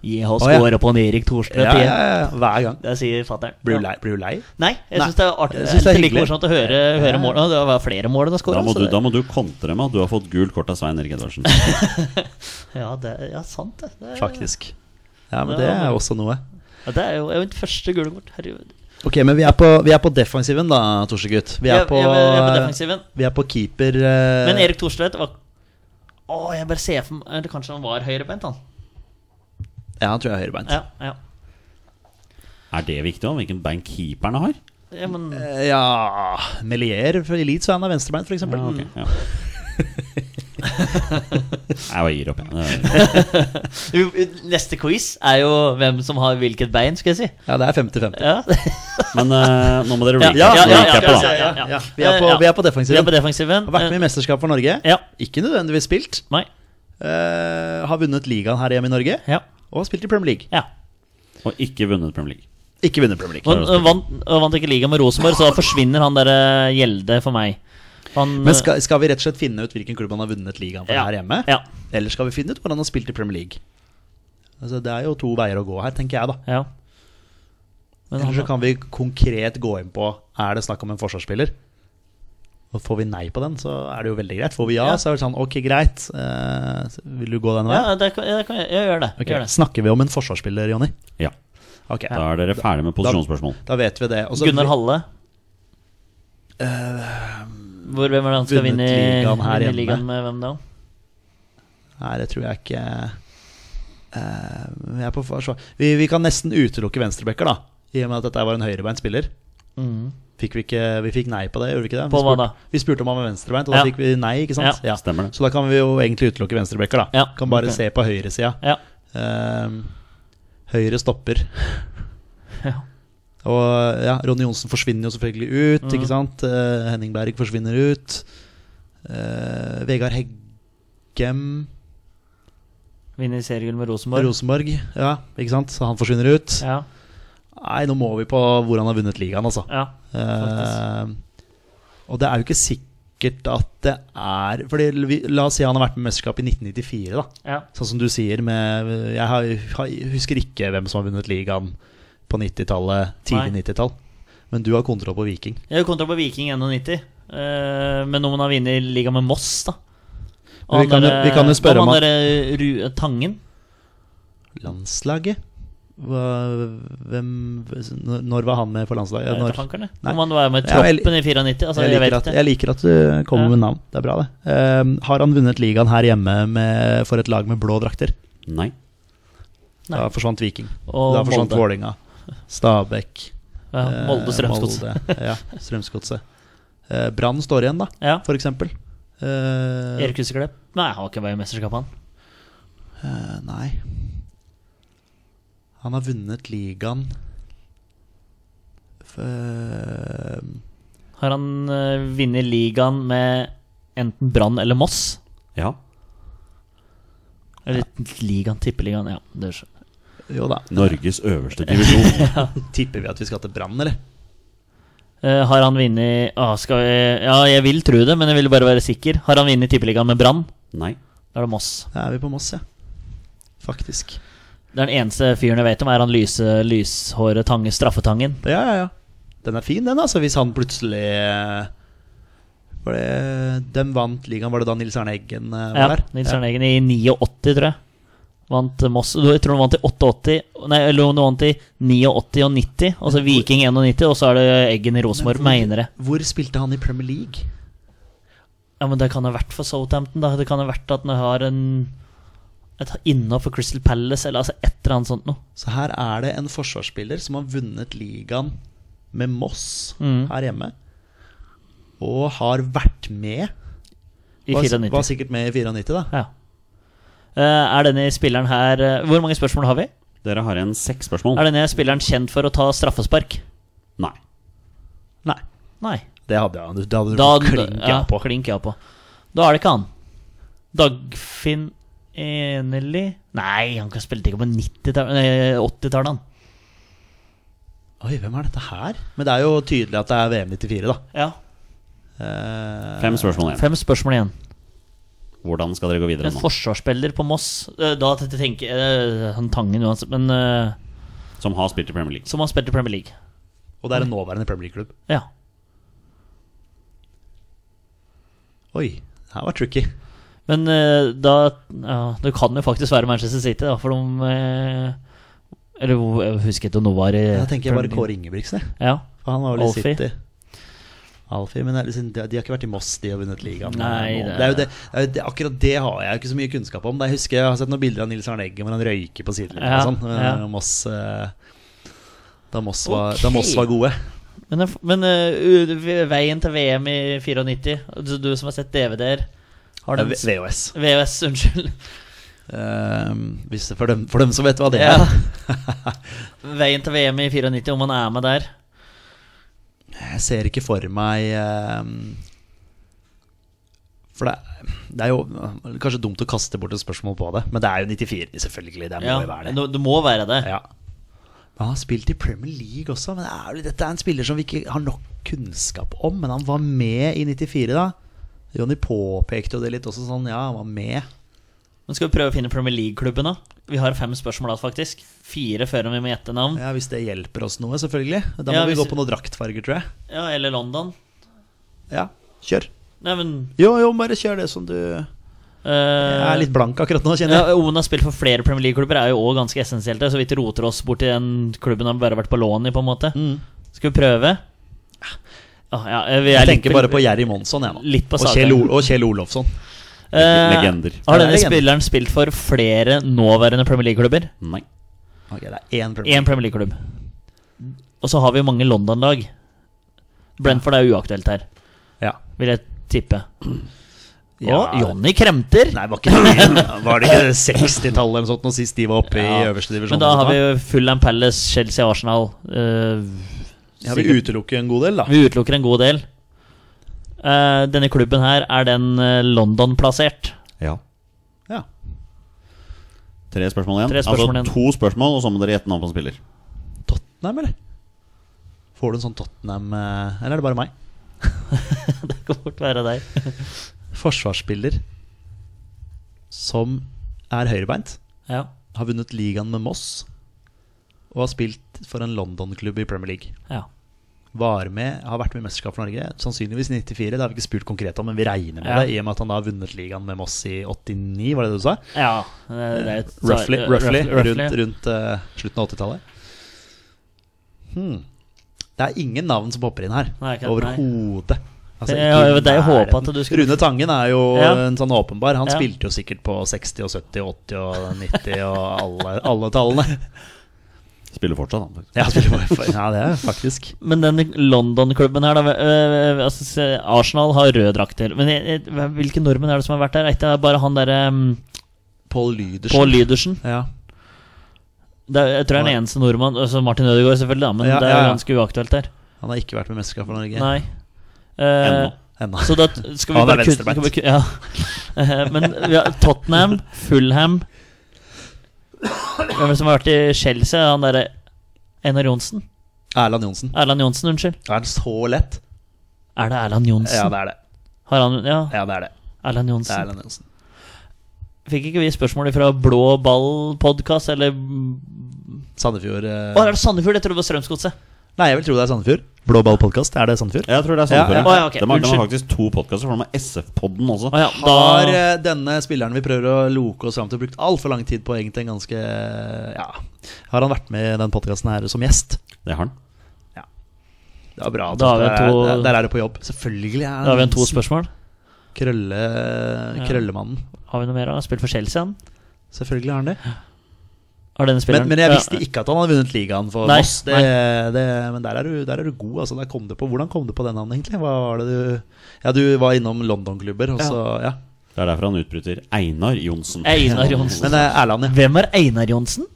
Speaker 1: Gi oss
Speaker 3: Å, ja.
Speaker 1: skåra på en Erik Thorstvedt
Speaker 3: Ja,
Speaker 1: igjen.
Speaker 3: ja, ja. Hver gang.
Speaker 1: Det sier fatter'n.
Speaker 3: Blir du lei? Blir du lei?
Speaker 1: Nei, jeg
Speaker 3: Nei.
Speaker 1: syns det er artig.
Speaker 3: Jeg
Speaker 1: Det
Speaker 3: synes
Speaker 1: er
Speaker 3: det er
Speaker 1: like
Speaker 3: hyggelig.
Speaker 1: morsomt å høre, høre målene. Det var flere mål enn å
Speaker 2: Da,
Speaker 1: skåre.
Speaker 2: må
Speaker 1: så
Speaker 2: du,
Speaker 1: det-
Speaker 2: da må du kontre med at du har fått gult kort av Svein Erik Edvardsen.
Speaker 1: Ja, det, ja, sant det. Det, er-
Speaker 3: Faktisk. Ja, men
Speaker 1: Ja,
Speaker 3: det er
Speaker 1: men-
Speaker 3: også noe.
Speaker 1: Ja, det er jo jeg mitt første gule kort. Herregud.
Speaker 3: Ok, men vi er på, vi er på defensiven da, Torsegutt. Vi er
Speaker 1: Jeg-
Speaker 3: på,
Speaker 1: jeg- jeg er på defensiven.
Speaker 3: vi er på keeper eh,
Speaker 1: Men Erik Thorstvedt var Å, jeg bare ser for meg Eller kanskje han var høyrebeint, han.
Speaker 3: Ja, han tror jeg er høyrebeint.
Speaker 1: Ja, ja.
Speaker 2: Er det viktig òg, hvilken bein keeperne har?
Speaker 1: ja men
Speaker 3: Eh, Ja Melier fra Elite, så er han av venstrebeint, f.eks.
Speaker 2: Ja, Ah, ok, ja. Jeg bare gir opp, jeg.
Speaker 1: Jo, Neste quiz er jo hvem som har hvilket bein, skal jeg si.
Speaker 3: Ja, det er 50-50.
Speaker 1: Ja,
Speaker 2: Men eh, nå må dere
Speaker 1: Ja,
Speaker 2: recappe,
Speaker 1: ja, ja, ja,
Speaker 2: recappe, da.
Speaker 1: ja, ja,
Speaker 3: Ja, vi er på-
Speaker 1: Ja.
Speaker 3: vi er på defensiven.
Speaker 1: Vi er på defensiven. Eh,
Speaker 3: Har vært med i mesterskap for Norge.
Speaker 1: Ja.
Speaker 3: Ikke nødvendigvis spilt.
Speaker 1: Nei.
Speaker 3: Eh, har vunnet ligaen her hjemme i Norge.
Speaker 1: Ja.
Speaker 3: Og har spilt i Premier League.
Speaker 1: ja.
Speaker 2: Og ikke vunnet Premier League.
Speaker 3: Ikke vunnet Premier League.
Speaker 1: Men øh, vant, øh, vant ikke ligaen med Rosenborg, så da forsvinner han der øh, Gjelde for meg. Han,
Speaker 3: Men skal, skal vi rett og slett finne ut hvilken klubb han har vunnet ligaen for
Speaker 1: Ja.
Speaker 3: her hjemme?
Speaker 1: Ja.
Speaker 3: Eller skal vi finne ut hvor han har spilt i Premier League? Altså, det er jo to veier å gå her, tenker jeg, da.
Speaker 1: øh, ja. Men
Speaker 3: Eller så
Speaker 1: han,
Speaker 3: kan vi konkret gå inn på Er det snakk om en forsvarsspiller. Og Får vi nei på den, så er det jo veldig greit. Får vi ja,
Speaker 1: Ja.
Speaker 3: så er det sånn Ok, greit. Eh, vil du gå den veien?
Speaker 1: ja, det kan, det kan, jeg, jeg gjør det.
Speaker 3: Ok,
Speaker 1: Gjør det.
Speaker 3: Snakker vi om en forsvarsspiller, Jonny?
Speaker 2: Ja,
Speaker 3: Ok,
Speaker 2: Da er dere ferdig med posisjonsspørsmål.
Speaker 3: da vet vi det. Og så- Eh,
Speaker 1: Gunnar Halle. Hvor, hvem er det han skal vinne
Speaker 3: vunnet ligaen her
Speaker 1: vinne
Speaker 3: hjemme.
Speaker 1: ligaen med hvem da?
Speaker 3: Nei, det tror jeg ikke Eh, Vi er på forsvar vi, vi kan nesten utelukke venstrebacker, da. I og med at dette var en høyrebeint spiller. Mm. Fikk vi, ikke, vi fikk nei på det, gjorde vi ikke det? Vi
Speaker 1: På hva
Speaker 3: spurte-
Speaker 1: da?
Speaker 3: Vi spurte om han var venstrebeint, og da
Speaker 1: Ja.
Speaker 3: fikk vi nei, ikke sant?
Speaker 1: Ja.
Speaker 2: Stemmer det.
Speaker 3: Så da kan vi jo egentlig utelukke venstrebacker, da.
Speaker 1: Ja,
Speaker 3: Kan bare
Speaker 1: ok.
Speaker 3: se på høyresida.
Speaker 1: Ja.
Speaker 3: Ehm, høyre stopper.
Speaker 1: Ja.
Speaker 3: Og ja, Ronny Johnsen forsvinner jo selvfølgelig ut,
Speaker 1: Mhm.
Speaker 3: ikke sant? Eh, Henning Berg forsvinner ut. Eh, Vegard Heggem
Speaker 1: Vinner seriegull med Rosenborg.
Speaker 3: Rosenborg, ja, ikke sant? Så han forsvinner ut.
Speaker 1: Ja,
Speaker 3: Nei, nå må vi på hvor han har vunnet ligaen, altså.
Speaker 1: ja.
Speaker 3: Eh, og det er jo ikke sikkert at det er Fordi vi- La oss si han har vært med i mesterskapet i 1994, da.
Speaker 1: ja.
Speaker 3: Sånn som du sier med Jeg har, har, husker ikke hvem som har vunnet ligaen på 90-tallet, tidlig
Speaker 1: Nei.
Speaker 3: 90-tall. Men du har kontroll på Viking.
Speaker 1: Jeg har kontra på Viking 91. eh, men om han har vunnet ligaen med Moss, da
Speaker 3: Men vi kan jo- vi kan jo spørre om han-
Speaker 1: han derre Ru- Tangen.
Speaker 3: Landslaget? Hva, hvem Når var han med for landslaget?
Speaker 1: Jeg
Speaker 3: når,
Speaker 1: vet ikke, fankerne.
Speaker 3: Nei.
Speaker 1: Om han var med i
Speaker 3: Ja, jeg-
Speaker 1: troppen i 94. Altså,
Speaker 3: jeg,
Speaker 1: jeg,
Speaker 3: liker
Speaker 1: vet
Speaker 3: at,
Speaker 1: ikke.
Speaker 3: jeg liker at du kommer
Speaker 1: Ja.
Speaker 3: med navn. Det er bra, det. Ehm, har han vunnet ligaen her hjemme med, for et lag med blå drakter?
Speaker 2: Nei.
Speaker 3: Da forsvant Viking.
Speaker 1: Og
Speaker 3: da forsvant
Speaker 1: Molde.
Speaker 3: Vålinga Stabæk.
Speaker 1: Ja,
Speaker 3: eh,
Speaker 1: Molde Strømsgodset.
Speaker 3: Molde, Ja, Strømsgodset. Eh, Brann står igjen, da,
Speaker 1: Ja.
Speaker 3: for eksempel. Eh,
Speaker 1: Erik Huseklepp. Nei, han var ikke med i mesterskapet, han.
Speaker 3: eh, nei. Han har vunnet ligaen F- eh,
Speaker 1: Har han uh, vunnet ligaen med enten Brann eller Moss?
Speaker 2: Ja.
Speaker 1: Eller ligaen, tippeligaen, ja. Det er så-
Speaker 3: Jo da.
Speaker 2: Norges øverste divisjon.
Speaker 3: Tipper vi at vi skal til Brann, eller?
Speaker 1: Eh, har han vunnet ah, skal vi, Ja, jeg vil tro det, men jeg vil bare være sikker. Har han vunnet tippeligaen med Brann?
Speaker 2: Nei.
Speaker 1: Da er det Moss.
Speaker 3: Da er vi på Moss, ja. Faktisk.
Speaker 1: Den eneste fyren jeg vet om, er han lyse, lyshåret Tange Straffetangen.
Speaker 3: Ja, ja, ja. Den er fin, den, altså. Hvis han plutselig eh, var det, Den vant ligaen, var det da Nils Arne Eggen eh, var
Speaker 1: Ja,
Speaker 3: der?
Speaker 1: Nils Arne Eggen i 89, tror jeg. Vant eh, Moss Jeg tror de vant i 88 Nei, eller om de vant i 89 og 90. Og så Viking 91, og så er det Eggen i Rosenborg, mener jeg.
Speaker 3: Hvor spilte han i Premier League?
Speaker 1: Ja, men det kan ha vært for Southampton, da. Det kan ha vært at han har en et innafor Crystal Palace, eller altså et eller annet sånt noe.
Speaker 3: Så her er det en forsvarsspiller som har vunnet ligaen med Moss
Speaker 1: Mm.
Speaker 3: her hjemme. Og har vært med.
Speaker 1: I
Speaker 3: Var, var
Speaker 1: 94.
Speaker 3: sikkert med i 94, da.
Speaker 1: Ja. Eh, er denne spilleren her eh, Hvor mange spørsmål har vi?
Speaker 2: Dere har igjen seks
Speaker 3: Oh.
Speaker 2: spørsmål.
Speaker 1: Er denne spilleren kjent for å ta straffespark?
Speaker 2: Nei.
Speaker 3: Nei.
Speaker 1: Nei.
Speaker 3: Det hadde jeg. Det hadde du
Speaker 1: Da
Speaker 3: klink jeg
Speaker 1: ja,
Speaker 3: på.
Speaker 1: Klink ja på. Da er det ikke han. Dagfinn Eneli Nei, han kan spille ikke på 90-tallet Nei, 80-tallet, han.
Speaker 3: Oi, hvem er dette her? Men det er jo tydelig at det er VM 94, da.
Speaker 1: Ja.
Speaker 3: Eh,
Speaker 2: Fem spørsmål igjen.
Speaker 1: Fem spørsmål igjen.
Speaker 2: Hvordan skal dere gå videre
Speaker 1: En
Speaker 2: nå?
Speaker 1: forsvarsspiller på Moss eh, Da tenker jeg eh, han Tangen uansett, men eh,
Speaker 2: Som har spilt i Premier League.
Speaker 1: som har spilt i Premier League.
Speaker 3: og det er en
Speaker 1: Mm.
Speaker 3: nåværende Premier League-klubb.
Speaker 1: Ja.
Speaker 3: Oi, det her var tricky.
Speaker 1: Men eh, da ja, Det kan jo faktisk være Manchester City, da, for de eh, Eller hvor- jeg husker ikke om noe var i
Speaker 3: Da tenker jeg bare Kåre Ingebrigtsen. jeg.
Speaker 1: Ja.
Speaker 3: For han var vel i
Speaker 1: Alfie.
Speaker 3: City. Alfie, men det er liksom, de de har ikke vært i Moss, de har vunnet ligaen.
Speaker 1: Nei,
Speaker 3: det,
Speaker 1: det-
Speaker 3: er jo det, det, er jo det, akkurat det har jeg jo ikke så mye kunnskap om. Jeg husker jeg har sett noen bilder av Nils Arne Eggen hvor han røyker på sidelinjen
Speaker 1: Ja,
Speaker 3: og sånn. eh,
Speaker 1: ja.
Speaker 3: og Moss, eh, da, Moss var, da
Speaker 1: Ok.
Speaker 3: Moss var gode.
Speaker 1: Men, jeg- men eh, u- veien til VM i 94 Du, du som har sett DVD-er har
Speaker 3: Eh,
Speaker 1: den
Speaker 3: V-
Speaker 1: s-
Speaker 3: VHS.
Speaker 1: VHS, unnskyld.
Speaker 3: Eh, hvis, for, dem, for dem som vet hva det
Speaker 1: Ja.
Speaker 3: er.
Speaker 1: Veien til VM i 94, om han er med der.
Speaker 3: Jeg ser ikke for meg eh, For det, det er jo eh, kanskje dumt å kaste bort et spørsmål på det, men det er jo 94, selvfølgelig. Det må jo
Speaker 1: Ja,
Speaker 3: være det.
Speaker 1: du, du må være det.
Speaker 3: Ja. Men han har spilt i Premier League også. Men det er, jo- Dette er en spiller som vi ikke har nok kunnskap om. Men han var med i 94, da. Jonny påpekte jo det litt også, sånn ja, han var med.
Speaker 1: Men skal vi prøve å finne Premier League-klubben, da? Vi har fem spørsmål da, faktisk. Fire før vi må gjette navn.
Speaker 3: Ja, Hvis det hjelper oss noe, selvfølgelig. Da må
Speaker 1: Ja,
Speaker 3: vi
Speaker 1: hvis-
Speaker 3: gå på noen draktfarger, tror jeg.
Speaker 1: Ja, eller London.
Speaker 3: Ja, kjør.
Speaker 1: Nei, men
Speaker 3: Jo, jo, bare kjør det som du Jeg
Speaker 1: eh,
Speaker 3: er litt blank akkurat nå, kjenner jeg.
Speaker 1: Ja, Ona har spilt for flere Premier League-klubber, er jo òg ganske essensielt. der, Så vi ikke roter oss bort i den klubben han bare har vært på lån i, på en måte.
Speaker 3: Mm.
Speaker 1: Skal vi prøve? Ah, ja, vi er
Speaker 3: Jeg
Speaker 1: litt-
Speaker 3: tenker bare på Jerry Monsson, jeg nå.
Speaker 1: Litt på
Speaker 3: og, Kjell
Speaker 1: saken.
Speaker 3: Ol- og Kjell Olofsson.
Speaker 1: Eh,
Speaker 2: Legender.
Speaker 1: Har
Speaker 3: Ja,
Speaker 1: denne
Speaker 3: det er legender.
Speaker 1: spilleren spilt for flere nåværende Premier League-klubber?
Speaker 2: Nei.
Speaker 3: Ok, det er én problem.
Speaker 1: Én Premier League-klubb. Og så har vi mange London-lag. Brentford er uaktuelt her,
Speaker 3: Ja.
Speaker 1: vil jeg tippe. Og
Speaker 3: Ja.
Speaker 1: Jonny Kremter!
Speaker 3: Nei, var, ikke det, var det ikke 60-tallet eller noe sånt, nå sist de var oppe i
Speaker 1: Ja.
Speaker 3: øverste divisjon?
Speaker 1: Men da har
Speaker 3: eller
Speaker 1: vi
Speaker 3: noe
Speaker 1: jo Fulham Palace, Chelsea, Arsenal eh,
Speaker 3: sånt, da? ja, Vi utelukker en god del, da.
Speaker 1: Vi utelukker en god del. Eh, denne klubben her, er den eh, London-plassert?
Speaker 2: Ja.
Speaker 3: Ja.
Speaker 2: Tre spørsmål igjen.
Speaker 1: Tre spørsmål
Speaker 2: altså
Speaker 1: igjen.
Speaker 2: to spørsmål, og så må dere gjette navn på en spiller.
Speaker 3: Tottenham, eller? Får du en sånn Tottenham eh, Eller er det bare meg?
Speaker 1: det kan fort være deg.
Speaker 3: Forsvarsspiller som er høyrebeint,
Speaker 1: Ja.
Speaker 3: har vunnet ligaen med Moss og har spilt for en London-klubb i Premier League.
Speaker 1: ja.
Speaker 3: Var med, har vært med i mesterskap for Norge, sannsynligvis i 94. Det har vi ikke spurt konkret om, men vi regner med
Speaker 1: Ja.
Speaker 3: det, i og med at han da har vunnet ligaen med Moss i 89, var det det du sa?
Speaker 1: ja. Det, det er et, så-
Speaker 3: Roughly,
Speaker 1: eh,
Speaker 3: roughly,
Speaker 1: roughly.
Speaker 3: rundt, rundt eh, slutten av 80-tallet. Hmm. Det er ingen navn som popper inn her.
Speaker 1: Nei, ikke-
Speaker 3: Overhodet. Altså,
Speaker 1: Det- ja,
Speaker 3: ikke i
Speaker 1: det er jo
Speaker 3: nærheten.
Speaker 1: håpet at du skulle-
Speaker 3: Rune Tangen er jo
Speaker 1: Ja.
Speaker 3: en sånn åpenbar. Han
Speaker 1: Ja.
Speaker 3: spilte jo sikkert på 60 og 70 og 80 og 90 og alle, alle tallene.
Speaker 2: Spiller fortsatt, han. faktisk.
Speaker 3: Ja, spiller bare for- ja, det er faktisk
Speaker 1: Men den London-klubben her, da eh, altså, se, Arsenal har røde drakter. Men jeg, jeg, hvem- hvilke nordmenn er det som har vært der? Er ikke det bare han derre um,
Speaker 3: Pål Lydersen.
Speaker 1: Pål Lydersen?
Speaker 3: Ja.
Speaker 1: Det er, jeg tror det er den eneste nordmann. Altså Martin Ødegaard, selvfølgelig, da, men
Speaker 3: Ja,
Speaker 1: det er
Speaker 3: ja, ja.
Speaker 1: ganske uaktuelt der.
Speaker 3: Han har ikke vært med i mesterskap for Norge
Speaker 1: Nei. Eh,
Speaker 2: Ennå.
Speaker 3: ennå.
Speaker 1: Så da t- skal vi
Speaker 3: Han er
Speaker 1: bare kutte
Speaker 3: venstrebeint.
Speaker 1: skal vi ku- Ja. Eh, Men vi har Tottenham, Fulham Hvem er det som har vært i Chelsea? Han derre Einar Johnsen?
Speaker 3: Erland Johnsen.
Speaker 1: Erland Johnsen, unnskyld.
Speaker 3: Er han så lett?
Speaker 1: Er det Erland Johnsen?
Speaker 3: Ja, det er det.
Speaker 1: Har han Ja,
Speaker 3: Ja, det er det.
Speaker 1: Erland
Speaker 3: Det er
Speaker 1: Johnsen.
Speaker 3: Erland Johnsen.
Speaker 1: Fikk ikke vi spørsmål fra Blå ball-podkast, eller Å,
Speaker 3: Sandefjord eh,
Speaker 1: er det Sandefjord? Jeg trodde det var Strømsgodset.
Speaker 3: Nei, jeg vil tro det er Sandefjord. Blå ball-podkast, er det Sandefjord?
Speaker 2: Jeg tror det er
Speaker 3: Ja,
Speaker 2: Sandefjord.
Speaker 1: ja. Å, ja, ok.
Speaker 2: De har- de har
Speaker 1: Unnskyld.
Speaker 2: faktisk to podkaster, for de har SF-podden også.
Speaker 1: Å ja,
Speaker 3: Har
Speaker 1: da
Speaker 3: eh, denne spilleren vi prøver å loke oss fram til, brukt altfor lang tid på egentlig en ganske eh, Ja. Har han vært med i den podkasten her som gjest?
Speaker 2: Det har han.
Speaker 3: Det var bra.
Speaker 1: Da har vi
Speaker 3: der, er-
Speaker 1: to-
Speaker 3: der, der er du på jobb. Selvfølgelig er
Speaker 1: Da har vi en to spørsmål.
Speaker 3: Krølle,
Speaker 1: Ja.
Speaker 3: Krøllemannen.
Speaker 1: Har vi noe mer? da? Spilt for Chelsea, han?
Speaker 3: Selvfølgelig har han det.
Speaker 1: Har denne spilleren
Speaker 3: Men, men jeg
Speaker 1: Ja.
Speaker 3: visste ikke at han hadde vunnet ligaen for
Speaker 1: Nei,
Speaker 3: Moss. Det, det, men der er, du, der er du god. Altså, der kom det på. Hvordan kom det på den navnet, egentlig? Hva var det du Ja, du var innom London-klubber, og så Ja.
Speaker 2: Det er derfor han utbryter Einar Johnsen.
Speaker 1: Einar Johnsen.
Speaker 3: Men eh, Erland, ja.
Speaker 1: Hvem er Einar Johnsen?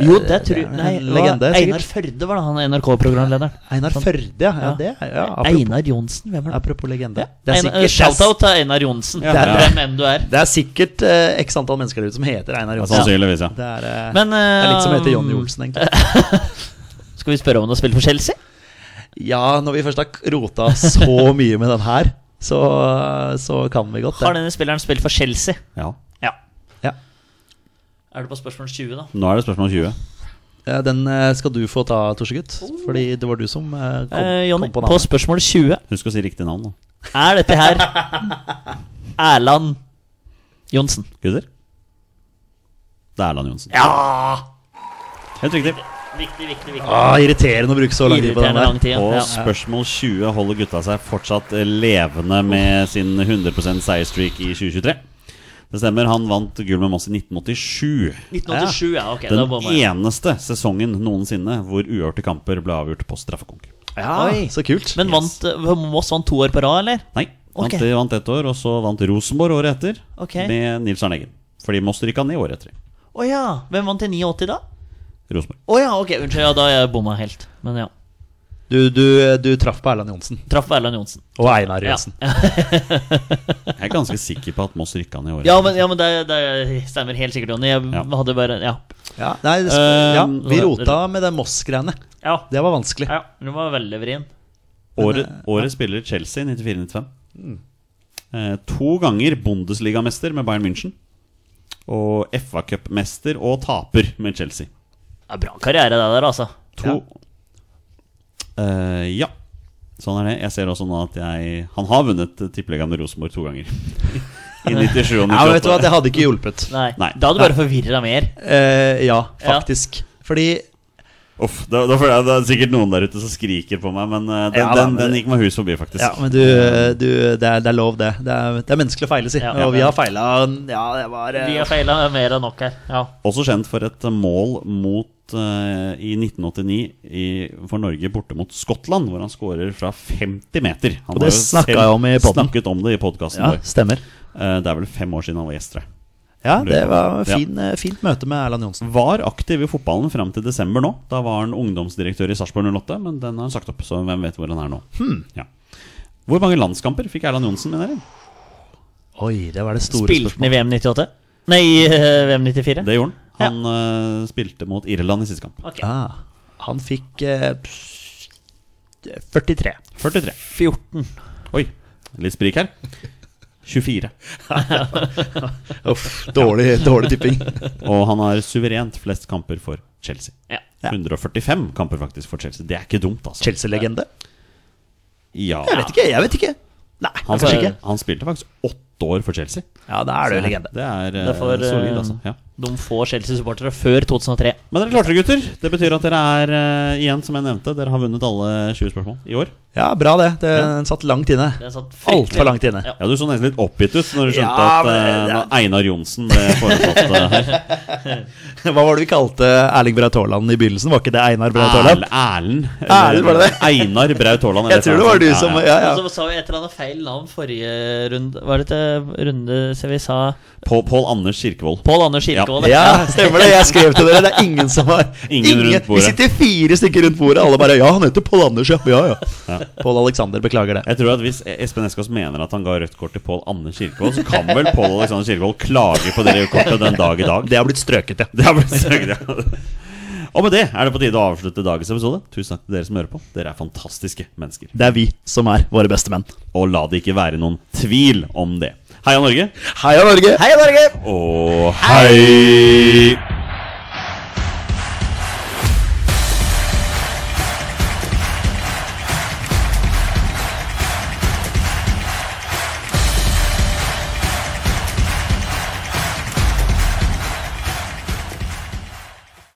Speaker 1: jo, det tror
Speaker 3: det er en
Speaker 1: Nei, det
Speaker 3: Eh, legende,
Speaker 1: var
Speaker 3: sikkert.
Speaker 1: Einar Førde var da han NRK-programlederen.
Speaker 3: Einar Førde, ja. ja,
Speaker 1: Ja.
Speaker 3: det er, ja apropos,
Speaker 1: Einar Johnsen, hvem er det?
Speaker 3: apropos legende. Det er
Speaker 1: Einar- eh,
Speaker 3: sikkert,
Speaker 1: Shout-out til Einar Johnsen,
Speaker 2: Ja.
Speaker 1: Hvem-
Speaker 2: Ja.
Speaker 1: hvem enn du er.
Speaker 3: det er sikkert eh, x antall mennesker der ute som heter Einar
Speaker 2: Ja,
Speaker 3: Johnsen.
Speaker 2: Sannsynligvis, ja.
Speaker 3: Det, er, eh,
Speaker 1: Men
Speaker 3: det er litt som heter
Speaker 1: eh,
Speaker 3: Jonny Olsen, egentlig.
Speaker 1: Skal vi spørre om han har spilt for Chelsea?
Speaker 3: Ja, når vi først har rota så mye med den her, så, så kan vi godt
Speaker 1: Har
Speaker 3: det.
Speaker 1: denne spilleren spilt for Chelsea?
Speaker 2: Ja.
Speaker 1: Ja.
Speaker 3: Ja.
Speaker 1: Er du på spørsmål 20, da?
Speaker 2: Nå er det spørsmål 20.
Speaker 3: Ja, Den eh, skal du få ta, Torsegutt. Fordi det var du som eh, kom,
Speaker 1: Eh, Jonny,
Speaker 3: kom på
Speaker 1: på,
Speaker 3: navnet.
Speaker 1: spørsmål 20
Speaker 2: Husk å si riktig navn, da.
Speaker 1: er dette her Erland Johnsen.
Speaker 2: Gutter? Det er Erland Johnsen. Helt riktig.
Speaker 1: Viktig, viktig, viktig.
Speaker 3: Ah, irriterende å bruke så lang tid på den
Speaker 1: Irriterende lang
Speaker 3: der.
Speaker 1: tid.
Speaker 2: Og
Speaker 1: Ja.
Speaker 2: spørsmål 20 holder gutta seg fortsatt eh, levende med sin 100 seierstreak i 2023. Det stemmer, han vant gull med Moss i 1987.
Speaker 1: 1987, ja. Ok, da
Speaker 2: Den
Speaker 1: må man
Speaker 2: eneste sesongen noensinne hvor uavgjorte kamper ble avgjort på straffekonk.
Speaker 3: Ja,
Speaker 1: Oi.
Speaker 3: så kult.
Speaker 1: Men vant eh, Moss vant to år på rad, eller?
Speaker 2: Nei, vant,
Speaker 1: Ok.
Speaker 2: de vant ett år, og så vant Rosenborg året etter
Speaker 1: Ok.
Speaker 2: med Nils Arne Eggen. Fordi Moss rykka ned året etter.
Speaker 1: Å ja. Hvem vant i 89 da?
Speaker 2: Rosenborg.
Speaker 1: Å ja, ok. Unnskyld, ja, da har jeg bomma helt. Men ja.
Speaker 3: Du, du, du traff på Erland Johnsen.
Speaker 1: Traff på Erland Johnsen.
Speaker 3: Og Einar
Speaker 1: Ja.
Speaker 3: Johnsen.
Speaker 2: Jeg er ganske sikker på at Moss rykka ned året
Speaker 1: Ja, men, ja, men det, det stemmer helt sikkert, Jonny. Jeg
Speaker 2: Ja.
Speaker 1: hadde bare Ja.
Speaker 3: Ja. Nei, det,
Speaker 2: Eh,
Speaker 3: ja, vi rota med det Moss-greiene.
Speaker 1: Ja.
Speaker 3: Det var vanskelig.
Speaker 1: ja. Du var veldig vrien.
Speaker 2: Året,
Speaker 3: eh,
Speaker 2: året spiller Chelsea 94-95. Eh, to ganger Bundesligamester med Bayern München. Og FA-cupmester og taper med Chelsea.
Speaker 1: Ja, bra karriere, det der, altså.
Speaker 2: To Eh, ja. Sånn er det. Jeg ser også nå at jeg Han har vunnet eh, tippeligaen med Rosenborg to ganger. I 97 og
Speaker 3: Ja, men vet du
Speaker 2: 98.
Speaker 3: hva, Det hadde ikke hjulpet.
Speaker 1: Nei.
Speaker 2: Nei.
Speaker 1: Da hadde du bare forvirra mer.
Speaker 3: Eh, ja, faktisk. Fordi
Speaker 2: Uff, da, da føler jeg det er sikkert noen der ute som skriker på meg, men eh, den,
Speaker 3: Ja, da,
Speaker 2: den,
Speaker 3: men-
Speaker 2: den gikk meg hus forbi, faktisk.
Speaker 3: Ja, men du, du det, er, det er lov, det. Det er, det er menneskelig å feile, si.
Speaker 1: Ja.
Speaker 3: Og vi har feila Ja, det var eh,
Speaker 1: Vi har feila mer enn nok her. Ja.
Speaker 2: Også kjent for et mål mot eh, i 1989 i, for Norge borte mot Skottland, hvor han skårer fra 50 meter. Han
Speaker 3: Og det
Speaker 2: har jo
Speaker 3: snakket
Speaker 2: selv
Speaker 3: jeg om i podden.
Speaker 2: Snakket om det i podkasten
Speaker 3: Ja,
Speaker 2: vår.
Speaker 3: stemmer.
Speaker 2: Eh, det er vel fem år siden han var gjest, tror jeg.
Speaker 3: Ja, det var
Speaker 2: Ja.
Speaker 3: fin, eh, fint møte med Erland Johnsen.
Speaker 2: Var aktiv i fotballen fram til desember nå. Da var han ungdomsdirektør i Sarpsborg 08, men den har han sagt opp, så hvem vet hvor han er nå.
Speaker 3: Hmm.
Speaker 2: Ja. Hvor mange landskamper fikk Erland Johnsen, mener dere?
Speaker 3: Oi, det var det store
Speaker 1: Spilte den i
Speaker 3: spørsmålet.
Speaker 1: VM 98? Nei, i, eh, VM 94?
Speaker 2: Det gjorde han. Han eh, spilte mot Irland i siste kamp.
Speaker 1: Ok.
Speaker 3: Ah, han fikk eh, pss, 43.
Speaker 2: 43.
Speaker 1: 14.
Speaker 2: Oi, litt sprik her. 24.
Speaker 3: Uff, dårlig, dårlig tipping.
Speaker 2: Og han har suverent flest kamper for Chelsea.
Speaker 1: Ja.
Speaker 2: 145 kamper faktisk for Chelsea. Det er ikke dumt, altså.
Speaker 3: Chelsea-legende?
Speaker 2: Ja.
Speaker 3: Jeg vet ikke. Altså, jeg vet ikke Nei,
Speaker 2: Han,
Speaker 3: kanskje
Speaker 2: spilte,
Speaker 3: ikke.
Speaker 2: han spilte faktisk åtte år for Chelsea.
Speaker 3: Ja, da er du legende.
Speaker 2: Det er eh,
Speaker 1: Det er for, eh,
Speaker 2: solid, altså. Ja.
Speaker 1: De få Chelsea-supportere før 2003.
Speaker 2: Men dere klarte det, gutter. Det betyr at dere er, eh, igjen som jeg nevnte, dere har vunnet alle 20 spørsmål i år.
Speaker 3: Ja, bra det. Det satt langt inne.
Speaker 1: Det er satt fryktelig-
Speaker 3: Altfor langt inne.
Speaker 1: Ja.
Speaker 2: Ja, Du så nesten litt oppgitt ut når du skjønte
Speaker 3: Ja,
Speaker 2: at eh,
Speaker 3: men det er-
Speaker 2: når Einar Johnsen ble foreslått eh, her.
Speaker 3: Hva var det vi kalte Erling Braut Haaland i begynnelsen? Var ikke det Einar Braut
Speaker 2: Erl-
Speaker 3: Haaland?
Speaker 2: Erlend.
Speaker 3: Erlend, var det det?
Speaker 2: Einar Braut Haaland.
Speaker 3: Jeg tror det var du som
Speaker 2: ja, ja.
Speaker 3: Ja, ja.
Speaker 1: Og så sa vi et eller annet feil navn forrige runde. Var det ikke runde så vi sa
Speaker 2: Pål Pål Anders Kirkevold.
Speaker 1: Pål Anders Kirkevold?
Speaker 3: Ja, stemmer det. Jeg skrev til dere. Det er ingen som har
Speaker 2: Ingen rundt bordet.
Speaker 3: Vi sitter fire stykker rundt bordet, alle bare Ja, han heter Pål Anders, ja. ja, ja. Pål Alexander, beklager det.
Speaker 2: Jeg tror at Hvis Espen Eskås mener at han ga rødt kort til Pål Anders Kirkevold, så kan vel Pål Alexander Kirkevold klage på det røde kortet den dag i dag.
Speaker 3: Det har blitt strøket, ja.
Speaker 2: Det har blitt søkt, ja. Og med det er det på tide å avslutte dagens episode. Tusen takk til dere som hører på. Dere er fantastiske mennesker.
Speaker 3: Det er vi som er våre beste menn.
Speaker 2: Og la det ikke være noen tvil om det. Heia Norge,
Speaker 3: Heia Norge!
Speaker 1: Hei, Norge!
Speaker 2: og hei!